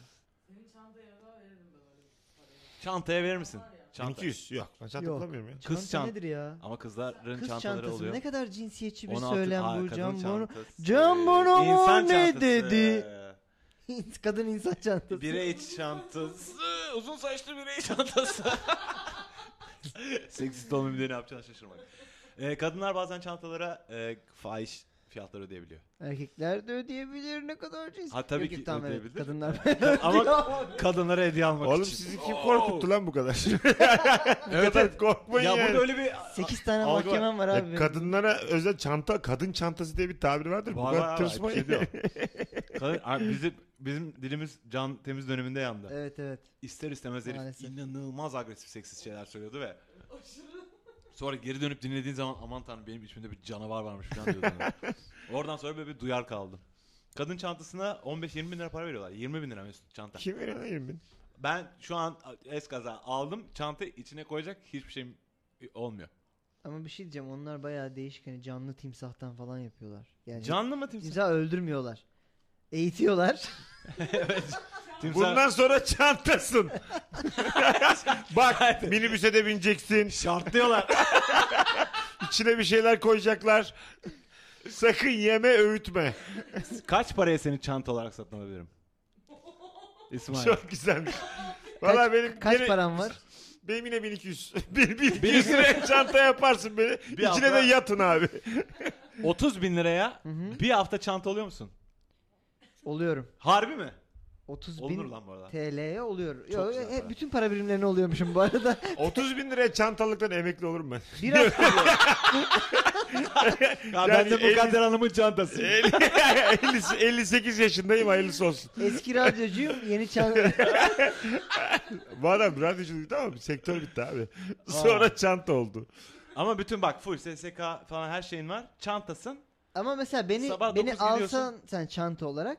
Speaker 7: Senin çantaya da veririm ben öyle parayı.
Speaker 3: Çantaya verir misin?
Speaker 7: Var ya.
Speaker 3: Çanta.
Speaker 4: 1200 yok. Ben çanta
Speaker 5: Yok.
Speaker 4: bulamıyorum ya.
Speaker 3: Kız
Speaker 5: Çanta
Speaker 3: çant-
Speaker 5: nedir ya?
Speaker 3: Ama kızların
Speaker 5: Kız
Speaker 3: çantaları
Speaker 5: çantası mı?
Speaker 3: oluyor.
Speaker 5: Ne kadar cinsiyetçi bir
Speaker 3: 16
Speaker 5: söylem
Speaker 3: Aa,
Speaker 5: bu.
Speaker 3: kadın
Speaker 5: Can Bono.
Speaker 3: çantası.
Speaker 5: Can Bono mu
Speaker 3: İnsan
Speaker 5: ne
Speaker 3: çantası.
Speaker 5: dedi? kadın insan çantası.
Speaker 3: Birey çantası. Ee, Uzun saçlı birey çantası. Seksist olmayayım diye ne yapacağını şaşırmak. Ee, kadınlar bazen çantalara e, fahiş fiyatları ödeyebiliyor.
Speaker 5: Erkekler de ödeyebilir ne kadar cinsiyetçi.
Speaker 3: Ha, tabii
Speaker 5: Yok,
Speaker 3: ki
Speaker 5: yok, tamam, evet,
Speaker 3: ödeyebilir.
Speaker 5: Kadınlar
Speaker 3: Ama kadınlara hediye almak
Speaker 4: Oğlum
Speaker 3: için.
Speaker 4: sizi kim
Speaker 3: Oo.
Speaker 4: korkuttu lan bu kadar?
Speaker 3: Evet, evet.
Speaker 4: Korkmayın
Speaker 3: Ya
Speaker 4: yani.
Speaker 3: burada öyle bir...
Speaker 5: 8 tane
Speaker 3: Algı var.
Speaker 5: mahkemem var
Speaker 4: Ya
Speaker 5: abi.
Speaker 4: kadınlara özel çanta, kadın çantası diye bir tabir vardır. bu
Speaker 3: Var, var,
Speaker 4: kadar
Speaker 3: var.
Speaker 4: tırsmayın.
Speaker 3: Bir şey yok. Kadın- Abi bizim, bizim dilimiz can temiz döneminde yandı.
Speaker 5: Evet evet.
Speaker 3: İster istemez herif
Speaker 5: Maalesef.
Speaker 3: inanılmaz agresif seksist şeyler söylüyordu ve
Speaker 7: Aşırı.
Speaker 3: sonra geri dönüp dinlediğin zaman aman tanrım benim içimde bir canavar varmış falan diyordun. Oradan sonra böyle bir duyar kaldım. Kadın çantasına 15-20 bin lira para veriyorlar. 20 bin lira mesut çanta.
Speaker 4: Kim veriyor lan yirmi bin?
Speaker 3: Ben şu an eskaza aldım. Çanta içine koyacak hiçbir şeyim olmuyor.
Speaker 5: Ama bir şey diyeceğim onlar bayağı değişik hani canlı timsahtan falan yapıyorlar. Yani
Speaker 3: Canlı mı timsah?
Speaker 5: timsah öldürmüyorlar. Eğitiyorlar.
Speaker 3: Timsah-
Speaker 4: Bundan sonra çantasın. Bak minibüse de bineceksin.
Speaker 3: şartlıyorlar.
Speaker 4: İçine bir şeyler koyacaklar. Sakın yeme öğütme.
Speaker 3: Kaç paraya seni çanta olarak satın alabilirim? İsmail.
Speaker 4: Çok güzelmiş. Valla benim
Speaker 5: Kaç
Speaker 4: yine,
Speaker 5: param var?
Speaker 4: benim yine 1200. Bir, 1200 liraya çanta yaparsın beni. İçine
Speaker 3: hafta-
Speaker 4: de yatın abi.
Speaker 3: 30 bin liraya
Speaker 5: Hı hı.
Speaker 3: bir hafta çanta oluyor musun?
Speaker 5: Oluyorum.
Speaker 3: Harbi mi?
Speaker 5: 30
Speaker 3: Olunur
Speaker 5: bin
Speaker 3: lan bu arada.
Speaker 5: TL'ye oluyor.
Speaker 3: Çok
Speaker 5: Yo,
Speaker 3: güzel
Speaker 5: e,
Speaker 3: para.
Speaker 5: bütün para birimlerine oluyormuşum bu arada.
Speaker 4: 30 bin liraya çantalıktan emekli olurum ben.
Speaker 5: Biraz
Speaker 3: Ya
Speaker 4: Yani
Speaker 3: ben de bu
Speaker 4: elli-
Speaker 3: Kadir Hanım'ın çantası.
Speaker 4: 50, 58 yaşındayım hayırlısı olsun.
Speaker 5: eski radyocuyum yeni çan...
Speaker 4: Bu adam radyoculuk tamam mı? Sektör bitti abi. Sonra çanta oldu.
Speaker 3: Ama bütün bak full SSK falan her şeyin var. Çantasın.
Speaker 5: Ama mesela beni
Speaker 3: Sabah
Speaker 5: beni
Speaker 3: dokuz gidiyorsun.
Speaker 5: alsan sen çanta olarak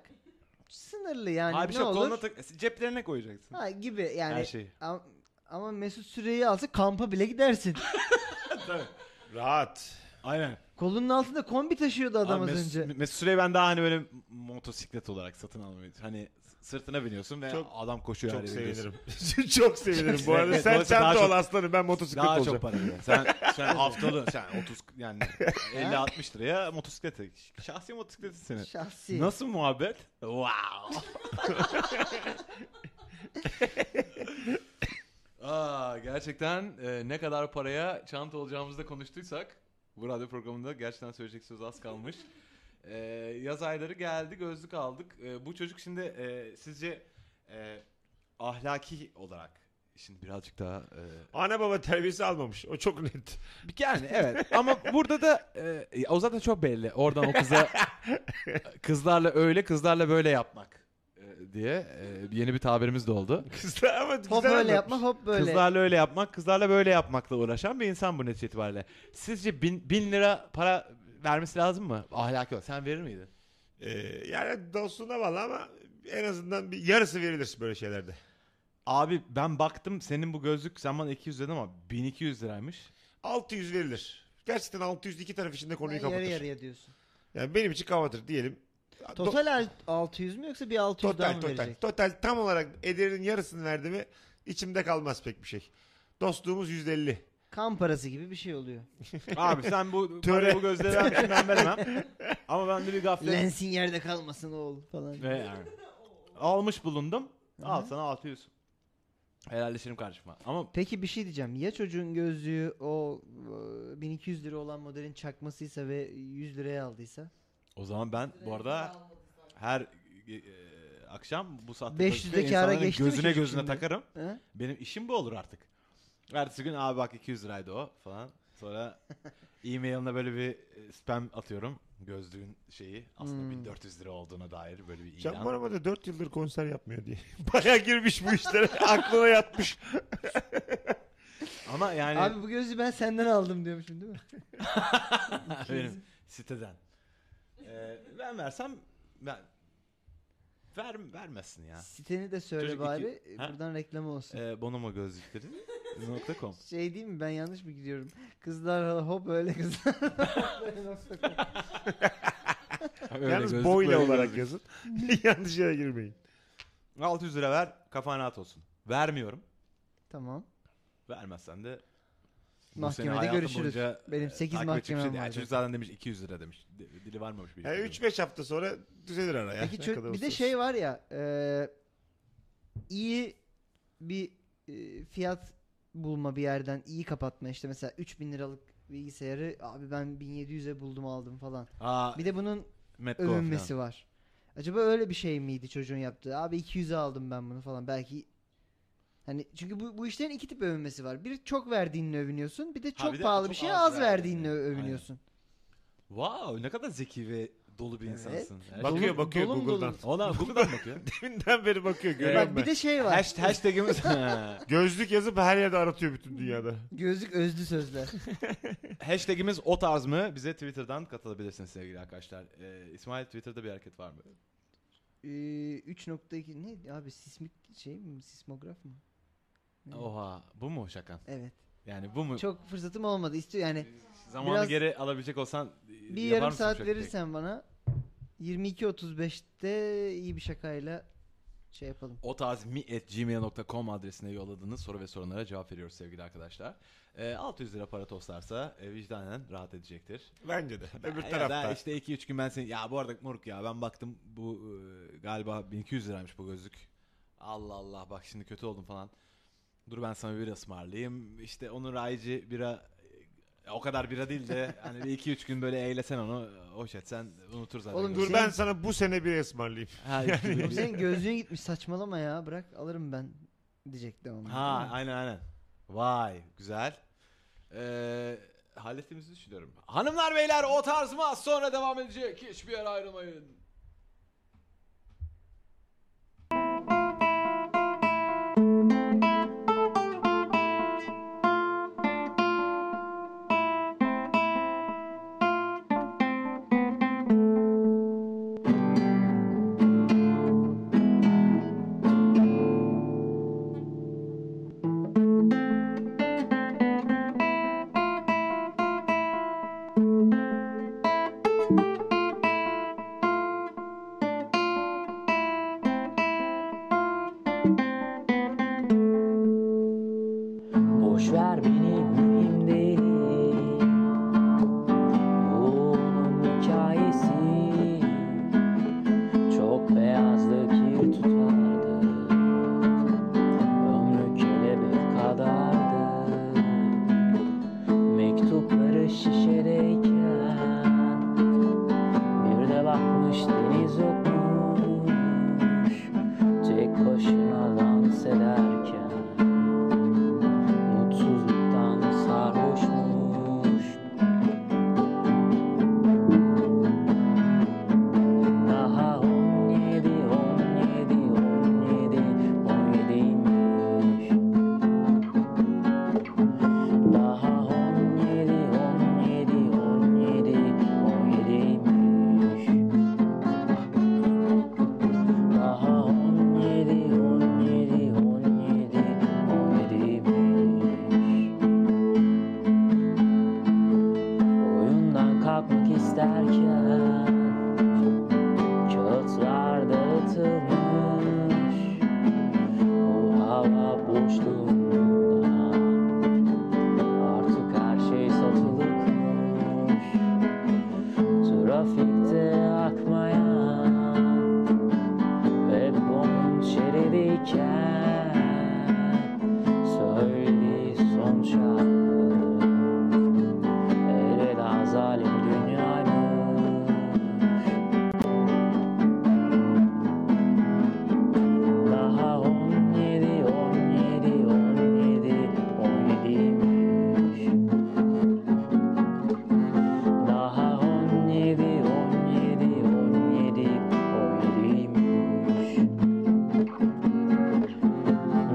Speaker 5: sınırlı yani
Speaker 3: Abi
Speaker 5: ne
Speaker 3: şey
Speaker 5: olur.
Speaker 3: koluna tak ceplerine koyacaksın.
Speaker 5: Ha gibi yani.
Speaker 3: Her şey. şeyi.
Speaker 5: Am- Ama Mesut Süreyi alsa kampa bile gidersin.
Speaker 4: Rahat.
Speaker 3: Aynen.
Speaker 5: Kolunun altında kombi taşıyordu adam
Speaker 3: Abi
Speaker 5: az
Speaker 3: Mes-
Speaker 5: önce.
Speaker 3: Mesut Süreyi ben daha hani böyle motosiklet olarak satın almayı. Hani sırtına biniyorsun ve
Speaker 4: Çok-
Speaker 3: adam koşuyor. her
Speaker 4: Çok
Speaker 3: yere gidiyorsun.
Speaker 4: sevinirim. çok sevinirim bu arada.
Speaker 3: Evet,
Speaker 4: Sen
Speaker 3: dolayısıyla daha
Speaker 4: çanta ol
Speaker 3: çok-
Speaker 4: aslanım ben motosiklet
Speaker 3: Daha
Speaker 4: olacağım.
Speaker 3: çok para veriyor. Sen, sen haftalı sen 30 yani 50-60 liraya motosiklete. Şahsi motosikleti senin.
Speaker 5: Şahsi.
Speaker 3: Nasıl muhabbet? Wow. Aa, gerçekten e, ne kadar paraya çanta olacağımızı da konuştuysak bu radyo programında gerçekten söyleyecek söz az kalmış. E, yaz ayları geldi gözlük aldık. E, bu çocuk şimdi e, sizce e, ahlaki olarak şimdi birazcık daha e,
Speaker 4: Ana baba terbiyesi almamış. O çok net.
Speaker 3: yani evet ama burada da e, o zaten çok belli. Oradan o kıza kızlarla öyle kızlarla böyle yapmak e, diye e, yeni bir tabirimiz de oldu.
Speaker 4: Kızlar ama
Speaker 5: Hop
Speaker 4: güzel
Speaker 5: öyle
Speaker 4: adam.
Speaker 5: yapma hop böyle.
Speaker 3: Kızlarla öyle yapmak, kızlarla böyle yapmakla uğraşan bir insan bu netice itibariyle. Sizce bin, bin lira para vermesi lazım mı? Ahlaki olarak. Sen verir miydin?
Speaker 4: Ee, yani dostluğuna bağlı ama en azından bir yarısı verilir böyle şeylerde.
Speaker 3: Abi ben baktım senin bu gözlük sen bana 200 dedin ama 1200 liraymış.
Speaker 4: 600 verilir. Gerçekten 600 iki taraf için de konuyu
Speaker 5: Yani
Speaker 4: kapatır.
Speaker 5: yarı yarıya diyorsun.
Speaker 4: Yani benim için kapatır diyelim. Do-
Speaker 5: Total al- 600 mü yoksa bir 600 daha
Speaker 4: total
Speaker 5: mı
Speaker 4: total.
Speaker 5: verecek?
Speaker 4: Total tam olarak ederinin yarısını verdi mi içimde kalmaz pek bir şey. Dostluğumuz 150.
Speaker 5: Kan parası gibi bir şey oluyor.
Speaker 3: Abi sen bu
Speaker 4: Töre.
Speaker 3: bu gözleri vermişsin ben veremem. Ama ben de bir gaflet
Speaker 5: Lensin yerde kalmasın oğul falan.
Speaker 3: Ve yani. Almış bulundum. Al sana 600. Helalleşirim kardeşim. Ama
Speaker 5: Peki bir şey diyeceğim. Ya çocuğun gözlüğü o e, 1200 lira olan modelin çakmasıysa ve 100 liraya aldıysa?
Speaker 3: o zaman ben bu arada her e, e, akşam bu saatte
Speaker 5: 500'deki
Speaker 3: gözlükle
Speaker 5: ara
Speaker 3: insanların
Speaker 5: geçti mi
Speaker 3: gözüne
Speaker 5: çocuk
Speaker 3: gözüne
Speaker 5: şimdi?
Speaker 3: takarım.
Speaker 5: He?
Speaker 3: Benim işim bu olur artık. Ertesi gün abi bak 200 liraydı o falan. Sonra e-mailine böyle bir e, spam atıyorum. Gözlüğün şeyi aslında
Speaker 5: Hmm.
Speaker 3: 1400 lira olduğuna dair böyle bir ilan.
Speaker 4: Can Barama da 4 yıldır konser yapmıyor diye. Baya girmiş bu işlere. Aklına yatmış.
Speaker 3: Ama yani
Speaker 5: Abi bu gözlüğü ben senden aldım diyormuşum değil mi?
Speaker 3: Benim siteden. Ee, ben versem ben ver vermesin ya.
Speaker 5: Siteni de söyle
Speaker 3: Çocuk iki-
Speaker 5: bari. e,
Speaker 3: Ha?
Speaker 5: Buradan reklam olsun.
Speaker 3: Ee, Bonomo gözlükleri. .com.
Speaker 5: Şey değil mi ben yanlış mı gidiyorum? Kızlar hop öyle kızlar. böyle nasıl-
Speaker 4: Yalnız boyla olarak yazın. Yanlış yere girmeyin.
Speaker 3: 600 lira ver kafan rahat olsun. Vermiyorum.
Speaker 5: tamam.
Speaker 3: Vermezsen de bu seni
Speaker 5: Mahkemede
Speaker 3: hayatın
Speaker 5: görüşürüz.
Speaker 3: boyunca,
Speaker 5: Benim
Speaker 3: e,
Speaker 5: 8
Speaker 3: takip edecek bir şey
Speaker 5: mahkemem
Speaker 3: değil. Yani
Speaker 5: var.
Speaker 3: Çocuk zaten demiş 200 lira demiş. Di- Dili varmamış bir.
Speaker 4: Yani
Speaker 3: şey.
Speaker 4: 3-5 hafta sonra düzelir ara ya.
Speaker 5: Peki
Speaker 4: Ne
Speaker 5: çö-
Speaker 4: kadar
Speaker 5: bir de
Speaker 4: olsa
Speaker 5: şey var ya e, iyi bir e, fiyat bulma bir yerden iyi kapatma işte mesela 3000 liralık bilgisayarı abi ben 1700'e buldum aldım falan.
Speaker 3: Aa,
Speaker 5: Bir de bunun
Speaker 3: Metgo falan.
Speaker 5: övünmesi var. Acaba öyle bir şey miydi çocuğun yaptığı? Abi 200'e aldım ben bunu falan. Belki hani çünkü bu, bu işlerin iki tip övünmesi var. Bir çok verdiğinle övünüyorsun. Bir de çok
Speaker 3: bir de
Speaker 5: pahalı bir
Speaker 3: çok
Speaker 5: şeye
Speaker 3: az
Speaker 5: az, verdiğinle
Speaker 3: verdiğinle.
Speaker 5: övünüyorsun.
Speaker 3: Wow ne kadar zeki ve dolu bir
Speaker 5: Evet.
Speaker 3: insansın. Her
Speaker 4: Bak-
Speaker 3: şey-
Speaker 4: Bakıyor, bakıyor
Speaker 5: dolum
Speaker 4: Google'dan.
Speaker 5: dolum.
Speaker 3: Ona Google'dan bakıyor.
Speaker 4: Deminden beri bakıyor görüyorum
Speaker 5: Bak
Speaker 4: ben.
Speaker 5: bir de şey var.
Speaker 3: Hasht- Hashtag'imiz.
Speaker 4: Gözlük yazıp her yerde aratıyor bütün dünyada.
Speaker 5: Gözlük özlü sözler.
Speaker 3: Hashtag'imiz o tarz mı? Bize Twitter'dan katılabilirsiniz sevgili arkadaşlar. Ee, İsmail Twitter'da bir hareket var mı?
Speaker 5: Ee, 3.2 ne abi sismik şey mi sismograf mı? Ne?
Speaker 3: Oha bu mu şakan?
Speaker 5: Evet.
Speaker 3: Yani bu mu?
Speaker 5: Çok fırsatım olmadı. İstiyor yani
Speaker 3: Zamanı
Speaker 5: biraz-
Speaker 3: geri alabilecek olsan
Speaker 5: bir yarım saat verirsen bana 22.35'te iyi bir şakayla şey yapalım.
Speaker 3: O tarz mi.gmail.com adresine yolladığınız soru ve sorunlara cevap veriyoruz sevgili arkadaşlar. Ee, 600 lira para toslarsa e, vicdanen rahat edecektir.
Speaker 4: Bence de. Öbür
Speaker 3: Ya
Speaker 4: tarafta.
Speaker 3: da işte 2-3 gün ben seni... Ya bu arada moruk ya ben baktım bu e, galiba 1200 liraymış bu gözlük. Allah Allah bak şimdi kötü oldum falan. Dur ben sana bir bira ısmarlayayım. İşte onun rayici bira e, o kadar bira değil de hani bir 2-3 gün böyle eğlesen onu e, hoş etsen unutur zaten.
Speaker 5: Oğlum
Speaker 4: Dur
Speaker 5: Şey-
Speaker 4: ben sana bu sene bir ısmarlayayım.
Speaker 3: Ha, iki gün.
Speaker 5: Oğlum senin gözlüğün gitmiş saçmalama ya bırak alırım ben diyecek devamlı.
Speaker 3: ha
Speaker 5: Tamam.
Speaker 3: aynen aynen. Vay güzel. Ee, hallettiğimizi düşünüyorum. Hanımlar beyler o tarz mı az sonra devam edecek. Hiçbir yere ayrılmayın.
Speaker 8: boş ver beni mühim değil Bu onun hikayesi Çok beyazlı kir tutardı Ömrü kelebek kadardı Mektupları şişedeyken bir de bakmış deniz okmuş Tek başına dans ederken Mutsuzluktan sarhoşmuş Daha on yedi, on yedi, on yedi, on yediymiş daha 17, 17, 17, 17'ymiş Daha 17, 17, 17, 17'ymiş Oyundan kalkmak isterken Kağıtlar dağıtılmış Bu hava boşluğunda Artık her şey satılıkmış Trafikte akmayan Ve bunun şeridiyken Söylediği son şarkı Elveda zalim dünyaymış Daha 17, 17, 17, 17'ymiş Daha 17, 17, 17, 17'ymiş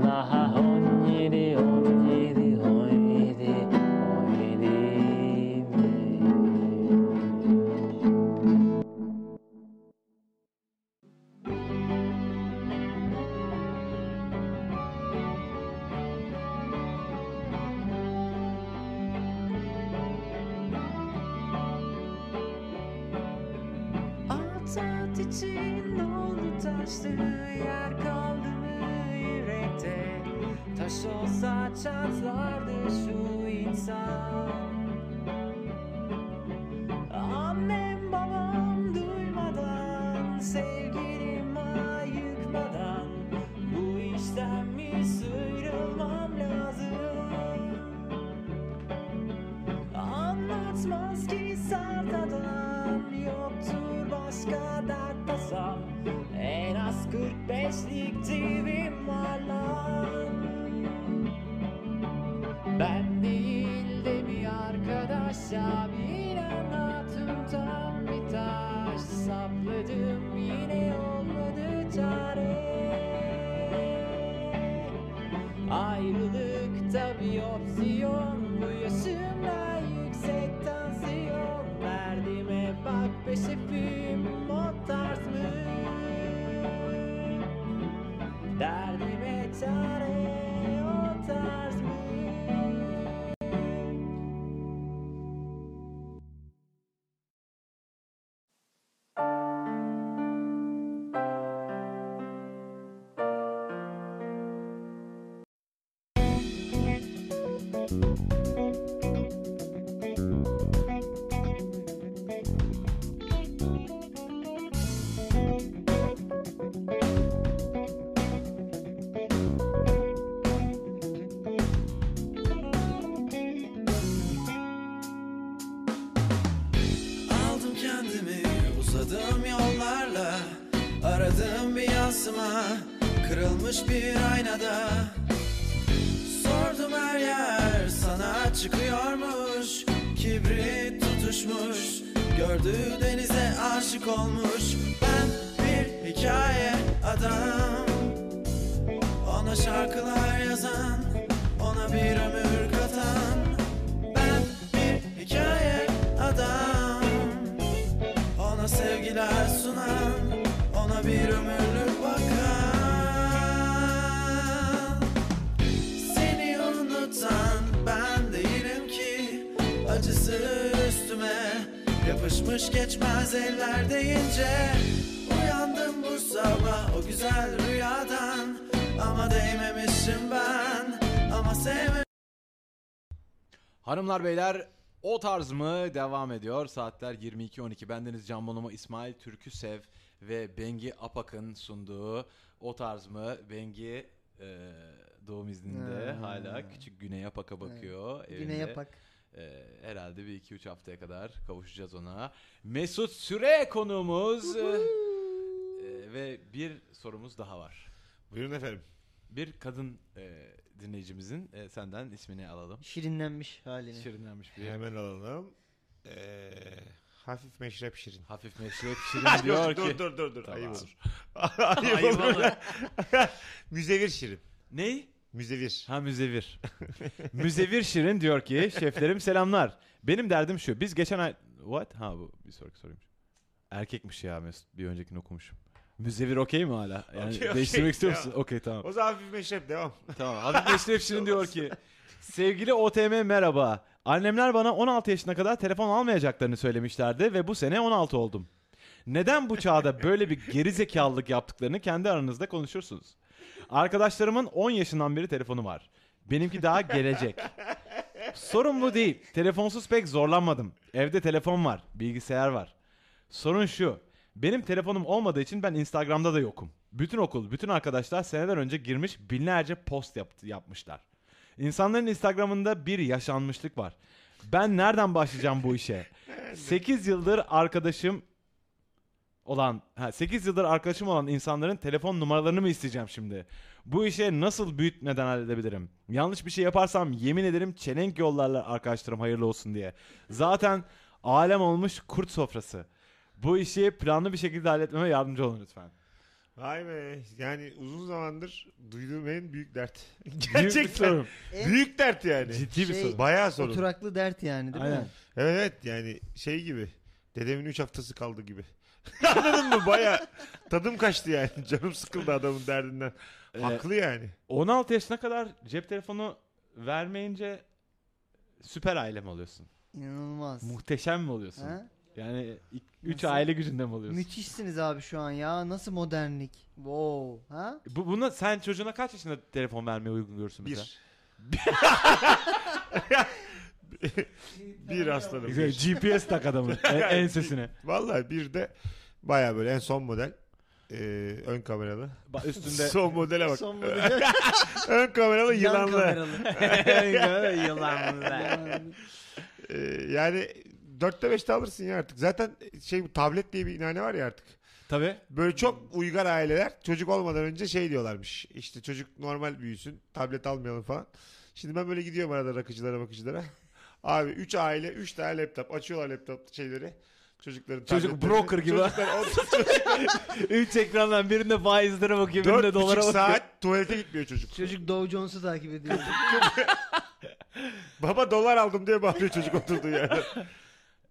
Speaker 8: Daha 17, 17, 17, 17'ymiş
Speaker 9: Atat için oldu taştı yer kaldı mı yürekte Taş olsa çatlardı şu insan Annem babam duymadan sevgilim ayıkmadan Bu işten mi sıyrılmam lazım Anlatmaz ki sert adam Yoktur başka dert tasam En az 45'lik cebim var lan Ben değil de bir arkadaş ya Bir anlatım tam bir taş Sapladım yine olmadı çare Ayrılık tabi opsiyon Bu yaşımda yüksek tansiyon Derdime bak be şefim o tarz mı? Derdime çare o tarz mı?
Speaker 10: Aldım kendimi uzadım yollarla Aradım bir yansıma kırılmış bir aynada Sordum her yer sana çıkıyormuş Kibrit tutuşmuş gördüğü denize aşık olmuş Ben bir hikaye adam Ona şarkılar yazan ona bir ömür katan ben bir hikaye adam Ona sevgiler sunan Ona bir ömürlük bakan Seni unutan ben değilim ki Acısı üstüme Yapışmış geçmez eller deyince Uyandım bu sabah o güzel rüyadan Ama değmemişim ben Ama sevmemişim
Speaker 3: Hanımlar beyler o tarz mı devam ediyor. Saatler 22.12. Bendeniz Can Bonomo, İsmail Türküsev ve Bengi Apak'ın sunduğu o tarz mı? Bengi e, doğum izninde
Speaker 5: Ha.
Speaker 3: hala küçük Güney Apak'a bakıyor. evinde.
Speaker 5: Güney yapak.
Speaker 3: E, herhalde bir iki üç haftaya kadar kavuşacağız ona. Mesut Süre konuğumuz. E, ve bir sorumuz daha var.
Speaker 4: Buyurun efendim.
Speaker 3: Bir kadın e, dinleyicimizin e, senden ismini alalım.
Speaker 5: Şirinlenmiş halini.
Speaker 4: Ee,
Speaker 3: Şirinlenmiş bir
Speaker 4: Hemen alalım. Ee, hafif meşrep şirin.
Speaker 3: Hafif meşrep şirin diyor
Speaker 4: dur,
Speaker 3: ki.
Speaker 4: dur dur dur.
Speaker 3: Tamam.
Speaker 4: Ayıp olur. Ayıp olur. Müzevir şirin.
Speaker 3: Ney?
Speaker 4: Müzevir.
Speaker 3: Ha müzevir. müzevir şirin diyor ki şeflerim selamlar. Benim derdim şu. Biz geçen ay... What? Ha bu bir sonraki soruymuş. Erkekmiş ya Mesut. Bir öncekini okumuşum. Müzevir okey mi hala? Yani
Speaker 4: Okey, okey.
Speaker 3: değiştirmek istiyor musun?
Speaker 4: Devam.
Speaker 3: Okey tamam.
Speaker 4: O zaman hafif meşrep devam.
Speaker 3: Tamam. Hafif Eşref Şirin diyor ki sevgili OTM merhaba. Annemler bana 16 yaşına kadar telefon almayacaklarını söylemişlerdi ve bu sene 16 oldum. Neden bu çağda böyle bir geri zekalılık yaptıklarını kendi aranızda konuşursunuz. Arkadaşlarımın 10 yaşından beri telefonu var. Benimki daha gelecek. Sorun bu değil. Telefonsuz pek zorlanmadım. Evde telefon var, bilgisayar var. Sorun şu. Benim telefonum olmadığı için ben Instagram'da da yokum. Bütün okul, bütün arkadaşlar seneler önce girmiş binlerce post yaptı, yapmışlar. İnsanların Instagram'ında bir yaşanmışlık var. Ben nereden başlayacağım bu işe? 8 yıldır arkadaşım olan, ha 8 yıldır arkadaşım olan insanların telefon numaralarını mı isteyeceğim şimdi? Bu işe nasıl büyütmeden halledebilirim? Yanlış bir şey yaparsam yemin ederim çelenk yollarlar arkadaşlarım hayırlı olsun diye. Zaten alem olmuş kurt sofrası. Bu işi planlı bir şekilde halletmeme yardımcı olun lütfen.
Speaker 4: Vay be. Yani uzun zamandır duyduğum en büyük dert.
Speaker 3: Büyük bir
Speaker 4: Gerçekten.
Speaker 3: sorun.
Speaker 5: En
Speaker 4: Büyük dert yani.
Speaker 3: Ciddi bir
Speaker 5: Şey-
Speaker 3: sorun.
Speaker 4: Bayağı sorun.
Speaker 5: Oturaklı dert yani değil
Speaker 3: Aynen.
Speaker 5: mi?
Speaker 4: Evet evet yani şey gibi. Dedemin 3 haftası kaldı gibi. Anladın mı? Baya tadım kaçtı yani. Canım sıkıldı adamın derdinden.
Speaker 5: Ee,
Speaker 4: Haklı yani.
Speaker 3: 16 yaşına kadar cep telefonu vermeyince süper ailem oluyorsun.
Speaker 5: İnanılmaz.
Speaker 3: Muhteşem mi oluyorsun?
Speaker 5: Ha?
Speaker 3: Yani 3
Speaker 5: Nasıl?
Speaker 3: aile gücünde mi oluyorsun?
Speaker 5: Müthişsiniz abi şu an ya. Nasıl modernlik? Wow. Ha?
Speaker 3: Bu, buna sen çocuğuna kaç yaşında telefon vermeye uygun görürsün mesela?
Speaker 4: Bir. bir aslanım.
Speaker 3: Güzel,
Speaker 4: Bir.
Speaker 3: GPS tak adamın en, ensesine.
Speaker 4: Vallahi bir de baya böyle en son model. Ee, ön kameralı.
Speaker 3: Ba- Üstünde
Speaker 4: Son modele bak.
Speaker 5: Son model.
Speaker 4: Ön kameralı
Speaker 5: Yan
Speaker 4: yılanlı.
Speaker 5: kameralı.
Speaker 3: yılan.
Speaker 5: Yani
Speaker 4: Ee, yani 4'te 5'te alırsın ya artık. Zaten şey bu tablet diye bir inane var ya artık.
Speaker 3: Tabii.
Speaker 4: Böyle çok uygar aileler çocuk olmadan önce şey diyorlarmış. İşte çocuk normal büyüsün. Tablet almayalım falan. Şimdi ben böyle gidiyorum arada rakıcılara bakıcılara. Abi 3 aile 3 tane laptop açıyorlar laptop şeyleri. Çocukların
Speaker 3: Çocuk
Speaker 4: tabletlerini.
Speaker 3: broker gibi.
Speaker 4: Çocuklar o- çocuk
Speaker 3: Üç ekrandan birinde faizlere bakıyor, birinde
Speaker 4: 4
Speaker 3: dolara bakıyor.
Speaker 4: saat tuvalete gitmiyor çocuk.
Speaker 5: Çocuk Dow Jones'u takip ediyor.
Speaker 4: Baba dolar aldım diye bağırıyor çocuk oturduğu yerde.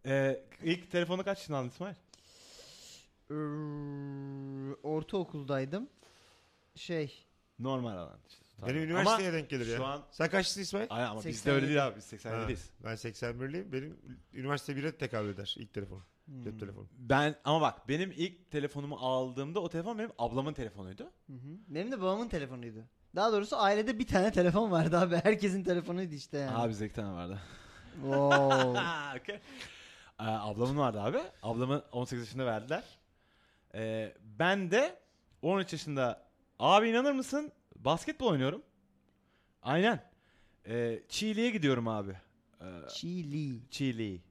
Speaker 3: Ee, ilk telefonu kaç yaşında aldın İsmail?
Speaker 5: Eee, Ortaokuldaydım. Şey.
Speaker 3: Normal alan. işte. Tamam.
Speaker 4: Benim
Speaker 3: Ama
Speaker 4: üniversiteye denk gelir ya.
Speaker 3: Şu an...
Speaker 4: Sen kaçlısın İsmail?
Speaker 3: Ay ama bizde
Speaker 5: 87.
Speaker 3: öyle değil abi. Biz
Speaker 4: Ha,
Speaker 3: 87'liyiz.
Speaker 4: ben 81'liyim. Benim üniversite 1'e tekabül eder ilk telefon.
Speaker 3: Hmm.
Speaker 4: Cep telefonu.
Speaker 3: Ben ama bak benim ilk telefonumu aldığımda o telefon benim ablamın telefonuydu.
Speaker 5: Hı hı. Benim de babamın telefonuydu. Daha doğrusu ailede bir tane telefon vardı abi. Herkesin telefonuydu işte yani.
Speaker 3: Abi bizde iki tane vardı.
Speaker 5: Wow.
Speaker 3: Ha, okey. Ee, ablamın vardı abi. Ablamı 18 yaşında verdiler. Ee, ben de 13 yaşında abi inanır mısın basketbol oynuyorum. Aynen. Ee, Çiğli'ye gidiyorum abi. Ee,
Speaker 5: Chili.
Speaker 3: Çiğli.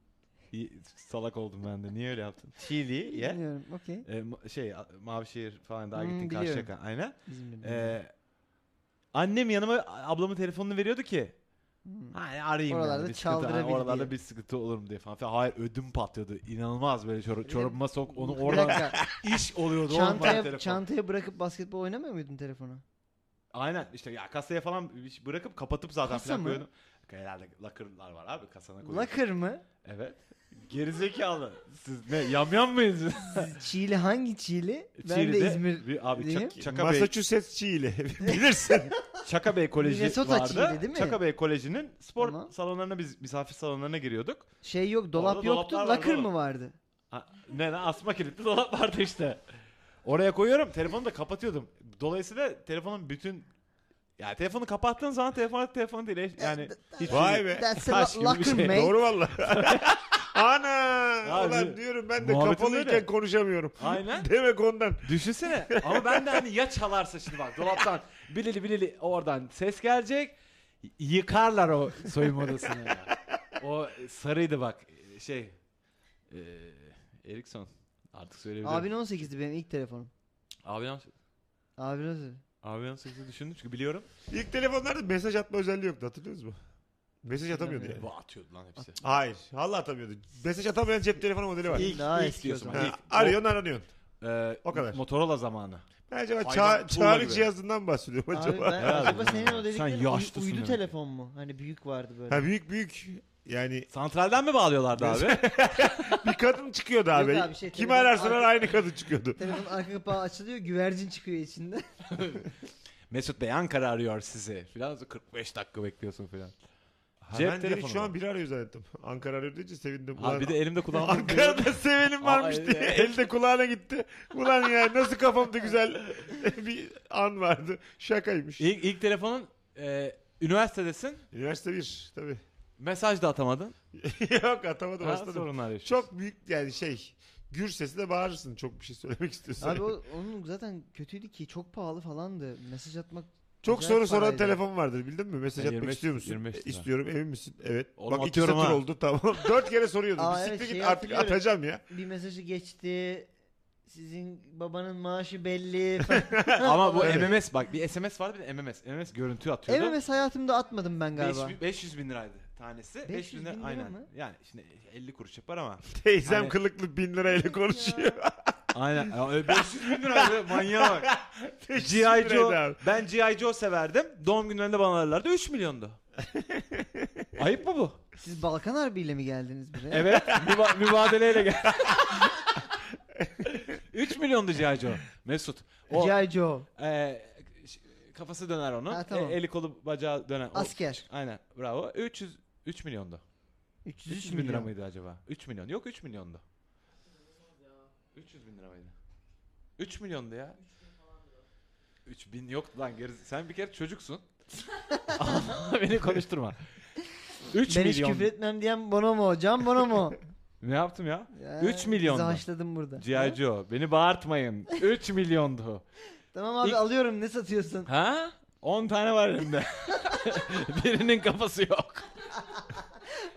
Speaker 3: İyi, Salak oldum ben de. Niye öyle yaptın? Çiğli'ye.
Speaker 5: Bilmiyorum. Okey.
Speaker 3: Ee, ma- şey A- Mavişehir falan daha
Speaker 5: Hmm,
Speaker 3: gittin
Speaker 5: biliyorum. Hmm.
Speaker 3: Karşıyaka. Aynen.
Speaker 5: Bizim de bilmiyorum.
Speaker 3: Ee, annem yanıma ablamın telefonunu veriyordu ki
Speaker 5: Hmm.
Speaker 3: Hani arayayım
Speaker 5: Oralarda
Speaker 3: yani bir sıkıntı- hani
Speaker 5: çaldırabil
Speaker 3: oralarda
Speaker 5: diye.
Speaker 3: bir sıkıntı olur mu diye falan. filan. Hayır ödüm patlıyordu. İnanılmaz böyle çor- çorabıma sok onu
Speaker 5: Bir
Speaker 3: oradan
Speaker 5: dakika.
Speaker 3: iş oluyordu. oğlum bana
Speaker 5: çantaya,
Speaker 3: telefon.
Speaker 5: çantaya bırakıp basketbol oynamıyor muydun telefonu?
Speaker 3: Aynen işte ya kasaya falan bir- şey bırakıp kapatıp zaten
Speaker 5: Kasa
Speaker 3: falan
Speaker 5: mı?
Speaker 3: koyuyordum. Herhalde lakırlar var abi kasana koyuyordum.
Speaker 5: Lakır mı?
Speaker 3: Evet. Gerizekalı. Siz ne yamyam mıyız?
Speaker 5: Çiğli hangi Çiğli? Ben de
Speaker 3: E, Çiğli'de
Speaker 5: İzmir.
Speaker 3: bir abi
Speaker 5: diyeyim.
Speaker 3: Çak- Çaka Bey,
Speaker 4: Massachusetts Çiğli. Bilirsin.
Speaker 3: Çaka Bey Koleji
Speaker 5: Minnesota
Speaker 3: vardı.
Speaker 5: Çiğli değil mi?
Speaker 3: Çaka Bey Koleji'nin spor
Speaker 5: Tamam.
Speaker 3: salonlarına biz misafir salonlarına giriyorduk.
Speaker 5: Şey yok dolap
Speaker 3: Orada
Speaker 5: yoktu.
Speaker 3: dolaplar vardı
Speaker 5: Lakır
Speaker 3: oğlum.
Speaker 5: mı vardı?
Speaker 3: Ha, ne lan asma kilitli dolap vardı işte. Oraya koyuyorum telefonu da kapatıyordum. Dolayısıyla telefonun bütün Yani telefonu kapattığın zaman telefon telefon değil. eş- Yani hiçbir
Speaker 4: Vay
Speaker 3: şey-
Speaker 4: be.
Speaker 5: That's
Speaker 3: Taş
Speaker 5: a
Speaker 3: gibi bir
Speaker 5: locker
Speaker 3: şey.
Speaker 5: mate.
Speaker 4: Doğru valla. Ana!
Speaker 3: Abi,
Speaker 4: Ulan diyorum ben de
Speaker 3: muhabbetin
Speaker 4: kapalıyken
Speaker 3: öyle.
Speaker 4: konuşamıyorum.
Speaker 3: Aynen.
Speaker 4: Demek ondan.
Speaker 3: Düşünsene. Ama ben de hani ya çalarsa şimdi bak dolaptan bilili bilili oradan ses gelecek. y- Yıkarlar o soyunma odasını. ya. O sarıydı bak şey. E, Erikson. Artık söyleyebilirim.
Speaker 5: Abin 18'di benim ilk telefonum.
Speaker 3: Abi
Speaker 5: Abin 18.
Speaker 3: Abi ben sesini düşündüm çünkü biliyorum.
Speaker 4: İlk telefonlarda mesaj atma özelliği yoktu hatırlıyorsunuz mu? Mesaj atamıyordu yani.
Speaker 3: E, Bu atıyordu lan hepsi.
Speaker 4: Hayır. Valla atamıyordu. Mesaj atamayan cep telefonu modeli var.
Speaker 3: İlk,
Speaker 5: Daha
Speaker 3: ilk
Speaker 5: eski
Speaker 3: diyorsun.
Speaker 5: o
Speaker 3: bak,
Speaker 5: zaman.
Speaker 4: Ha,
Speaker 3: ilk.
Speaker 4: arıyorsun aranıyorsun.
Speaker 3: Ee,
Speaker 4: O kadar.
Speaker 3: Motorola zamanı.
Speaker 4: Bence acaba
Speaker 3: Hayvan
Speaker 4: ça-
Speaker 3: tuğla
Speaker 4: çağrı
Speaker 3: gibi.
Speaker 4: cihazından bahsediyor
Speaker 5: Abi
Speaker 4: acaba.
Speaker 5: ben,
Speaker 3: Herhalde.
Speaker 5: acaba senin o dediklerin uy-
Speaker 3: yaşlısın
Speaker 5: uydu
Speaker 3: demek ki.
Speaker 5: telefon mu? Hani büyük vardı böyle.
Speaker 4: Ha büyük büyük yani
Speaker 3: Santralden mi bağlıyorlardı abi?
Speaker 4: bir kadın çıkıyordu abi.
Speaker 5: abi, şey,
Speaker 4: Kimi
Speaker 5: telefon-
Speaker 4: ararsan ara aynı kadın çıkıyordu.
Speaker 5: Telefonun arka kapağı açılıyor güvercin çıkıyor içinde.
Speaker 3: Mesut Bey Ankara arıyor sizi. Filan 45 dakika bekliyorsun filan.
Speaker 4: Ha,
Speaker 3: Cep
Speaker 4: ben direkt
Speaker 3: telefonu
Speaker 4: şu
Speaker 3: var.
Speaker 4: an biri arıyor zannettim. Ankara arıyor deyince sevindim. Ulan-
Speaker 3: Abi bir de elimde kulağım.
Speaker 4: Ankara'da sevenim varmış
Speaker 3: Aa,
Speaker 4: diye
Speaker 3: evet.
Speaker 4: elde kulağına gitti. Ulan ya nasıl kafamda güzel bir an vardı. Şakaymış.
Speaker 3: ilk, ilk telefonun e, üniversitedesin.
Speaker 4: Üniversite 1 tabii.
Speaker 3: Mesaj da atamadın.
Speaker 4: Yok atamadım
Speaker 3: Ha,
Speaker 4: aslında.
Speaker 3: sorunlar yaşıyorsun.
Speaker 4: Çok büyük yani şey gür sesle bağırırsın çok bir şey söylemek istiyorsan.
Speaker 5: Abi o, onun zaten kötüydü ki çok pahalı falandı. Mesaj atmak
Speaker 4: çok
Speaker 5: acayip
Speaker 4: soru soran
Speaker 5: paraydı.
Speaker 4: telefon vardır bildin mi? Mesaj
Speaker 3: E,
Speaker 4: atmak
Speaker 3: 25
Speaker 4: istiyor musun?
Speaker 3: 25 lira.
Speaker 4: E, İstiyorum emin misin? Evet.
Speaker 3: Oğlum
Speaker 4: Bak iki
Speaker 3: atıyorum
Speaker 4: satır
Speaker 3: ha.
Speaker 4: oldu tamam. Dört kere soruyordum.
Speaker 5: Aa,
Speaker 4: Bir Siktir
Speaker 5: evet,
Speaker 4: git
Speaker 5: şeyi
Speaker 4: artık
Speaker 5: hatırlıyorum.
Speaker 4: atacağım ya.
Speaker 5: Bir mesajı geçti. Sizin babanın maaşı belli. falan.
Speaker 3: Ama bu MMS bak bir SMS vardı bir de MMS. MMS görüntü atıyordu.
Speaker 5: MMS hayatımda atmadım ben galiba.
Speaker 3: 500, 500 bin liraydı tanesi.
Speaker 5: 500
Speaker 3: 500 bin lira,
Speaker 5: bin lira
Speaker 3: aynen.
Speaker 5: mı?
Speaker 3: Yani şimdi 50 kuruş yapar ama.
Speaker 4: Teyzem
Speaker 3: Hani-
Speaker 4: kılıklı bin lirayla konuşuyor.
Speaker 3: aynen. Ya, öyle 500 bin liraydı manyağa bak. G.I.
Speaker 4: Teşekkür
Speaker 3: Joe,
Speaker 4: ederim.
Speaker 3: ben G.I. Joe severdim. Doğum günlerinde bana ararlardı 3 milyondu. Ayıp mı bu?
Speaker 5: Siz Balkan Harbi ile mi geldiniz buraya?
Speaker 3: Evet. müba- mübadeleyle gel. 3 milyondu G.I. Joe. Mesut. O,
Speaker 5: G.I. Joe.
Speaker 3: e, ş- kafası döner onun.
Speaker 5: Ha, tamam.
Speaker 3: E, eli kolu bacağı döner. O-
Speaker 5: Asker.
Speaker 3: aynen. Bravo. 300 3 milyondu.
Speaker 5: 300,
Speaker 3: 300 bin lira mıydı acaba? 3 milyon. Yok 3 milyondu. 300 bin lira mıydı? 3 milyondu ya. 3 bin yok lan geri. Sen bir kere çocuksun. Beni konuşturma. 3
Speaker 5: Ben hiç
Speaker 3: milyon.
Speaker 5: küfür etmem diyen Bonomo. Can Bonomo.
Speaker 3: Ne yaptım ya?
Speaker 5: Ya,
Speaker 3: Üç milyondu.
Speaker 5: Bizi haşladım burada.
Speaker 3: G.I. Joe. Beni bağırtmayın. 3 milyondu.
Speaker 5: Tamam abi
Speaker 3: İlk-
Speaker 5: alıyorum ne satıyorsun?
Speaker 3: Ha? 10 tane var elimde. Birinin kafası yok.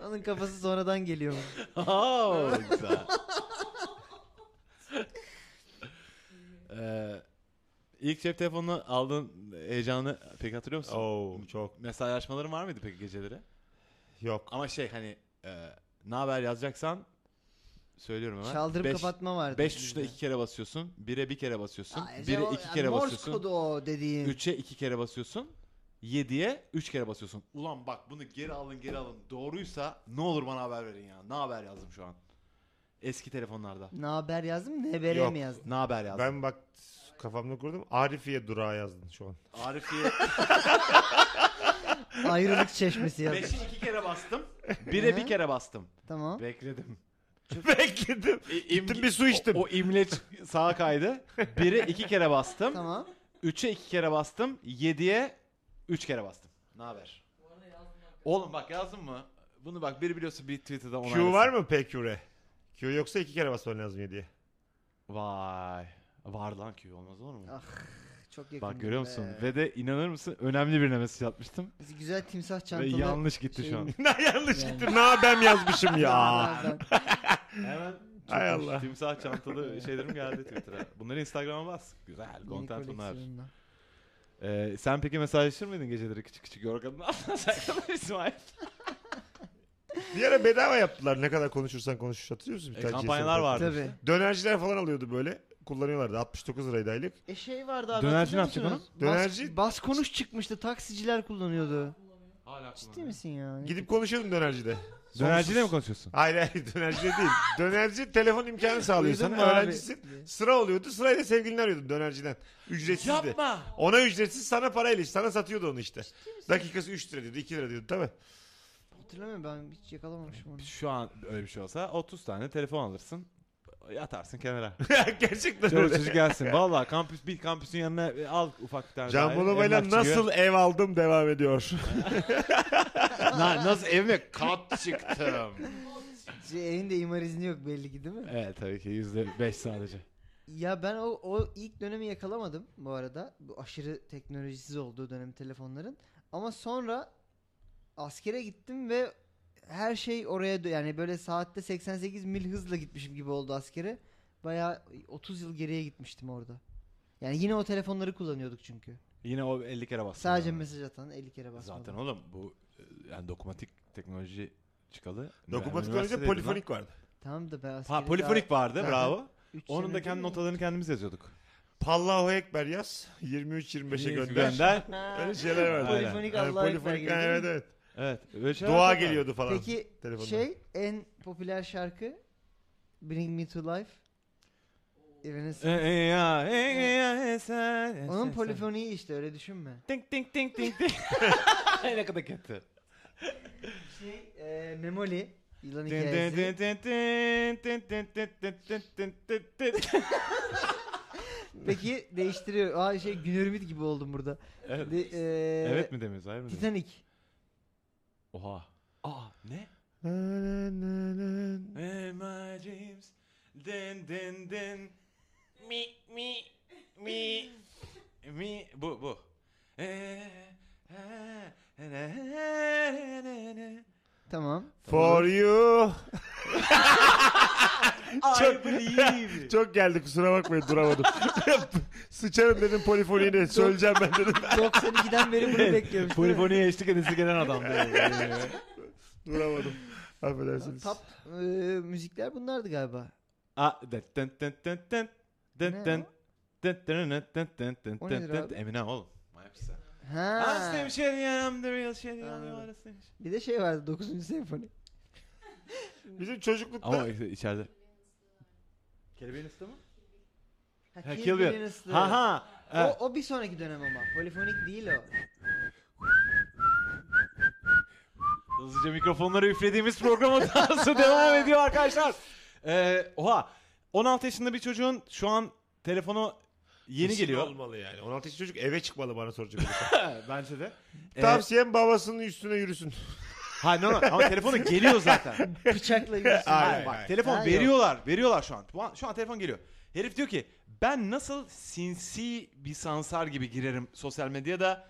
Speaker 5: Onun kafası sonradan geliyor.
Speaker 3: Oo, güzel. ee, ilk cep telefonunu aldığın heyecanı pek hatırlıyor musun?
Speaker 4: Oo çok.
Speaker 3: Mesajlaşmaların var mıydı peki geceleri?
Speaker 4: Yok.
Speaker 3: Ama şey hani ne haber yazacaksan söylüyorum hemen.
Speaker 5: Çaldırıp
Speaker 3: Beş-
Speaker 5: kapatma vardı.
Speaker 3: Beş
Speaker 5: bizde.
Speaker 3: tuşuna iki kere basıyorsun. Bire bir kere basıyorsun.
Speaker 5: Aa, Ece
Speaker 3: bire
Speaker 5: o-
Speaker 3: iki
Speaker 5: yani
Speaker 3: kere
Speaker 5: Morse
Speaker 3: basıyorsun.
Speaker 5: kodu o dediğin.
Speaker 3: Üçe iki kere basıyorsun. Yediye üç kere basıyorsun. Ulan bak bunu geri alın geri alın. Doğruysa ne olur bana haber verin ya. Ne haber yazdım şu an. Eski telefonlarda.
Speaker 5: Ne haber yazdım ne habere
Speaker 4: Yok.
Speaker 5: mi yazdım?
Speaker 3: Ne haber yazdım.
Speaker 4: Ben bak kafamda kurdum. Arifiye durağı yazdın şu an.
Speaker 3: Arifiye
Speaker 5: Ayrılık çeşmesi yazdım.
Speaker 3: beşi iki kere bastım. Bire
Speaker 5: Hı.
Speaker 3: bir kere bastım.
Speaker 5: tamam.
Speaker 3: Bekledim.
Speaker 4: Bekledim.
Speaker 3: İ- imge-
Speaker 4: Gittim bir su içtim.
Speaker 3: O, o imleç sağa kaydı. Bire iki kere bastım.
Speaker 5: Tamam.
Speaker 3: Üçe iki kere bastım. Yediye üç kere bastım. Ne haber? Oğlum bak yazdın mı? Bunu bak biri biliyorsun bir Twitter'da onaylasın.
Speaker 4: Q var mı PQ're? Q yoksa iki kere basman lazım yediye.
Speaker 3: Vay. Var lan Q olmaz olur mu?
Speaker 5: Ah, Çok yakın.
Speaker 3: Bak görüyor musun? Ve de inanır mısın önemli birine mesaj atmıştım.
Speaker 5: Biz güzel timsah
Speaker 3: Ve
Speaker 5: çantalı.
Speaker 3: yanlış gitti
Speaker 4: şey
Speaker 3: şu an.
Speaker 5: şeyin-
Speaker 4: Ne yanlış
Speaker 5: Yani.
Speaker 4: gitti. Ne yapayım yazmışım ya.
Speaker 5: Dağlardan.
Speaker 3: Hemen
Speaker 4: Hay Allah.
Speaker 3: timsah çantalı şeylerim geldi Twitter'a. Bunları Instagram'a bas. Güzel.
Speaker 5: Yeni
Speaker 3: Content bunlar.
Speaker 5: koleksiyonundan.
Speaker 3: Ee, sen peki mesajlaşır mıydın geceleri küçük küçük yorganın altına saklanır İsmail?
Speaker 4: Bir ara bedava yaptılar. Ne kadar konuşursan konuş. Hatırlıyor musun? Bir
Speaker 3: E,
Speaker 4: tane
Speaker 3: kampanyalar
Speaker 4: GSM
Speaker 3: vardı.
Speaker 5: Tabii.
Speaker 4: Dönerciler falan alıyordu böyle. Kullanıyorlardı. 69 liraydı aylık.
Speaker 5: E şey vardı abi.
Speaker 3: Dönerci
Speaker 5: hatırlıyor
Speaker 3: ne yapacak
Speaker 5: musunuz?
Speaker 4: Dönerci-
Speaker 5: Bas, bas konuş çıkmıştı. Taksiciler kullanıyordu.
Speaker 3: Hala
Speaker 5: Ciddi misin ya?
Speaker 4: Gidip konuşuyordum dönercide.
Speaker 3: Dönerciyle mi konuşuyorsun?
Speaker 4: Hayır hayır dönercide değil. Dönerci telefon imkanı sağlıyor
Speaker 5: Duydun
Speaker 4: sana.
Speaker 5: mu abi?
Speaker 4: Öğrencisin. Sıra oluyordu. Sırayla sevgilini arıyordun dönerciden. Ücretsizdi.
Speaker 3: Yapma.
Speaker 4: Ona ücretsiz sana parayla işte. Sana satıyordu onu işte. Dakikası 3 lira diyordu 2 lira diyordu tabii.
Speaker 5: Hatırlamıyorum ben hiç yakalamamışım onu.
Speaker 3: Şu an öyle bir şey olsa 30 tane telefon alırsın. Yatarsın kenara.
Speaker 4: Gerçekten
Speaker 3: Çoluk
Speaker 4: öyle.
Speaker 3: çocuk gelsin. Valla kampüs bir kampüsün yanına e, al ufak bir tane.
Speaker 4: Can
Speaker 3: daire,
Speaker 4: Bonomo'yla
Speaker 3: emlak çıkıyor.
Speaker 4: nasıl ev aldım devam ediyor.
Speaker 3: Na- nasıl ev mi? Kat çıktım.
Speaker 5: Evin de Şey, imar izni yok belli ki değil mi?
Speaker 3: evet tabii ki yüzde beş sadece.
Speaker 5: Ya ben o, o ilk dönemi yakalamadım bu arada. Bu aşırı teknolojisiz olduğu dönemi telefonların. Ama sonra askere gittim ve her şey oraya dö- yani böyle saatte 88 mil hızla gitmişim gibi oldu askere. Bayağı 30 yıl geriye gitmiştim orada. Yani yine o telefonları kullanıyorduk çünkü.
Speaker 3: Yine o 50 kere bastı.
Speaker 5: Sadece
Speaker 3: Yani.
Speaker 5: mesaj atan 50 kere basmadan.
Speaker 3: Zaten oğlum bu e, yani dokumatik teknoloji çıkalı.
Speaker 4: Dokumatik
Speaker 3: Ben
Speaker 4: olunca
Speaker 3: üniversitedeydim
Speaker 4: polifonik vardı.
Speaker 5: Tamam da ben
Speaker 3: lan. Ha,
Speaker 5: askere
Speaker 3: polifonik vardı
Speaker 5: Zaten-
Speaker 3: bravo.
Speaker 5: daha üç
Speaker 3: Onun da
Speaker 5: sene
Speaker 3: kendi
Speaker 5: değil mi?
Speaker 3: notalarını kendimiz yazıyorduk.
Speaker 4: Pallahu Ekber yaz. 23-25'e gönder.
Speaker 3: şey
Speaker 4: Öyle şeyler vardı.
Speaker 3: Aynen.
Speaker 5: Polifonik
Speaker 4: Yani
Speaker 5: Allah'a ekber
Speaker 4: polifonik-
Speaker 5: gibi değil mi?
Speaker 4: Evet evet.
Speaker 3: Evet. Öyle şeyler
Speaker 4: Dua
Speaker 3: vardı.
Speaker 4: geliyordu falan.
Speaker 5: Peki
Speaker 4: telefonda.
Speaker 5: şey en popüler şarkı Bring Me To Life. Evanescence.
Speaker 3: E, e, ya, e, e, ya, e, sen, e, sen,
Speaker 5: Onun
Speaker 3: sen.
Speaker 5: polifoniği işte öyle düşünme.
Speaker 3: Tink tink tink tink tink. ne kadar kötü.
Speaker 5: Şey e, Memoli yılan
Speaker 3: Dın dın dın
Speaker 5: hikayesi.
Speaker 3: dın dın dın dın dın dın dın dın dın dın.
Speaker 5: Peki değiştiriyor. Aa şey Güner Ümit gibi oldum burada.
Speaker 3: Evet.
Speaker 5: De, e,
Speaker 3: Evet mi demiyoruz? Hayır mı demiyoruz?
Speaker 5: Titanic.
Speaker 3: Oha. Aa ne? In my dreams. Dın dın dın. Mi mi mi mi bu bu. Ee, ha, ne, ne, ne, ne.
Speaker 5: Tamam.
Speaker 4: For you.
Speaker 3: I believe.
Speaker 4: Çok geldi kusura bakmayın duramadım. Sıçarım dedim polifoniğini. Söyleyeceğim ben dedim.
Speaker 5: 92'den beri bunu bekliyorum.
Speaker 3: Polifoniye eşlik edesi gelen adam.
Speaker 4: Duramadım. Affedersiniz.
Speaker 5: Top e, müzikler bunlardı galiba.
Speaker 3: Ah, dın dın dın dın dın dın
Speaker 5: Ne
Speaker 3: dın dın
Speaker 5: o?
Speaker 3: dın dın dın dın dın
Speaker 5: O
Speaker 3: dın
Speaker 5: nedir
Speaker 3: dın.
Speaker 5: abi?
Speaker 3: Eminem oğlum. My Pisa. I'm
Speaker 5: Ha.
Speaker 3: Slim Shady and I'm the real Shady I'm the
Speaker 5: Anladım.
Speaker 3: honest Slim Shady.
Speaker 5: Bir de şey vardı 9. senfoni.
Speaker 4: Bizim çocuklukta
Speaker 3: Ama işte içeride. Kelebeğin ısıtı mı?
Speaker 5: Ha,
Speaker 3: Ha,
Speaker 5: Kill
Speaker 3: Kill Bill.
Speaker 5: Bill'in ıslığı.
Speaker 3: Ha ha. Evet.
Speaker 5: O, o bir sonraki dönem ama. Polifonik değil o.
Speaker 3: Hızlıca mikrofonları üflediğimiz programa dansı devam ediyor arkadaşlar. Ee, oha. 16 yaşında bir çocuğun şu an telefonu yeni
Speaker 4: Kesin
Speaker 3: geliyor.
Speaker 4: olmalı yani. 16 yaşında çocuk eve çıkmalı bana soracak. olursan.
Speaker 3: Bence de. Ee,
Speaker 4: Tavsiyem babasının üstüne yürüsün.
Speaker 3: ha, no, no, ama telefonu geliyor zaten.
Speaker 5: Bıçakla yürüsün.
Speaker 4: Aynen.
Speaker 3: Bak telefon
Speaker 5: Ha,
Speaker 3: veriyorlar. Veriyorlar şu an. Şu an- Şu an telefon geliyor. Herif diyor ki ben nasıl sinsi bir sansar gibi girerim sosyal medyada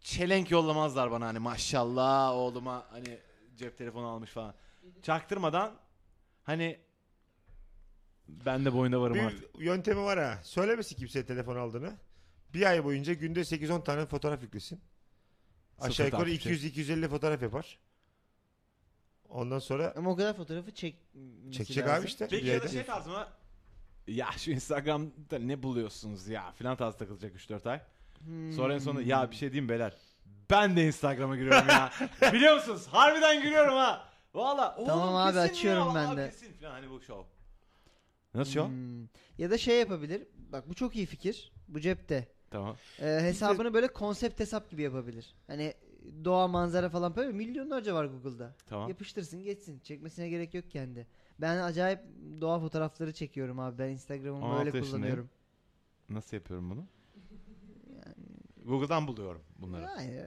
Speaker 3: çelenk yollamazlar bana hani maşallah oğluma hani cep telefonu almış falan. Çaktırmadan hani ben de boyunda varım artık.
Speaker 4: Bir yöntemi var ha. Söylemesin kimseye telefon aldığını. Bir ay boyunca günde 8-10 tane fotoğraf yüklesin. Aşağı
Speaker 3: Sıfır
Speaker 4: yukarı
Speaker 3: takipçi.
Speaker 4: 200-250 fotoğraf yapar. Ondan sonra
Speaker 5: Ama o kadar fotoğrafı çek
Speaker 4: çekecek
Speaker 5: lazım.
Speaker 4: abi işte.
Speaker 3: Peki
Speaker 4: Bir
Speaker 3: ya da
Speaker 4: ayda.
Speaker 3: şey tarzı mı? Ya şu Instagram'da ne buluyorsunuz ya filan tarzı takılacak 3-4 ay. Sonra en sonunda ya bir şey diyeyim beyler. Ben de Instagram'a giriyorum ya. Biliyor musunuz? Harbiden giriyorum ha. Valla. oğlum
Speaker 5: Tamam abi,
Speaker 3: kesin ya,
Speaker 5: açıyorum ben
Speaker 3: abi
Speaker 5: de.
Speaker 3: Kesin falan hani bu şov. Nasıl şov?
Speaker 5: Hmm. Ya da şey yapabilir. Bak bu çok iyi fikir. Bu cepte.
Speaker 3: Tamam.
Speaker 5: Ee, hesabını böyle konsept hesap gibi yapabilir. Hani doğa manzara falan böyle milyonlarca var Google'da.
Speaker 3: Tamam.
Speaker 5: Yapıştırsın geçsin. Çekmesine gerek yok kendi. Ben acayip doğa fotoğrafları çekiyorum abi. Ben Instagram'ımı
Speaker 3: 16
Speaker 5: öyle
Speaker 3: yaşındayım.
Speaker 5: kullanıyorum.
Speaker 3: Nasıl yapıyorum bunu? Google'dan buluyorum bunları.
Speaker 5: Hayır.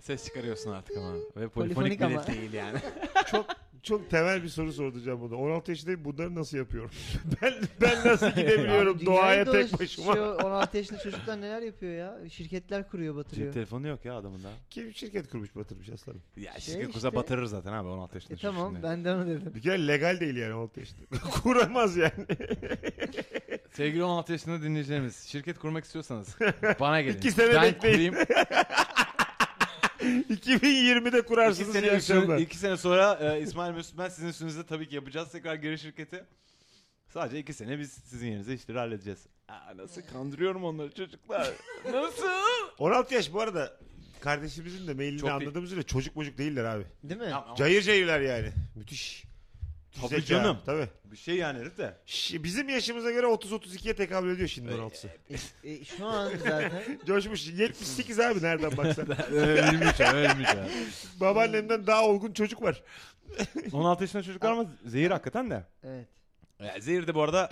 Speaker 3: Ses çıkarıyorsun artık ama. Ve polifonik,
Speaker 5: Polifonik ama.
Speaker 3: bile değil yani.
Speaker 4: Çok temel bir soru soracağım bunu. 16 yaşındayım bunları nasıl yapıyorum? ben ben nasıl gidebiliyorum
Speaker 5: Abi
Speaker 4: doğaya
Speaker 5: dünyayı
Speaker 4: tek
Speaker 5: dolaş-
Speaker 4: başıma?
Speaker 5: şu 16 yaşında çocuklar neler yapıyor ya? Şirketler kuruyor, batırıyor.
Speaker 3: Cep telefonu yok ya adamın daha.
Speaker 4: Kim şirket kurmuş batırmış aslanım.
Speaker 3: Ya şey
Speaker 5: Şey
Speaker 3: kuza
Speaker 5: işte-
Speaker 3: batırır zaten abi 16 yaşında.
Speaker 5: E
Speaker 3: çocuk
Speaker 5: tamam
Speaker 3: şimdi.
Speaker 5: ben de onu dedim.
Speaker 4: Bir kere legal değil yani 16 yaşında. Kuramaz yani.
Speaker 3: Sevgili 16 yaşında dinleyicilerimiz, şirket kurmak istiyorsanız bana gelin.
Speaker 4: İki sene
Speaker 3: ben
Speaker 4: bekleyin.
Speaker 3: kurayım.
Speaker 4: 2020'de
Speaker 3: İki
Speaker 4: kurarsınız
Speaker 3: sene,
Speaker 4: iyi akşamlar.
Speaker 3: üstüne- iki sene sonra e, İsmail Mesut ben sizin üstünüzde tabii ki yapacağız tekrar geri şirketi. Sadece iki sene biz sizin yerinize işleri halledeceğiz. Aa, nasıl kandırıyorum onları çocuklar. nasıl?
Speaker 4: 16 yaş bu arada kardeşimizin de mailini
Speaker 3: Çok değil.
Speaker 4: anladığımız üzere çocuk çocuk değiller abi.
Speaker 5: Değil mi?
Speaker 3: Tamam,
Speaker 4: Cayır cayırlar yani. Müthiş. Müthiş
Speaker 3: Tabii
Speaker 4: zeka.
Speaker 3: canım.
Speaker 4: Tabii.
Speaker 3: bir şey yani herif de.
Speaker 4: Şi- bizim yaşımıza göre 30-32'ye tekabül ediyor şimdi 16'sı.
Speaker 5: E, e, şu an zaten
Speaker 4: Coşmuş. 78 abi nereden baksan.
Speaker 3: ölmüş ya, ölmüş ya.
Speaker 4: Babaannemden daha olgun çocuk var.
Speaker 3: 16 yaşında çocuklar ama zehir hakikaten de.
Speaker 5: evet.
Speaker 3: E, Zehir'de bu arada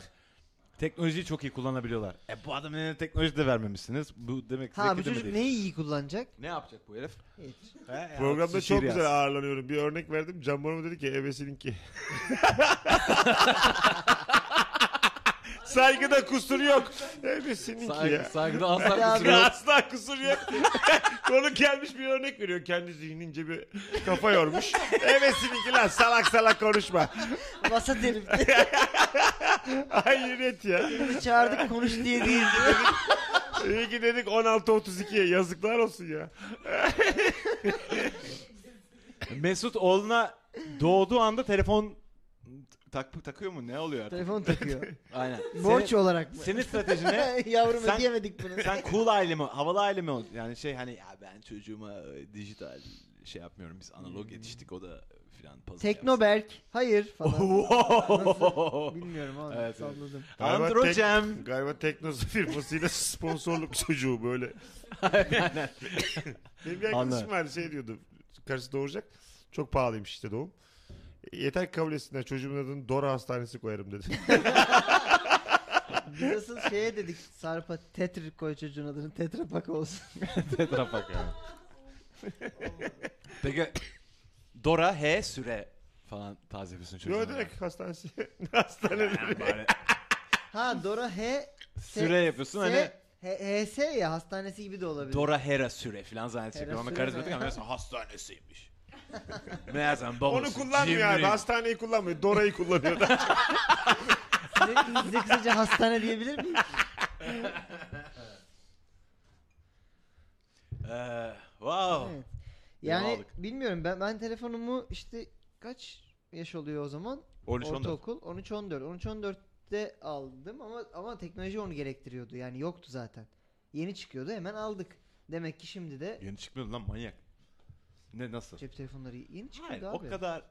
Speaker 3: teknolojiyi çok iyi kullanabiliyorlar. E bu adamın eline teknoloji de vermemişsiniz. Bu demek
Speaker 5: Ha
Speaker 3: zeki
Speaker 5: bu
Speaker 3: de mi
Speaker 5: çocuk
Speaker 3: değil?
Speaker 5: neyi iyi kullanacak?
Speaker 3: Ne yapacak bu herif?
Speaker 5: Hiç.
Speaker 3: He,
Speaker 4: Programda
Speaker 3: şiir
Speaker 4: çok güzel
Speaker 3: yazsın.
Speaker 4: ağırlanıyorum. Bir örnek verdim. Can Bonomo dedi ki ebesininki. Saygıda kusur yok. Ebesininki
Speaker 3: Saygı,
Speaker 4: ya.
Speaker 3: saygıda asla
Speaker 5: Ya
Speaker 3: kusur
Speaker 4: Ya
Speaker 3: yok.
Speaker 4: asla kusur yok. Konu gelmiş bir örnek veriyor. Kendi zihnince bir kafa yormuş. Ebesininki lan salak salak konuşma.
Speaker 5: Vasat herif.
Speaker 4: Hayret ya.
Speaker 5: Bizi çağırdık konuş diye değil.
Speaker 4: İyi ki dedik 16.32'ye yazıklar olsun ya.
Speaker 3: Mesut oğluna doğduğu anda telefon tak, takıyor mu? Ne oluyor artık?
Speaker 5: Telefon takıyor.
Speaker 3: Aynen.
Speaker 5: Borç olarak mı?
Speaker 3: Senin, senin stratejine
Speaker 5: Yavrum
Speaker 3: Sen-
Speaker 5: ödeyemedik bunu.
Speaker 3: sen cool aile mi, havalı aile mi ol? Yani şey hani ya ben çocuğuma e, dijital şey yapmıyorum. Biz
Speaker 5: Hmm.
Speaker 3: analog yetiştik o da filan puzzle yapsın.
Speaker 5: Teknoberk. Hayır falan.
Speaker 3: Wow.
Speaker 5: Bilmiyorum abi.
Speaker 3: Evet, evet.
Speaker 5: salladım.
Speaker 4: Galiba tek-
Speaker 3: Androcem.
Speaker 4: Galiba Teknosu firmasıyla sponsorluk çocuğu böyle. Benim bir arkadaşım
Speaker 3: Anladım.
Speaker 4: vardı şey diyordu. Karısı doğuracak. Çok pahalıymış işte doğum. Yeter ki kabul etsinler çocuğumun adını Dora Hastanesi koyarım dedi.
Speaker 5: Biz asıl şeye dedik Sarp'a Tetr koy çocuğun adını Tetra Pak olsun.
Speaker 3: Tetra Pak yani. Peki Dora H süre falan taze yapıyorsun çocuğuna.
Speaker 4: Yo direkt hastanesi. Hastane
Speaker 3: Yani
Speaker 4: dedi.
Speaker 3: bari
Speaker 5: Ha Dora H
Speaker 3: süre yapıyorsun hani
Speaker 5: S H- HS ya hastanesi gibi de olabilir.
Speaker 3: Dora Hera süre falan zannedecekler.
Speaker 5: Hera
Speaker 3: Ona
Speaker 5: süre
Speaker 3: karizmatik
Speaker 5: ne?
Speaker 3: ama meğerse hastanesiymiş. Meğersem babası.
Speaker 4: Onu kullanmıyor abi.
Speaker 3: cimri.
Speaker 4: Hastaneyi kullanmıyor. Dora'yı kullanıyor. da.
Speaker 5: Size, size kısaca hastane diyebilir miyim?
Speaker 3: Ee, wow.
Speaker 5: Evet. Yani
Speaker 3: aldık.
Speaker 5: bilmiyorum ben ben telefonumu işte kaç yaş oluyor o zaman?
Speaker 3: 13 14.
Speaker 5: Ortaokul 13 14. 13 14'te aldım ama ama teknoloji onu gerektiriyordu. Yani yoktu zaten. Yeni çıkıyordu hemen aldık. Demek ki şimdi de
Speaker 3: Hmm. Yeni çıkmıyordu lan manyak. Ne nasıl?
Speaker 5: cep telefonları yeni çıkıyordu
Speaker 3: Hayır
Speaker 5: abi.
Speaker 3: o kadar.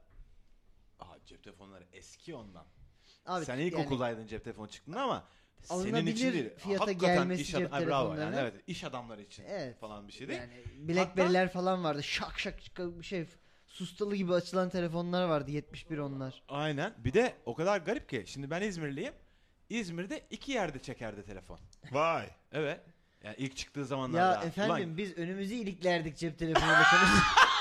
Speaker 3: Aa cep telefonları eski ondan.
Speaker 5: Abi,
Speaker 3: Sen
Speaker 5: yani-
Speaker 3: ilkokuldaydın cep telefonu çıktın ama senin
Speaker 5: Alınabilir
Speaker 3: için değil.
Speaker 5: fiyata
Speaker 3: Hakikaten
Speaker 5: gelmesi
Speaker 3: iş
Speaker 5: cep
Speaker 3: adam- Ay, bravo yani
Speaker 5: telefonlarının.
Speaker 3: evet iş adamları için
Speaker 5: Evet.
Speaker 3: falan bir şey değil.
Speaker 5: Yani Blackberry'ler falan vardı. Şak şak şak bir şey sustalı gibi açılan telefonlar vardı 71 onlar.
Speaker 3: Aynen. Bir de o kadar garip ki şimdi ben İzmirliyim. İzmir'de iki yerde çekerdi telefon.
Speaker 4: Vay.
Speaker 3: Evet. Yani ilk çıktığı zamanlarda.
Speaker 5: Ya efendim biz önümüzü iliklerdik cep telefonuyla konuşuyoruz.